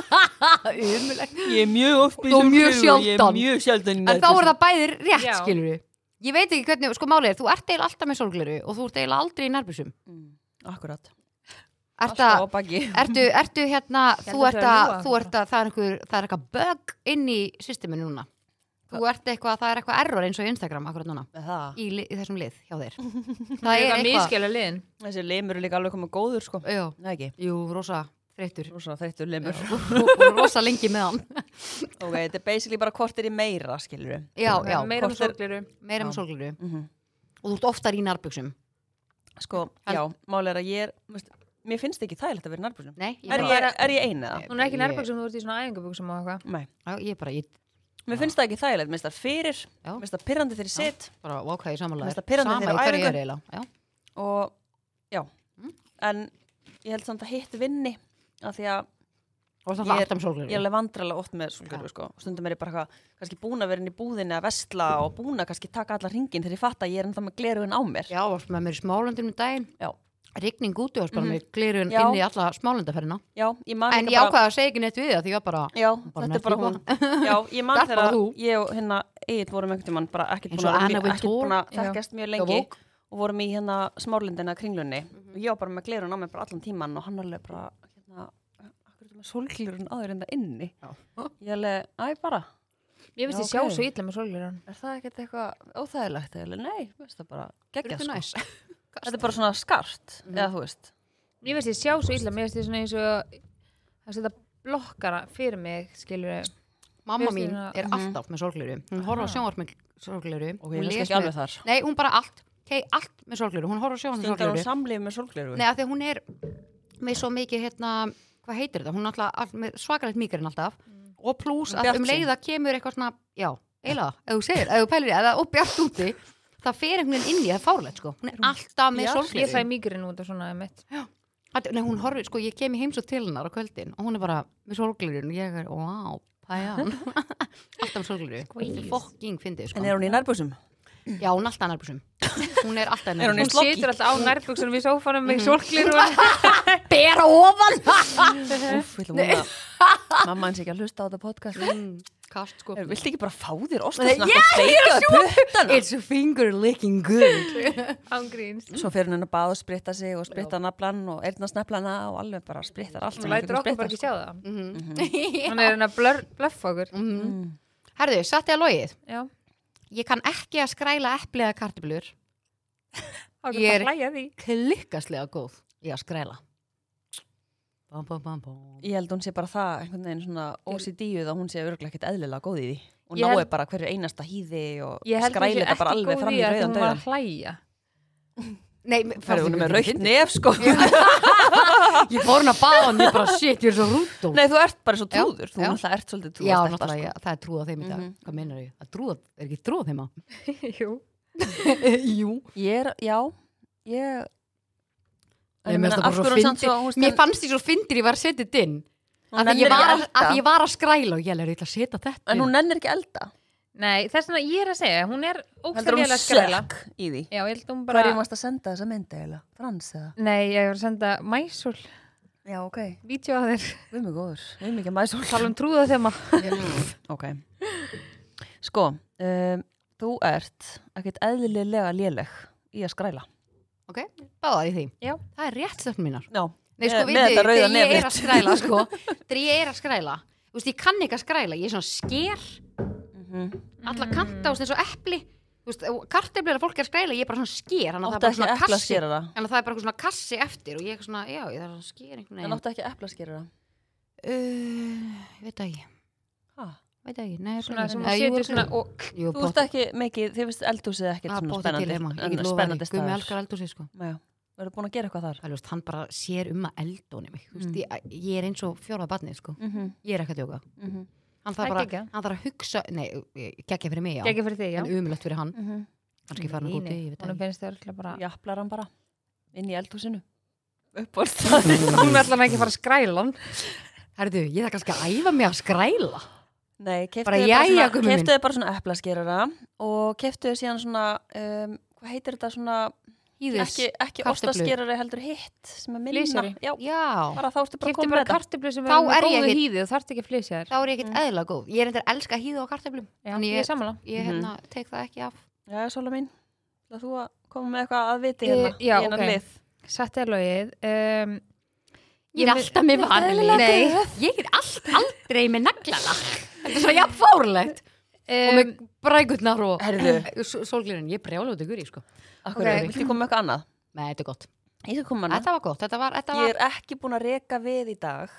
[SPEAKER 1] Umulegt
[SPEAKER 2] Ég er mjög oft með
[SPEAKER 1] Og mjög
[SPEAKER 2] sólgleraugu, Ég
[SPEAKER 1] sjaldan.
[SPEAKER 2] er mjög sjaldan í
[SPEAKER 1] En þá
[SPEAKER 2] nærbuksunum.
[SPEAKER 1] er það bæði rétt,
[SPEAKER 3] Já.
[SPEAKER 1] skilur við Ég veit ekki hvernig, sko máli er Þú ert eiginlega alltaf með sorgleru og þú ert eiginlega aldrei í nærbúsum
[SPEAKER 2] Mm, Akkurat
[SPEAKER 1] Ertu,
[SPEAKER 2] Alltaf á baki
[SPEAKER 1] ertu, ertu hérna
[SPEAKER 3] Ég
[SPEAKER 1] Þú ert
[SPEAKER 3] held að þau
[SPEAKER 1] að,
[SPEAKER 3] ljúga.
[SPEAKER 1] þú ert að það er einhver, það er eitthvað bögg inn í systeminu núna Þú ert eitthvað, það er eitthvað error eins og í Instagram akkurat núna
[SPEAKER 2] Með það
[SPEAKER 1] í, li- í þessum lið hjá þér það
[SPEAKER 3] Það er
[SPEAKER 1] er
[SPEAKER 3] eitthvað
[SPEAKER 1] eitthvað
[SPEAKER 3] miskjala liðin
[SPEAKER 2] Þessi limur er líka alveg komið góður sko
[SPEAKER 1] já,
[SPEAKER 2] Nei ekki,
[SPEAKER 1] jú, rosa þreyttur
[SPEAKER 2] rosa þreyttur limur
[SPEAKER 1] og rosa lengi með hann
[SPEAKER 2] Ok, þetta er basically bara hvort er í meira skilur við
[SPEAKER 1] já, já,
[SPEAKER 3] Meira um með
[SPEAKER 2] hvort er-
[SPEAKER 3] sorgliru
[SPEAKER 1] meira með
[SPEAKER 2] Já.
[SPEAKER 1] sólgliru og þú ert oftar í nærbuksum
[SPEAKER 2] Mhm. Sko,
[SPEAKER 1] En-
[SPEAKER 2] já, máli er að ég er veist, mér finnst ekki þægilegt að vera nærbúksum
[SPEAKER 1] Nei, ég
[SPEAKER 2] er,
[SPEAKER 1] bara,
[SPEAKER 2] ég- er ég eina það?
[SPEAKER 3] Hún er ekki
[SPEAKER 1] Ég-
[SPEAKER 3] nærböksum, þú ert í svona æfingabuksum og eitthvað.
[SPEAKER 2] Nei,
[SPEAKER 1] Já, ég bara, ég
[SPEAKER 2] mér finnst það ekki þægilegt, mér finnst það fyrir
[SPEAKER 1] Já.
[SPEAKER 2] mér finnst það pirrandi þegar ég
[SPEAKER 1] Já.
[SPEAKER 2] sit
[SPEAKER 1] bara vákaði samanlega
[SPEAKER 2] Mér finnst það pirrandi
[SPEAKER 1] Sama
[SPEAKER 2] þegar
[SPEAKER 1] í
[SPEAKER 2] á
[SPEAKER 1] hverju ég
[SPEAKER 2] æfingu.
[SPEAKER 1] er eiginlega Já,
[SPEAKER 2] og já,
[SPEAKER 1] Mm.
[SPEAKER 2] en ég held samt að hitt vinni af því að
[SPEAKER 1] og það
[SPEAKER 2] Ég
[SPEAKER 1] er alltaf með
[SPEAKER 2] er- ég er
[SPEAKER 1] sólgleru
[SPEAKER 2] alveg vandralega oft með svolgjörfi sko. stundum er ég bara eitthvað, kannski búin að vera inn í búðinni að vesla og búin að kannski taka alla ringin þegar ég fatt að ég er ennþá með glerugun á mér
[SPEAKER 1] Já, varst með mér í smálundin um daginn
[SPEAKER 2] Já.
[SPEAKER 1] Rigning úti og bara
[SPEAKER 2] Mhm.
[SPEAKER 1] með glirun
[SPEAKER 2] Já.
[SPEAKER 1] inn í alla smálundaferðina
[SPEAKER 2] já, ég man
[SPEAKER 1] En
[SPEAKER 2] líka
[SPEAKER 1] ég
[SPEAKER 2] bara-
[SPEAKER 1] ákvaði að segja ekki neitt við það því ég var bara
[SPEAKER 2] Já,
[SPEAKER 1] Bara
[SPEAKER 2] þetta er bara hún
[SPEAKER 1] nefnir
[SPEAKER 2] Já, ég man
[SPEAKER 1] Það er
[SPEAKER 2] þegar
[SPEAKER 1] bara
[SPEAKER 2] að
[SPEAKER 1] þú.
[SPEAKER 2] ég og hérna Egil vorum einhvern tímann bara ekkert
[SPEAKER 1] Eins
[SPEAKER 2] búin
[SPEAKER 1] og
[SPEAKER 2] að,
[SPEAKER 1] Anna
[SPEAKER 2] vera-
[SPEAKER 1] with
[SPEAKER 2] ekkert
[SPEAKER 1] Thor.
[SPEAKER 2] búin að
[SPEAKER 3] Já.
[SPEAKER 2] þekkjast mjög
[SPEAKER 1] Já,
[SPEAKER 2] lengi
[SPEAKER 1] vók.
[SPEAKER 2] og vorum í hérna smárlindina kringlunni og ég var bara með glerun á mig bara allan tíman og hann alveg bara hérna, akkur er þetta með sólglerun aður en það hérna inni
[SPEAKER 1] Já.
[SPEAKER 2] Ég alveg, æ bara,
[SPEAKER 3] Ég finnst
[SPEAKER 2] Já,
[SPEAKER 3] ég sjá
[SPEAKER 2] ok.
[SPEAKER 3] svo illa með sólirun.
[SPEAKER 2] er það ekkert eitthvað óþægilegt eða nei, veist það bara
[SPEAKER 1] Þetta
[SPEAKER 2] geggja
[SPEAKER 1] er
[SPEAKER 2] sko Mhm.
[SPEAKER 1] næs
[SPEAKER 2] Þetta er bara svona skart, eða þú veist
[SPEAKER 3] Ég finnst ég sjá svo illa, mér finnst ég svona eins og að setja blokkara fyrir mig, skilur
[SPEAKER 1] Mamma
[SPEAKER 3] Mér
[SPEAKER 1] mín
[SPEAKER 3] finnst
[SPEAKER 1] er
[SPEAKER 2] það-
[SPEAKER 1] alltaf með sólgleru Hún horfði á sjónvarp með sólgleru
[SPEAKER 2] Mhm. Ok, ég veist ekki alveg þar
[SPEAKER 1] Nei, hún bara allt Kei, allt með sólgleru Hún horfði á sjónvarp með
[SPEAKER 2] Stundar hún
[SPEAKER 1] sólgleru
[SPEAKER 2] samlíf með sólgleru
[SPEAKER 1] Nei, af því að hún er með svo mikið hérna Hvað heitir þetta? Hún er alltaf all, með svakalegt mýkarinn alltaf Og pluss
[SPEAKER 2] Mm. Hún
[SPEAKER 1] að um
[SPEAKER 2] bjartsýn.
[SPEAKER 1] leiða kemur eitthvað svona Já, eiginlega, ef þú segir, ef þú pælir í- ef það er uppjart úti Það fer einhvern veginn inn í það er fárlegt sko Hún er alltaf með
[SPEAKER 2] bjartsýn?
[SPEAKER 3] Ég
[SPEAKER 1] sólgleru
[SPEAKER 3] fæ mýgurinn út af svona mitt.
[SPEAKER 1] Þetta- Nei, hún horfir, sko, ég kem í heimsótt til hennar á kvöldin og hún er bara með sorglirun og ég er, wow, pæjan alltaf með sorglirun, þetta er fokking fyndið, sko
[SPEAKER 2] En er hún í nærbúsum?
[SPEAKER 1] Já, hún er alltaf nærbúsum Hún er alltaf
[SPEAKER 2] Er hún í
[SPEAKER 3] Hún
[SPEAKER 1] nærbúsum
[SPEAKER 2] sloggi?
[SPEAKER 3] situr alltaf á nærböksunum í
[SPEAKER 2] Mhm.
[SPEAKER 3] sófanum með sólirun.
[SPEAKER 1] Bera ofan
[SPEAKER 2] Úf, ég ætla að vona að mamma hans ekki að hlusta á þetta podcast
[SPEAKER 1] Kast, sko
[SPEAKER 2] Er- Viltu ekki bara fá þér ostasnakk og steika það puttana?
[SPEAKER 1] It's a finger licking good
[SPEAKER 3] Ángríns.
[SPEAKER 2] Svo fer hún inn að baða og spritta sig og spritta naflan og erna sneflana og alveg bara sprittar allt
[SPEAKER 3] Hún
[SPEAKER 2] sem hún
[SPEAKER 3] lætur
[SPEAKER 2] getur
[SPEAKER 3] okkur
[SPEAKER 2] sprittað,
[SPEAKER 3] bara ekki
[SPEAKER 2] sko.
[SPEAKER 3] sjá það. Hún er hérna að blör- blöffa okkur.
[SPEAKER 1] Mhm. Herðu, satt ég að logið
[SPEAKER 3] Já.
[SPEAKER 1] Ég kann ekki að skræla epli eða kartiblur
[SPEAKER 3] Þá
[SPEAKER 1] Ég
[SPEAKER 3] er
[SPEAKER 1] er-
[SPEAKER 3] bara að hlæja að því.
[SPEAKER 1] Klikkaslega góð í að skræla Bam, bam, bam, bam
[SPEAKER 2] Ég held hún sé bara það einhvern veginn svona OCD-uð að hún sé örgulega ekkert eðlilega góð í því og
[SPEAKER 3] Ég
[SPEAKER 2] nái
[SPEAKER 3] held-
[SPEAKER 2] bara hverju einasta híði og
[SPEAKER 3] Ég held hún
[SPEAKER 2] skræli
[SPEAKER 3] sé
[SPEAKER 2] þetta
[SPEAKER 3] ekki
[SPEAKER 2] bara alveg
[SPEAKER 3] góð
[SPEAKER 2] fram í
[SPEAKER 3] í að því
[SPEAKER 2] rauðan
[SPEAKER 3] hún var
[SPEAKER 2] döðan
[SPEAKER 3] að hlæja.
[SPEAKER 1] Nei, mér
[SPEAKER 2] Það er
[SPEAKER 1] fannst
[SPEAKER 2] hún
[SPEAKER 1] ekki
[SPEAKER 2] er með
[SPEAKER 1] fyndið.
[SPEAKER 2] raukt nef sko
[SPEAKER 1] Ég fór hún að baða hann, ég bara shit, ég er svo rúdó
[SPEAKER 2] Nei, þú ert bara svo
[SPEAKER 1] Já,
[SPEAKER 2] trúður, þú
[SPEAKER 1] já.
[SPEAKER 2] náttúrulega ert sko. svolítið
[SPEAKER 1] Já,
[SPEAKER 2] trúður
[SPEAKER 1] náttúrulega, ég, það er trúð á þeim í dag
[SPEAKER 2] Mhm.
[SPEAKER 1] Hvað meinar ég? Að trúð, er ekki trúð á þeim að?
[SPEAKER 3] Jú.
[SPEAKER 1] Jú
[SPEAKER 2] Ég er, já, ég
[SPEAKER 1] Nei, mér finnst það bara svo fyndið. Mér fannst ég svo fyndir ég var að setja þetta inn
[SPEAKER 2] Hún
[SPEAKER 1] Af því ég
[SPEAKER 2] nennir
[SPEAKER 1] var
[SPEAKER 2] ekki
[SPEAKER 1] að,
[SPEAKER 2] elda.
[SPEAKER 1] að, því ég var að skræla og ég er eitthvað að setja þetta
[SPEAKER 2] En
[SPEAKER 1] inn
[SPEAKER 2] hún nennir ekki elda
[SPEAKER 3] Nei, þess vegna ég er að segja, hún er
[SPEAKER 2] Heldur
[SPEAKER 3] ógstæðilega
[SPEAKER 2] hún
[SPEAKER 3] að skræla.
[SPEAKER 2] sökk í því
[SPEAKER 3] Já, ég held hún
[SPEAKER 2] Hvað
[SPEAKER 3] bara...
[SPEAKER 2] er ég mást að senda þessa mynd eiginlega? Frans eða?
[SPEAKER 3] Nei, ég var að senda mæsul,
[SPEAKER 2] Já, ok
[SPEAKER 3] vídeo að þér,
[SPEAKER 2] Við erum ekki góður, við erum ekki að mæsól
[SPEAKER 3] tala um trúða þeim að...
[SPEAKER 2] Ok Sko, um, þú ert ekkert eðlilega léleg í að skræla
[SPEAKER 1] Ok, báðar í því
[SPEAKER 3] Já.
[SPEAKER 1] Það er rétt stöfn mínar
[SPEAKER 2] Já,
[SPEAKER 1] Nei,
[SPEAKER 2] Með-
[SPEAKER 1] sko,
[SPEAKER 2] með
[SPEAKER 1] vitið þið,
[SPEAKER 2] þetta rauða
[SPEAKER 1] þegar ég
[SPEAKER 2] nef
[SPEAKER 1] er að
[SPEAKER 2] þitt.
[SPEAKER 1] skræla, sko Þegar ég er að skræla Þú veist, ég kann ekki að skræla, ég er svona sker
[SPEAKER 2] Mhm.
[SPEAKER 1] Alla kanta, þú veist, eins og epli Þú veist, karteflir að fólk er að skræla, ég er bara svona sker Þannig að það
[SPEAKER 2] áttu
[SPEAKER 1] er bara svona
[SPEAKER 2] ekki epla
[SPEAKER 1] kassi
[SPEAKER 2] skera það
[SPEAKER 1] Þannig að það er bara eitthvað svona kassi eftir og ég er svona, já, ég þarf að skera einhvern
[SPEAKER 2] En
[SPEAKER 1] veginn.
[SPEAKER 2] áttu ekki epla skera það
[SPEAKER 1] Uh, ég veit það ekki, veit það ekki, nei, ég
[SPEAKER 3] Svona
[SPEAKER 1] veit
[SPEAKER 3] sem
[SPEAKER 1] það
[SPEAKER 3] hún
[SPEAKER 1] ekki.
[SPEAKER 3] setur svona og...
[SPEAKER 1] Jú,
[SPEAKER 2] Þú Ah, veist ekki mikið, þið finnst eldhúsið ekkert
[SPEAKER 1] að
[SPEAKER 2] svona
[SPEAKER 1] bóta til heima, ég
[SPEAKER 2] spennandi
[SPEAKER 1] get lofa því,
[SPEAKER 2] spennandi
[SPEAKER 1] Guðmi
[SPEAKER 2] staður
[SPEAKER 1] Algar eldur sig sko.
[SPEAKER 2] Já, verður búin að gera eitthvað þar
[SPEAKER 1] Það er ljóst, hann bara sér um að eldóni mig, mm. ég, að- ég er eins og fjóra barnið sko,
[SPEAKER 2] mm -hmm,
[SPEAKER 1] ég er ekki að djóka.
[SPEAKER 2] mm -hmm.
[SPEAKER 1] Hann þarf
[SPEAKER 3] Það er
[SPEAKER 1] bara,
[SPEAKER 3] geggjað.
[SPEAKER 1] hann þarf að hugsa, nei, geggja fyrir mig, já,
[SPEAKER 3] Gekki fyrir þig, já.
[SPEAKER 1] en umlögt fyrir hann,
[SPEAKER 2] Mm -hmm.
[SPEAKER 1] kannski fara hann
[SPEAKER 3] Nei,
[SPEAKER 1] út
[SPEAKER 3] nei,
[SPEAKER 1] ég veit það
[SPEAKER 3] Honum
[SPEAKER 1] ekki.
[SPEAKER 3] finnst það örgulega bara...
[SPEAKER 2] Japlar hann bara inn í eldhúsinu uppbórstæði
[SPEAKER 3] Hún er allavega ekki að fara að skræla hann.
[SPEAKER 1] Herðu, ég þarf kannski að æfa mig að skræla.
[SPEAKER 2] Nei, keftu
[SPEAKER 1] Bara
[SPEAKER 2] þið
[SPEAKER 1] jæja,
[SPEAKER 2] bara,
[SPEAKER 1] Gummi
[SPEAKER 2] svona-
[SPEAKER 1] minn.
[SPEAKER 2] keyptuð þið bara svona eplaskerara og keftu þið síðan svona um, hvað heitir þetta svona
[SPEAKER 1] Íðis,
[SPEAKER 2] ekki, ekki
[SPEAKER 1] kartöflu.
[SPEAKER 2] ostaskerari heldur hitt sem er minna
[SPEAKER 3] Flysjari.
[SPEAKER 2] Já,
[SPEAKER 1] já,
[SPEAKER 2] bara þá ertu bara
[SPEAKER 3] Kipti
[SPEAKER 2] komið
[SPEAKER 3] bara
[SPEAKER 2] með þetta
[SPEAKER 3] kartiblu sem
[SPEAKER 1] Þá er
[SPEAKER 3] er með
[SPEAKER 1] ég hérna.
[SPEAKER 3] góðu
[SPEAKER 1] ekki-
[SPEAKER 3] hýði og þarft ekki að flysja þér.
[SPEAKER 1] þá er ég ekkert eðla góð. Ég er eitthvað elska hýða á karteflum,
[SPEAKER 3] Já,
[SPEAKER 1] En ég-
[SPEAKER 3] ég er sammála.
[SPEAKER 1] ég hérna, tek það ekki af.
[SPEAKER 2] Já, Sola mín, það þú að koma með eitthvað að viti
[SPEAKER 1] Eh,
[SPEAKER 3] Ég-
[SPEAKER 2] hérna
[SPEAKER 3] já,
[SPEAKER 2] í hennan
[SPEAKER 3] ok.
[SPEAKER 2] lið
[SPEAKER 3] Satt er logið. Um,
[SPEAKER 1] Ég er alltaf með vanilíu.
[SPEAKER 3] Nei.
[SPEAKER 1] Ég er allt, aldrei með naglalakk. Þetta er svo jafn fárlegt. og með
[SPEAKER 3] um,
[SPEAKER 1] brægutnar og
[SPEAKER 2] Herðu,
[SPEAKER 1] sólglirinn. Ég brjála út ykkur í, sko.
[SPEAKER 2] akkur,
[SPEAKER 3] Ok.
[SPEAKER 2] okay. viltu koma með eitthvað annað?
[SPEAKER 1] Nei, þetta er gott.
[SPEAKER 2] Ég skal koma með annað
[SPEAKER 1] Þetta var gott. Þetta var, þetta
[SPEAKER 2] Ég
[SPEAKER 1] var,
[SPEAKER 2] er ekki búin að reka við í dag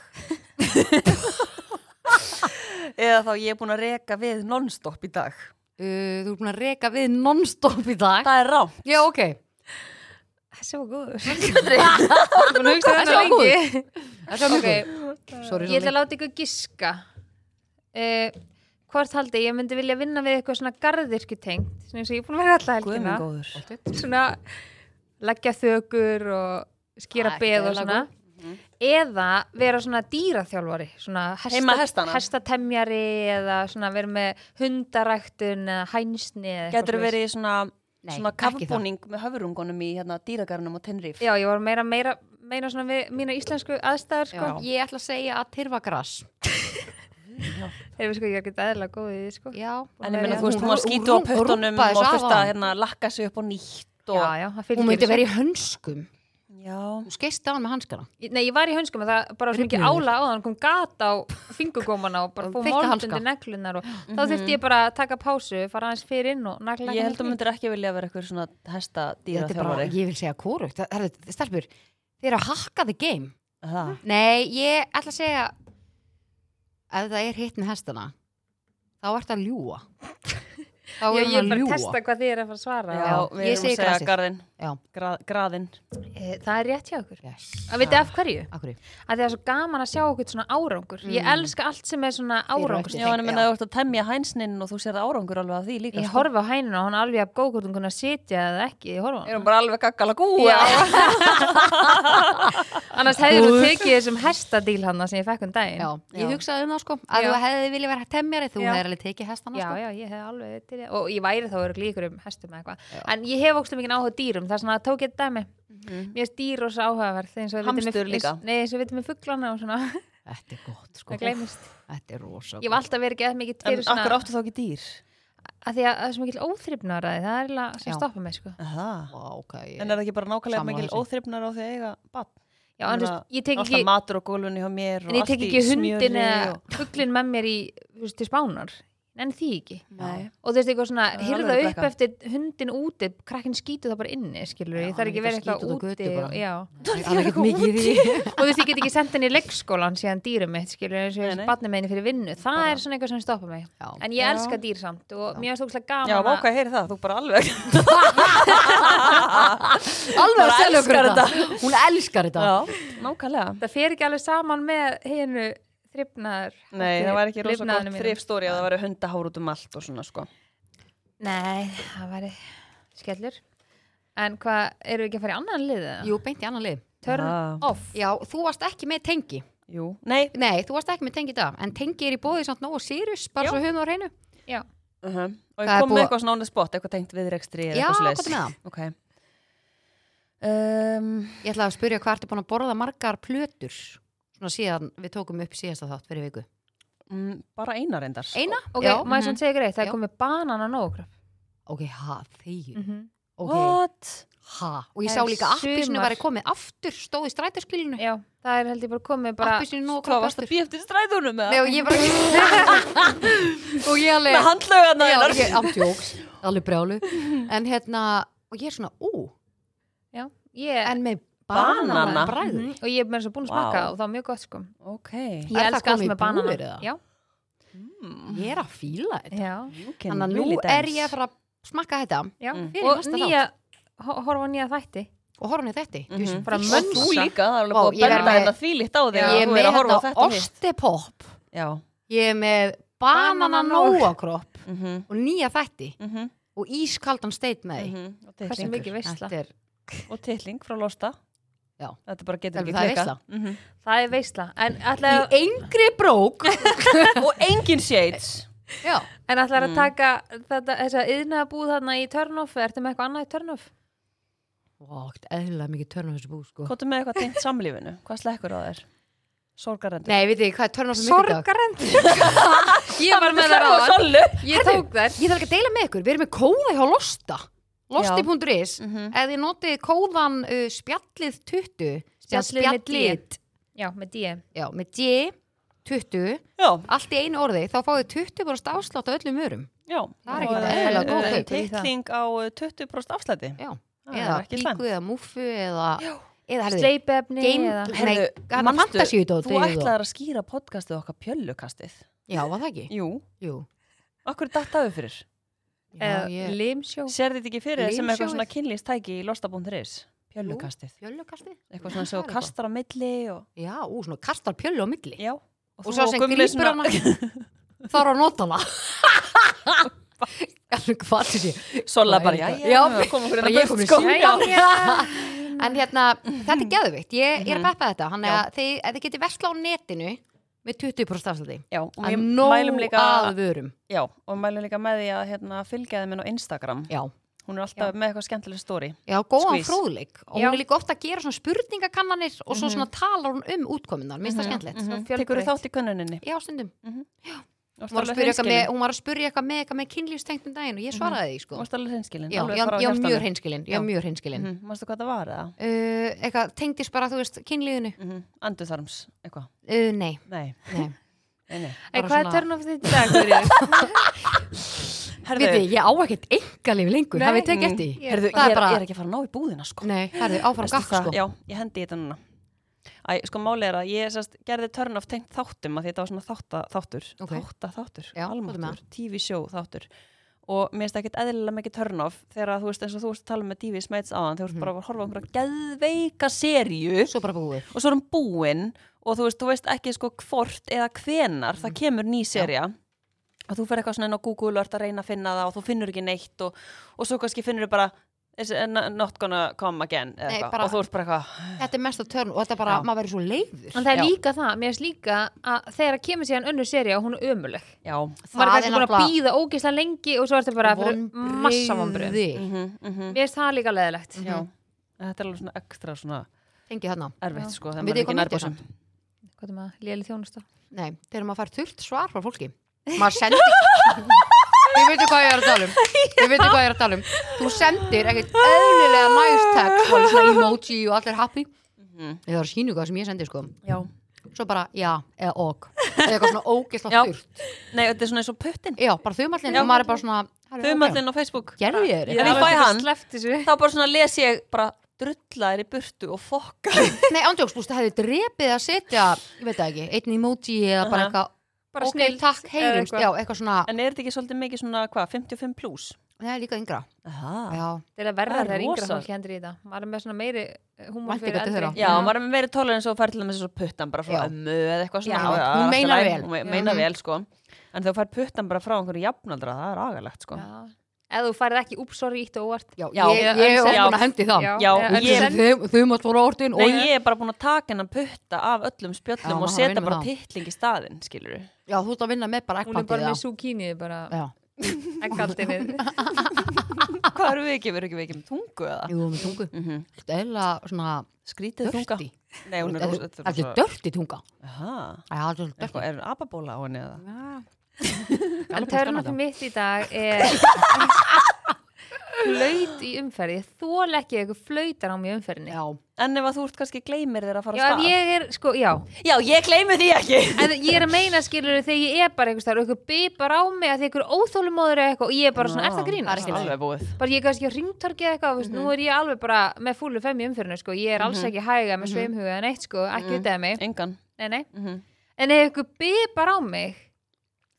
[SPEAKER 2] Eða þá ég er búin að reka við non-stop í dag
[SPEAKER 1] uh, þú er búin að reka við non-stop í dag.
[SPEAKER 2] Það er rá
[SPEAKER 1] Já, ok.
[SPEAKER 3] þessi var góður
[SPEAKER 1] Búin að hugsa
[SPEAKER 3] Þessi var góður
[SPEAKER 1] Þessi var mjög
[SPEAKER 3] Ok,
[SPEAKER 1] góð. Sorry,
[SPEAKER 3] Ég
[SPEAKER 1] Sóley.
[SPEAKER 3] ætla að láta ykkur giska uh, Hvort haldi ég myndi vilja vinna við eitthvað svona garðirkju tengt svona eins og ég er búin að vera alltaf
[SPEAKER 2] Guð
[SPEAKER 3] helgina
[SPEAKER 2] minn góður.
[SPEAKER 3] svona leggja þökur og
[SPEAKER 1] Það
[SPEAKER 3] skýra
[SPEAKER 1] er
[SPEAKER 3] beð og
[SPEAKER 1] Ah, ekki Mhm.
[SPEAKER 3] svona eða vera svona dýraþjálfari svona
[SPEAKER 2] Heima hestana.
[SPEAKER 3] hestatemjari eða svona vera með hundaræktun eða hænsni eða eitthvað
[SPEAKER 2] Getur
[SPEAKER 3] svoleiðis.
[SPEAKER 2] verið í svona,
[SPEAKER 1] Nei,
[SPEAKER 2] svona
[SPEAKER 1] ekki það.
[SPEAKER 2] kaffbúning með höfurungunum í hérna, dýragarnum og tenrýf.
[SPEAKER 3] Já, ég var meira, meira, meira svona við mína íslensku aðstæður sko.
[SPEAKER 1] Já. Ég ætla að segja að tyrfa græs
[SPEAKER 3] Þeir við sko, ég er ekki aðeinslega góð í því sko.
[SPEAKER 1] Já,
[SPEAKER 2] En ég meina,
[SPEAKER 3] Hún-
[SPEAKER 2] þú veist, hún var
[SPEAKER 1] hún-
[SPEAKER 2] skýtu á
[SPEAKER 1] hún- hún
[SPEAKER 2] puttunum
[SPEAKER 1] rúmpaði
[SPEAKER 2] og
[SPEAKER 1] þessu
[SPEAKER 2] þurfti að
[SPEAKER 1] af.
[SPEAKER 2] hérna, lakka sig upp og nýtt. Og,
[SPEAKER 3] Já, já, það fylgir
[SPEAKER 1] Hún myndi
[SPEAKER 3] þessu.
[SPEAKER 1] verið í hönskum
[SPEAKER 2] já.
[SPEAKER 1] Hún skeist á hann með hanskana
[SPEAKER 3] Ég- Nei, ég var í hönskum en það bara var svo mikið
[SPEAKER 1] Rifnuðu.
[SPEAKER 3] ála á þann kom gata á fingurgómana og bara
[SPEAKER 1] Og
[SPEAKER 3] fóð
[SPEAKER 1] þykka
[SPEAKER 3] mold
[SPEAKER 1] hanska. Mhm.
[SPEAKER 3] undir neglunar og þá þurfti ég bara að taka pásu, fara aðeins fyrir inn og nagla
[SPEAKER 2] Ég held að þú myndir ekki vilja vera eitthvað svona
[SPEAKER 1] Þetta
[SPEAKER 2] hesta
[SPEAKER 1] er bara,
[SPEAKER 2] dýraþjálfari.
[SPEAKER 1] ég vil segja kórugt Það er þetta, stelpur, þið eru að hakka the game
[SPEAKER 2] Það.
[SPEAKER 1] Nei, ég ætla að segja Ef það er hitt með hestana Þá ert að ljúa Þá
[SPEAKER 3] Ég,
[SPEAKER 1] er
[SPEAKER 3] ég er
[SPEAKER 1] hann
[SPEAKER 3] bara
[SPEAKER 1] að
[SPEAKER 3] að
[SPEAKER 1] ljúa
[SPEAKER 3] testa hvað þið er að fara að svara
[SPEAKER 2] Já, við
[SPEAKER 1] ég
[SPEAKER 2] erum
[SPEAKER 1] segi
[SPEAKER 2] að segja
[SPEAKER 1] grasið.
[SPEAKER 2] garðin.
[SPEAKER 1] Já.
[SPEAKER 2] Gra, graðin.
[SPEAKER 3] Eh, Það er rétt hjá okkur
[SPEAKER 1] yes.
[SPEAKER 3] Að viti af hverju? Mm.
[SPEAKER 1] Akkur
[SPEAKER 3] Að það er svo gaman að sjá okkur svona árangur Ég elska allt sem er svona
[SPEAKER 1] og
[SPEAKER 3] árangur
[SPEAKER 1] eftir.
[SPEAKER 2] Já, en ég meina, þú ert að temja hænsnin og þú sér árangur alveg af því líka.
[SPEAKER 3] Ég
[SPEAKER 2] sko.
[SPEAKER 3] horfi á hænuna og hann er alveg að góð hvort hún kunna sitja eða ekki Ég horfi á
[SPEAKER 2] Er
[SPEAKER 3] hann
[SPEAKER 2] hún bara alveg gaggala gúa?
[SPEAKER 3] Já Annars hefði þú tekið þessum hestadíl hann sem ég fekk um daginn
[SPEAKER 1] Já, ég
[SPEAKER 2] Já.
[SPEAKER 1] hugsaði um það sko að
[SPEAKER 3] Já.
[SPEAKER 1] þú hefði viljað vera temjari þú
[SPEAKER 3] Já.
[SPEAKER 1] hefði alveg tekið hestana
[SPEAKER 3] já,
[SPEAKER 1] sko
[SPEAKER 3] já, ég hef alveg til ég og ég væri þá öruglega í ykkurum hestum eða eitthvað en ég hef ógstu mikið áhuga á dýrum, það er svona að tók ég þetta dæmi mér er dýr og svo áhugaverð eins og við vitum með-
[SPEAKER 2] Hamstur líka.
[SPEAKER 3] eins- nei, eins og við vitum með fugglana og svona,
[SPEAKER 1] Þetta er gott sko
[SPEAKER 3] það gleymist
[SPEAKER 1] Þetta er rosa
[SPEAKER 3] ég hef alltaf verið geð mikið
[SPEAKER 2] En
[SPEAKER 3] fyrir svona
[SPEAKER 2] akkur áttu þá ekki dýr?
[SPEAKER 3] að því að það er svo mikil óþrifnaræði, það er eiginlega sem
[SPEAKER 1] Já.
[SPEAKER 3] stoppa mig sko.
[SPEAKER 2] Það.
[SPEAKER 1] Vá, okay, ég...
[SPEAKER 2] En er það ekki bara nákvæmlega
[SPEAKER 1] Sammála
[SPEAKER 2] mikil
[SPEAKER 1] þessu.
[SPEAKER 2] óþrifnar á því að eiga bann?
[SPEAKER 3] já, en þú veist, ég tek
[SPEAKER 2] Alltaf
[SPEAKER 3] ekki
[SPEAKER 2] matur og gólfunni hjá mér og
[SPEAKER 3] en ég
[SPEAKER 2] allt í
[SPEAKER 3] tek ekki hundin
[SPEAKER 2] smjöri
[SPEAKER 3] eða
[SPEAKER 2] og-
[SPEAKER 3] fugglin með mér í, þú veist, til spánar en því ekki
[SPEAKER 2] Nei.
[SPEAKER 3] og þú veist eitthvað svona,
[SPEAKER 2] Mm. Það er
[SPEAKER 3] hyrða
[SPEAKER 2] alveg
[SPEAKER 3] upp
[SPEAKER 2] brekka.
[SPEAKER 3] eftir hundin úti, krakkin skýtu það bara inni skilur,
[SPEAKER 1] Já,
[SPEAKER 3] ég þarf
[SPEAKER 1] hann
[SPEAKER 3] ekki
[SPEAKER 1] getur
[SPEAKER 3] verið
[SPEAKER 1] skýtt út á
[SPEAKER 3] eitthvað úti
[SPEAKER 1] götu bara.
[SPEAKER 3] og, já,
[SPEAKER 1] Það er ekkert mikið í því
[SPEAKER 3] og þú veist, ég get ekki sendt henni í leggskólan síðan dýrum mitt, skilur, eins og
[SPEAKER 2] Nei,
[SPEAKER 3] eins
[SPEAKER 2] nei.
[SPEAKER 3] og barnið meðinni fyrir vinnu, það
[SPEAKER 1] Bara-
[SPEAKER 3] er svona eitthvað sem stoppa mig
[SPEAKER 1] Já.
[SPEAKER 3] en ég
[SPEAKER 2] Já.
[SPEAKER 3] elska dýr samt og mér finnst það gaman
[SPEAKER 2] Já,
[SPEAKER 3] að-
[SPEAKER 2] mákvæði heyri það, þú bara alveg
[SPEAKER 1] Alveg að
[SPEAKER 2] Bara
[SPEAKER 1] selja okkur
[SPEAKER 2] elskar
[SPEAKER 1] þetta Hún elskar þetta
[SPEAKER 2] Já, nákvæmlega
[SPEAKER 3] það fer ekki alveg saman með hennu þrifnaður
[SPEAKER 2] Nei, það var ekki rosa gott þrifstóri að það væri hundahár út um allt og svona sko
[SPEAKER 3] nei, það væri skellur en hvað, eru við ekki að fara í annan lið eða?
[SPEAKER 1] Jú, beint í annan lið
[SPEAKER 3] turn
[SPEAKER 2] Ah.
[SPEAKER 3] off
[SPEAKER 1] Já, þú varst ekki með tengi
[SPEAKER 2] Jú, nei
[SPEAKER 1] Nei, þú varst ekki með tengi í dag En tengi er í bóði samt nógu sírus Bara
[SPEAKER 2] Já.
[SPEAKER 1] svo höfum á reynu
[SPEAKER 3] já,
[SPEAKER 2] uh -huh. Og
[SPEAKER 1] Það
[SPEAKER 2] ég
[SPEAKER 1] er
[SPEAKER 2] kom með
[SPEAKER 1] búið-
[SPEAKER 2] eitthvað svona on the spot, eitthvað tengt við rekstri eða
[SPEAKER 1] Já,
[SPEAKER 2] eitthvað svoleiðis.
[SPEAKER 1] komdu með það.
[SPEAKER 2] Ok um,
[SPEAKER 1] Ég ætla að spyrja hvað ertu búin að borða margar plötur Svona síðan við tókum upp síðasta þátt fyrir viku
[SPEAKER 2] mm, Bara eina reyndar
[SPEAKER 1] Eina?
[SPEAKER 3] ok,
[SPEAKER 1] Já. Mhm.
[SPEAKER 3] maður sem segir greið það
[SPEAKER 1] Já.
[SPEAKER 3] er komið banan á nógraf
[SPEAKER 1] Ok, ha, þegju
[SPEAKER 3] mm -hmm.
[SPEAKER 1] Ok,
[SPEAKER 2] What?
[SPEAKER 1] ha Og ég
[SPEAKER 3] Það
[SPEAKER 1] sá
[SPEAKER 3] er
[SPEAKER 1] líka appisinu
[SPEAKER 3] sumar.
[SPEAKER 1] væri komið aftur Stóð í strætarskilinu
[SPEAKER 3] já, það er held ég bara komið bara
[SPEAKER 1] Appisinu nógu
[SPEAKER 2] Hvað varst að býja eftir stræðunum
[SPEAKER 1] Nei,
[SPEAKER 2] eða?
[SPEAKER 1] og ég bara Og ég alveg
[SPEAKER 2] Með handlaugana
[SPEAKER 1] Já,
[SPEAKER 2] hennar.
[SPEAKER 1] ég ámtjóks, alveg brjálu En hérna, og ég er svona, ú
[SPEAKER 3] já, ég
[SPEAKER 1] En með
[SPEAKER 2] Banana.
[SPEAKER 1] banana bræður
[SPEAKER 3] Mhm, og ég er með þess að búin að smakka
[SPEAKER 2] Vá.
[SPEAKER 3] og það var mjög gott sko
[SPEAKER 2] Ok
[SPEAKER 3] ég
[SPEAKER 1] Er það
[SPEAKER 3] elska allt
[SPEAKER 1] komið í
[SPEAKER 3] með banana
[SPEAKER 1] búðir eða?
[SPEAKER 3] já,
[SPEAKER 2] mm.
[SPEAKER 1] Ég er að fíla þetta
[SPEAKER 3] já,
[SPEAKER 2] You can
[SPEAKER 1] Þannig að
[SPEAKER 2] really
[SPEAKER 1] nú er
[SPEAKER 2] dance.
[SPEAKER 1] ég að fara að smakka þetta
[SPEAKER 3] já.
[SPEAKER 2] Mm.
[SPEAKER 1] Fyrir
[SPEAKER 3] og
[SPEAKER 1] næsta
[SPEAKER 3] nýja, ho- horfa á nýja þætti
[SPEAKER 1] og horfum við þetta
[SPEAKER 2] Mhm.
[SPEAKER 1] mm
[SPEAKER 3] Bara
[SPEAKER 2] Og
[SPEAKER 3] mönsa.
[SPEAKER 2] þú líka, það er alveg
[SPEAKER 1] Vá,
[SPEAKER 2] búið
[SPEAKER 1] ég
[SPEAKER 2] að
[SPEAKER 1] er
[SPEAKER 2] benda
[SPEAKER 1] með-
[SPEAKER 2] hérna því lítt á þig
[SPEAKER 1] Ég
[SPEAKER 2] að
[SPEAKER 1] er
[SPEAKER 2] þú
[SPEAKER 1] með
[SPEAKER 2] er að horfa á
[SPEAKER 1] hérna
[SPEAKER 2] þetta og hitt.
[SPEAKER 1] ostepopp
[SPEAKER 2] Já.
[SPEAKER 1] Ég er með
[SPEAKER 3] Banana
[SPEAKER 1] banana nóakropp
[SPEAKER 2] Mm -hmm.
[SPEAKER 1] og nýja þætti
[SPEAKER 2] Mm -hmm.
[SPEAKER 1] og ískaldan steit með því
[SPEAKER 2] mhm. Og
[SPEAKER 3] hversu
[SPEAKER 2] titling.
[SPEAKER 3] mikið veistla
[SPEAKER 1] Þetta er
[SPEAKER 2] Og titling frá Losta.
[SPEAKER 1] Já.
[SPEAKER 2] Þetta bara getur
[SPEAKER 1] Alveg,
[SPEAKER 2] ekki
[SPEAKER 1] það er
[SPEAKER 2] klika.
[SPEAKER 1] veisla.
[SPEAKER 2] Mm -hmm.
[SPEAKER 3] það er veistla en
[SPEAKER 1] í
[SPEAKER 3] ætlaði
[SPEAKER 1] engri brók
[SPEAKER 2] og engin shades.
[SPEAKER 1] Já,
[SPEAKER 3] en ætlaði að taka þetta, þessa yðnaðabúð þarna í turnoff ertu með eitthvað annað í turnoff?
[SPEAKER 1] Vákt, eðlilega mikið törnum þessu bú sko
[SPEAKER 2] Kvotum með eitthvað tengt samlífinu. Hvað slekkur á þér? Sorgarendur.
[SPEAKER 1] Nei, veit þið hvað er törnum þessu mikið dag?
[SPEAKER 3] sorgarend ég var með það
[SPEAKER 2] á
[SPEAKER 3] ráðan
[SPEAKER 2] sollu.
[SPEAKER 3] ég tók þær
[SPEAKER 1] Ég þarf ekki að deila með ykkur, við erum með kóða hjá Losta Losti.is
[SPEAKER 2] Mm -hmm.
[SPEAKER 1] Ef þið notið kóðan uh, spjallið 20 sem
[SPEAKER 3] Spjallið með D.
[SPEAKER 1] spjallið,
[SPEAKER 3] já, með díu
[SPEAKER 1] Já, með D 20,
[SPEAKER 2] Já,
[SPEAKER 1] allt í einu orði þá fáið 20% afslátt á öllum örum
[SPEAKER 2] já.
[SPEAKER 1] Það er
[SPEAKER 2] Og,
[SPEAKER 1] ekkert
[SPEAKER 2] eh,
[SPEAKER 1] eðlilega góð
[SPEAKER 2] eh,
[SPEAKER 1] kaup í
[SPEAKER 3] það.
[SPEAKER 2] Titling á eh, 20% afslæti.
[SPEAKER 1] Já,
[SPEAKER 2] Ah, Það
[SPEAKER 1] eða
[SPEAKER 2] er ekki slæmt.
[SPEAKER 1] píku eða múfu eða, eða herðu,
[SPEAKER 3] sleipefni
[SPEAKER 1] Game-
[SPEAKER 3] eða
[SPEAKER 1] Nei, hann er
[SPEAKER 2] manstu,
[SPEAKER 1] fantasíudót,
[SPEAKER 2] þú
[SPEAKER 1] eða-
[SPEAKER 2] ætlaðir að skýra podcastið okkar pjöllukastið.
[SPEAKER 1] já, var það ekki?
[SPEAKER 2] Jú,
[SPEAKER 1] Jú,
[SPEAKER 2] okkur dattaðu fyrir.
[SPEAKER 1] já, ég,
[SPEAKER 3] limsjó
[SPEAKER 2] Eh, Sér þetta ekki fyrir þér sem eitthvað
[SPEAKER 1] Limsjóið.
[SPEAKER 2] svona kynlýstæki í losta.is? pjöllukastið
[SPEAKER 1] Pjöllukastið?
[SPEAKER 2] eitthvað svona sem þú kastar á milli og,
[SPEAKER 1] Já, ú, svona kastar pjöllu á milli.
[SPEAKER 2] já,
[SPEAKER 1] og svo sem grýpur hana þarf að nota hana alveg hvað til sé
[SPEAKER 2] Sola
[SPEAKER 1] Hvað
[SPEAKER 2] bara,
[SPEAKER 1] er
[SPEAKER 2] já,
[SPEAKER 1] þetta?
[SPEAKER 2] já,
[SPEAKER 1] Já,
[SPEAKER 2] kom
[SPEAKER 1] bara
[SPEAKER 2] okkur hérna
[SPEAKER 1] ég
[SPEAKER 2] burt,
[SPEAKER 1] komin
[SPEAKER 2] sko.
[SPEAKER 1] sjálf.
[SPEAKER 2] Já. Mhm.
[SPEAKER 1] en hérna, þetta er geðvikt ég ég er að peppa þetta, hann er
[SPEAKER 2] Já.
[SPEAKER 1] að þið, ef þið getið versla á netinu með 20% afsluti
[SPEAKER 2] Já, og
[SPEAKER 1] að
[SPEAKER 2] við mælum
[SPEAKER 1] nóg
[SPEAKER 2] líka
[SPEAKER 1] að vörum
[SPEAKER 2] Já, og við mælum líka með því að hérna, fylgja þeim inn á Instagram
[SPEAKER 1] já,
[SPEAKER 2] Hún er alltaf með eitthvað skemmtileg stóri
[SPEAKER 1] já góðan
[SPEAKER 2] Squeeze.
[SPEAKER 1] fróðleik og
[SPEAKER 3] Já.
[SPEAKER 1] hún er líka ofta að gera svona spurningakannanir og svo svona talar hún um útkominnar, minnst
[SPEAKER 2] Mhm,
[SPEAKER 1] það skemmtilegt
[SPEAKER 2] Tekur þú þátt í könnuninni?
[SPEAKER 1] já, stundum,
[SPEAKER 2] Þú
[SPEAKER 1] hún var, að spyrja eitthvað með, hún var að spyrja eitthvað með, eitthvað með kynlífstengtum daginn og ég svaraði því
[SPEAKER 2] Þú
[SPEAKER 1] sko
[SPEAKER 2] varst alveg
[SPEAKER 1] já,
[SPEAKER 2] hreinskilin
[SPEAKER 1] ég ég var mjög hreinskilin, ég var
[SPEAKER 2] Já. Mhm.
[SPEAKER 1] mjög hreinskilin
[SPEAKER 2] Mástu hvað það var eða?
[SPEAKER 1] uh, eitthvað tengdist bara, þú veist, kynlífinu
[SPEAKER 2] Mm -hmm. Anduþarms, eitthvað
[SPEAKER 1] uh, nei,
[SPEAKER 2] Nei,
[SPEAKER 1] nei.
[SPEAKER 2] nei, nei
[SPEAKER 3] Ei,
[SPEAKER 1] Bara
[SPEAKER 3] hvað er
[SPEAKER 1] svona-
[SPEAKER 3] törn of þitt í dag? Guðríður?
[SPEAKER 2] Herðu,
[SPEAKER 1] Við þið, ég á ekkert engalif lengur,
[SPEAKER 3] Nei.
[SPEAKER 1] hafið þið tekið eftir því?
[SPEAKER 3] Ég-
[SPEAKER 2] herðu
[SPEAKER 1] það
[SPEAKER 2] ég,
[SPEAKER 1] er
[SPEAKER 2] er,
[SPEAKER 1] bara-
[SPEAKER 2] ég er ekki að fara að ná í búðina sko
[SPEAKER 1] Nei, herðu, áfram
[SPEAKER 2] Veistu
[SPEAKER 1] gakk
[SPEAKER 2] það?
[SPEAKER 1] sko
[SPEAKER 2] Já, ég hendi í þetta núna Æ, sko máli er að ég sest, gerði törn of tengt þáttum að því þetta var svona þátta, þáttur
[SPEAKER 1] Ok.
[SPEAKER 2] þátta þáttur,
[SPEAKER 1] Já, hvað er
[SPEAKER 2] almáttur, TV-sjó þáttur og mér finnst ekkert eðlilega mikið törn of þegar að þú veist eins og þú veist að tala um með TV Smeits áðan þegar þú
[SPEAKER 1] Mhm.
[SPEAKER 2] veist bara að horfa á einhverja geðveika serju
[SPEAKER 1] Svo bara búið
[SPEAKER 2] og svo er hún búinn og þú veist, þú veist ekki sko hvort eða hvenar
[SPEAKER 1] Mm.
[SPEAKER 2] það kemur ný serja og þú fer eitthvað svona inn á Google og ert að reyna að finna það og þú finnur ekki neitt og, og svo kannski finnur þau bara "Is it not gonna come again eða
[SPEAKER 1] Nei,
[SPEAKER 2] eitthvað.
[SPEAKER 1] bara-
[SPEAKER 2] og þú ert bara eitthvað
[SPEAKER 1] Þetta er mest að törn og þetta er bara,
[SPEAKER 2] Já.
[SPEAKER 1] maður verður svo leiður
[SPEAKER 3] En það er
[SPEAKER 2] Já.
[SPEAKER 3] líka það, mér finnst líka að þegar að kemur síðan önnur séri og hún er ömuleg
[SPEAKER 2] já,
[SPEAKER 3] maður er
[SPEAKER 1] Það
[SPEAKER 3] kannski
[SPEAKER 1] er
[SPEAKER 3] búin að
[SPEAKER 1] nefnilega-
[SPEAKER 3] býða ógislega lengi og svo ertu bara að vera massa vombrið
[SPEAKER 1] Vonbrigði.
[SPEAKER 2] mm -hmm,
[SPEAKER 3] Mér finnst það líka
[SPEAKER 2] já.
[SPEAKER 3] leðilegt
[SPEAKER 1] Mhm.
[SPEAKER 2] þetta er alveg svona ekstra svona
[SPEAKER 1] Fengið þarna
[SPEAKER 2] erfitt sko
[SPEAKER 1] En
[SPEAKER 2] þegar
[SPEAKER 1] vitið hvað
[SPEAKER 2] maður er ekki
[SPEAKER 1] mitt er
[SPEAKER 2] nærbúsum
[SPEAKER 3] Hvað er maður, léli þjónusta?
[SPEAKER 1] Nei, þegar maður fær þurft svar frá fólki Maður sendir Ég veitir hvað ég er að tala um Ég veitir hvað ég er að tala um Þú sendir ekkert eðlilega nice tag og svona emoji og allir happy Ég þarf að sínu hvað sem ég sendi sko
[SPEAKER 2] já,
[SPEAKER 1] Svo bara, já, eða ok Eða eitthvað svona ógeðslega
[SPEAKER 2] Já.
[SPEAKER 1] þurft
[SPEAKER 2] nei, þetta er svona eins og puttin
[SPEAKER 1] Já, bara þumallin
[SPEAKER 2] Já.
[SPEAKER 1] og maður er bara svona "Herru,
[SPEAKER 2] þumallinn á Facebook
[SPEAKER 1] ok, Gerði ég þér
[SPEAKER 2] Ef ég
[SPEAKER 1] eitthvað?"
[SPEAKER 2] fæ hann-
[SPEAKER 3] Sleppt þessu
[SPEAKER 2] þá bara svona les ég bara drulla þér í burtu og fokka
[SPEAKER 1] Nei, ándjóks, búst, það hefði drepið að setja, ég veit það ekki, einn emoji eða bara
[SPEAKER 2] Aha.
[SPEAKER 1] eitthvað,
[SPEAKER 3] Bara
[SPEAKER 1] ok,
[SPEAKER 3] snilld
[SPEAKER 1] takk,
[SPEAKER 3] eða
[SPEAKER 1] heyrumst,
[SPEAKER 3] eitthvað.
[SPEAKER 1] já, eitthvað svona,
[SPEAKER 2] en er þetta ekki svolítið mikið svona hvað, 55 plus?
[SPEAKER 1] það er líka yngra,
[SPEAKER 2] Aha.
[SPEAKER 1] já,
[SPEAKER 3] Til að verða
[SPEAKER 2] Það er
[SPEAKER 3] þegar yngra
[SPEAKER 2] rosa.
[SPEAKER 3] fólk hendur í þetta Maður er með svona meiri eh, húmor
[SPEAKER 1] Vænti
[SPEAKER 3] fyrir
[SPEAKER 1] götu
[SPEAKER 3] eldri
[SPEAKER 1] þeirra.
[SPEAKER 2] Já, maður er með meiri tólar en svo fær til þess að puttan bara frá
[SPEAKER 1] Já.
[SPEAKER 2] ömmu eða eitthvað svona.
[SPEAKER 1] Já,
[SPEAKER 2] það er
[SPEAKER 1] hún
[SPEAKER 2] allt í
[SPEAKER 1] meinar
[SPEAKER 2] lagi,
[SPEAKER 1] vel.
[SPEAKER 2] Hún me-
[SPEAKER 3] Já.
[SPEAKER 2] meinar vel, sko. En þegar þú fær puttan bara frá einhverju jafnaldra, það er agalegt, sko. Já,
[SPEAKER 3] Já. Ef þú færið ekki úpsorri ítt og óvart
[SPEAKER 1] já,
[SPEAKER 2] Já,
[SPEAKER 1] ég, ég hef
[SPEAKER 2] já.
[SPEAKER 1] ofan að hendi það,
[SPEAKER 3] Já.
[SPEAKER 2] og
[SPEAKER 3] en
[SPEAKER 2] ég,
[SPEAKER 3] sen-
[SPEAKER 1] ég, þau mátt voru orðin
[SPEAKER 2] nei,
[SPEAKER 1] og,
[SPEAKER 2] ég er bara búin að taka hennan putta af öllum
[SPEAKER 1] Já,
[SPEAKER 2] spjöllum
[SPEAKER 1] maður
[SPEAKER 2] og
[SPEAKER 1] þarf að
[SPEAKER 2] setja
[SPEAKER 1] vinna með
[SPEAKER 2] bara
[SPEAKER 1] það.
[SPEAKER 2] titling í staðinn, skilur við.
[SPEAKER 1] já, þú ert að vinna með bara
[SPEAKER 3] Hún er
[SPEAKER 1] ekkpantið
[SPEAKER 3] bara með
[SPEAKER 1] það,
[SPEAKER 3] súkínið bara
[SPEAKER 1] já,
[SPEAKER 3] Ekkaldinni
[SPEAKER 2] Hvað eru við ekki, við erum ekki við ekki með tungu eða?
[SPEAKER 1] jú, með tungu,
[SPEAKER 2] Mm -hmm.
[SPEAKER 1] þetta er eða svona,
[SPEAKER 2] Skrítið tunga.
[SPEAKER 1] Dirty.
[SPEAKER 2] Nei, hún er rosa.
[SPEAKER 1] þetta er dörti tunga,
[SPEAKER 2] Aha,
[SPEAKER 1] já, þetta er dörti,
[SPEAKER 2] eitthvað, er apabóla á henni eða?
[SPEAKER 3] En
[SPEAKER 1] búin að skanna
[SPEAKER 3] törnum
[SPEAKER 1] þetta.
[SPEAKER 3] mitt í dag er Flöyt í umferð Ég þól ekki að eitthvað flöytar á mig í umferðinni
[SPEAKER 1] já,
[SPEAKER 2] En ef að þú ert kannski gleymir þér að fara
[SPEAKER 3] Já,
[SPEAKER 2] af
[SPEAKER 3] ef
[SPEAKER 2] stað?
[SPEAKER 3] ég er, sko, já
[SPEAKER 2] Já, ég gleymi því ekki.
[SPEAKER 3] En ég er að meina skilur þegar ég er bara einhvers þar og eitthvað bipar á mig að því einhver óþólumóður eða eitthvað og ég er bara svona, er það
[SPEAKER 1] Það er
[SPEAKER 3] grínast?
[SPEAKER 1] ekki
[SPEAKER 2] Alveg búið.
[SPEAKER 3] Bara ég er kannski á ringtorki eða eitthvað, veist,
[SPEAKER 1] Mhm.
[SPEAKER 3] nú er ég alveg bara með fúlu fem í umfyrinu, sko, ég er alls ekki hæga
[SPEAKER 1] Mhm.
[SPEAKER 3] með sveimhuga en eitt, sko, ekki út af mig,
[SPEAKER 2] Engan.
[SPEAKER 3] nei, nei.
[SPEAKER 2] Mm -hmm.
[SPEAKER 3] En ef einhver bipar á mig,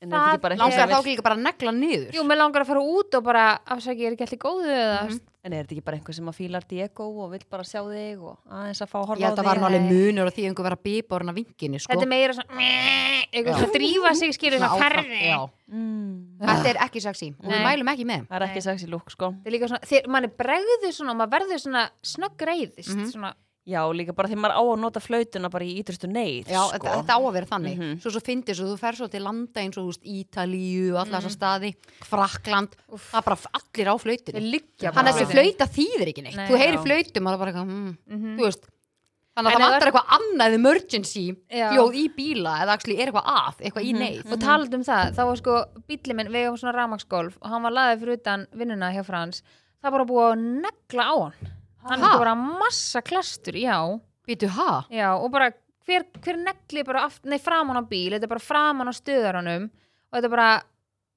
[SPEAKER 2] En er þetta ekki bara eitthvað sem
[SPEAKER 1] langar þá
[SPEAKER 2] vill-
[SPEAKER 1] ekki líka bara að negla niður,
[SPEAKER 3] jú, mér langar að fara út og bara, afsaki, ég er ekki allir góðu
[SPEAKER 1] Mhm.
[SPEAKER 3] eða,
[SPEAKER 2] En er þetta ekki bara einhver sem að fílar Diego og vill bara sjá þig og aðeins að fá að horfa
[SPEAKER 1] ég held að
[SPEAKER 2] á
[SPEAKER 1] var
[SPEAKER 2] þig?
[SPEAKER 1] nú alveg munur og því einhver verið að bípa orðin að vinginni, sko,
[SPEAKER 3] þetta er meira svona, meh,
[SPEAKER 1] Já.
[SPEAKER 3] eitthvað, það drífa sig, skilur,
[SPEAKER 1] Svona
[SPEAKER 3] svona
[SPEAKER 1] áfram,
[SPEAKER 3] ferði.
[SPEAKER 1] já.
[SPEAKER 2] Mm.
[SPEAKER 1] þetta er ekki sexy, og við
[SPEAKER 3] Nei.
[SPEAKER 1] mælum ekki með,
[SPEAKER 2] Það er ekki sexy lúk, sko.
[SPEAKER 3] Það er líka svona, þegar mann er bregður svona og maður verður svona snöggreiðist,
[SPEAKER 1] Mhm.
[SPEAKER 3] svona,
[SPEAKER 2] Já, líka bara því maður á að nota flautuna bara í ytrustu neyð,
[SPEAKER 1] Já,
[SPEAKER 2] sko.
[SPEAKER 1] þetta, þetta á að vera þannig
[SPEAKER 2] Mhm.
[SPEAKER 1] Svo svo fyndið svo þú fer svo til landa eins og þú veist, Ítalíu, alla
[SPEAKER 2] Mhm.
[SPEAKER 1] þessa staði Frakland, það er bara allir á
[SPEAKER 3] þeir
[SPEAKER 1] flautinu
[SPEAKER 3] liggja
[SPEAKER 1] Hann
[SPEAKER 3] bara.
[SPEAKER 1] er þessi flauta þýðir ekki neitt
[SPEAKER 3] Nei,
[SPEAKER 1] Þú heyri
[SPEAKER 2] já.
[SPEAKER 1] flautum, maður er bara eitthvað mm,
[SPEAKER 3] Mhm.
[SPEAKER 1] Þú veist Þannig að
[SPEAKER 3] En
[SPEAKER 1] það
[SPEAKER 3] ef
[SPEAKER 1] vantar eitthvað annað emergency
[SPEAKER 3] Já. Mhm,
[SPEAKER 1] hljóð í bíla eða actually er eitthvað að, eitthvað í neyð
[SPEAKER 3] og talað um það, þá var sko bíllinn minn, við hefum svona ramagsgolf og hann var laðið fyrir utan vinnuna hjá Frans það var bara búið að negla á hann hann
[SPEAKER 1] Ha?
[SPEAKER 3] var bara massa klastur, já,
[SPEAKER 1] Býtu, ha?
[SPEAKER 3] já og bara hver, hver negli bara aft, nei, framan á bíl þetta er bara framan á stöðaranum og þetta er bara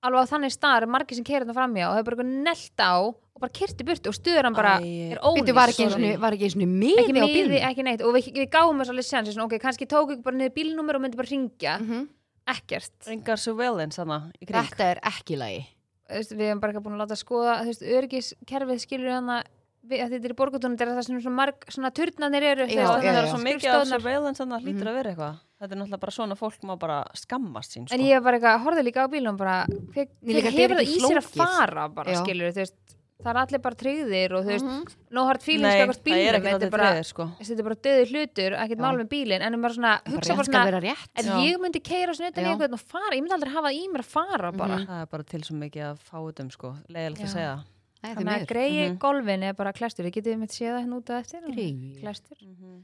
[SPEAKER 3] alveg á þannig stað er margir sem keirir þetta framjá og það er bara eitthvað nelt á og bara kerti burt og stöðaran bara
[SPEAKER 2] Æ.
[SPEAKER 3] er ónýst
[SPEAKER 1] Býtu, var ekki eins og var ekki eins og miði á
[SPEAKER 3] ekki miði,
[SPEAKER 1] bílum?
[SPEAKER 3] ekki neitt og við, við gáum þess alveg sjansi, svona ok, kannski tók ykkur bara niður bílnúmer og myndi bara ringja
[SPEAKER 1] Mhm.
[SPEAKER 3] ekkert
[SPEAKER 2] Engar surveillance hana í kring.
[SPEAKER 1] Þetta er ekki lagi
[SPEAKER 3] þú veist, við hefum bara ekki búin að láta skoða þú veist, örgiskerfið skilur hann að við, að þetta er í borgutúnum þetta er það sem svona marg, svona turnanir eru
[SPEAKER 1] Já, já,
[SPEAKER 2] það er
[SPEAKER 3] það
[SPEAKER 1] já. Mhm.
[SPEAKER 2] svo mikið af surveillance þannig að hlýtur að vera eitthvað þetta er náttúrulega bara svona fólk má bara skammast sín sko.
[SPEAKER 3] en ég var bara eitthvað, horfði líka á bílum bara, hver,
[SPEAKER 1] Nei,
[SPEAKER 3] hver
[SPEAKER 1] líka, þetta er
[SPEAKER 3] hefur það
[SPEAKER 1] ekki
[SPEAKER 3] í sér að
[SPEAKER 1] flókið. sko.
[SPEAKER 3] fara bara,
[SPEAKER 1] Já.
[SPEAKER 3] skilur, þú veist það er allir bara tryggðir og þú veist
[SPEAKER 1] Mhm.
[SPEAKER 3] no hard feelings
[SPEAKER 2] Nei,
[SPEAKER 3] skakast
[SPEAKER 2] það er
[SPEAKER 3] bílum
[SPEAKER 2] ekki
[SPEAKER 3] þetta
[SPEAKER 2] þetta
[SPEAKER 3] er bara,
[SPEAKER 2] treðir sko.
[SPEAKER 3] þetta er bara döði hlutur, ekkert
[SPEAKER 1] Já.
[SPEAKER 3] mál með bílin en ég bara svona, hugsa
[SPEAKER 1] rétt skal
[SPEAKER 3] bara svona
[SPEAKER 1] vera rétt
[SPEAKER 3] ef
[SPEAKER 2] Já.
[SPEAKER 3] ég myndi keira svona utan í
[SPEAKER 1] Já. Mhm.
[SPEAKER 3] einhvern og fara, ég myndi aldrei hafa það í mér að fara bara,
[SPEAKER 2] Það er bara til svo mikið að fáutum sko, leiðilegt
[SPEAKER 3] Já.
[SPEAKER 2] að segja.
[SPEAKER 1] Nei, því
[SPEAKER 3] þannig að
[SPEAKER 1] miður.
[SPEAKER 3] greiði
[SPEAKER 2] Mhm.
[SPEAKER 3] golfin er bara klestur, við getum mitt séð það hérna út að eftir
[SPEAKER 1] Greyið.
[SPEAKER 3] klestur, Ekki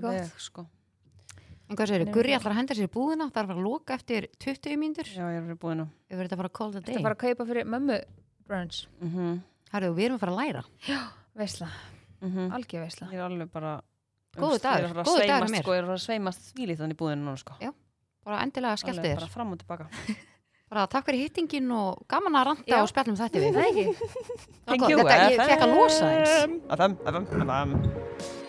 [SPEAKER 2] Alveg,
[SPEAKER 3] gott.
[SPEAKER 2] Sko.
[SPEAKER 1] En hvað segir,
[SPEAKER 3] Nei,
[SPEAKER 1] Gurri
[SPEAKER 3] það-
[SPEAKER 1] ætlar að henda sér í búðina, það er að fara að loka eftir 20 mínútur.
[SPEAKER 2] Já, ég er búin að.
[SPEAKER 1] Við verðum þetta bara að call the
[SPEAKER 3] þetta
[SPEAKER 1] day.
[SPEAKER 3] er bara að kaupa fyrir mömmu brunch,
[SPEAKER 2] Mm -hmm.
[SPEAKER 1] Herðu, við erum að fara að læra.
[SPEAKER 3] veisla,
[SPEAKER 2] Mhm. Mm.
[SPEAKER 3] algjör veisla
[SPEAKER 2] Ég er alveg bara...
[SPEAKER 1] Góður
[SPEAKER 2] Ég er
[SPEAKER 1] dagur,
[SPEAKER 2] að fara að
[SPEAKER 1] góður dagur
[SPEAKER 2] sveimast,
[SPEAKER 1] hjá mér.
[SPEAKER 2] Sko, ég er að fara að sveimast þvílið þannig í búðinu núna sko.
[SPEAKER 1] Já, Bara endilega skelltu
[SPEAKER 2] Alveg
[SPEAKER 1] þér.
[SPEAKER 2] Bara fram og tilbaka.
[SPEAKER 1] Bara takk fyrir hittingin og gaman að ranta
[SPEAKER 3] Já.
[SPEAKER 1] og spjallum þetta við.
[SPEAKER 3] Nei, ekki.
[SPEAKER 1] Þetta, ég fekk að losa eins.
[SPEAKER 2] FM, FM, FM.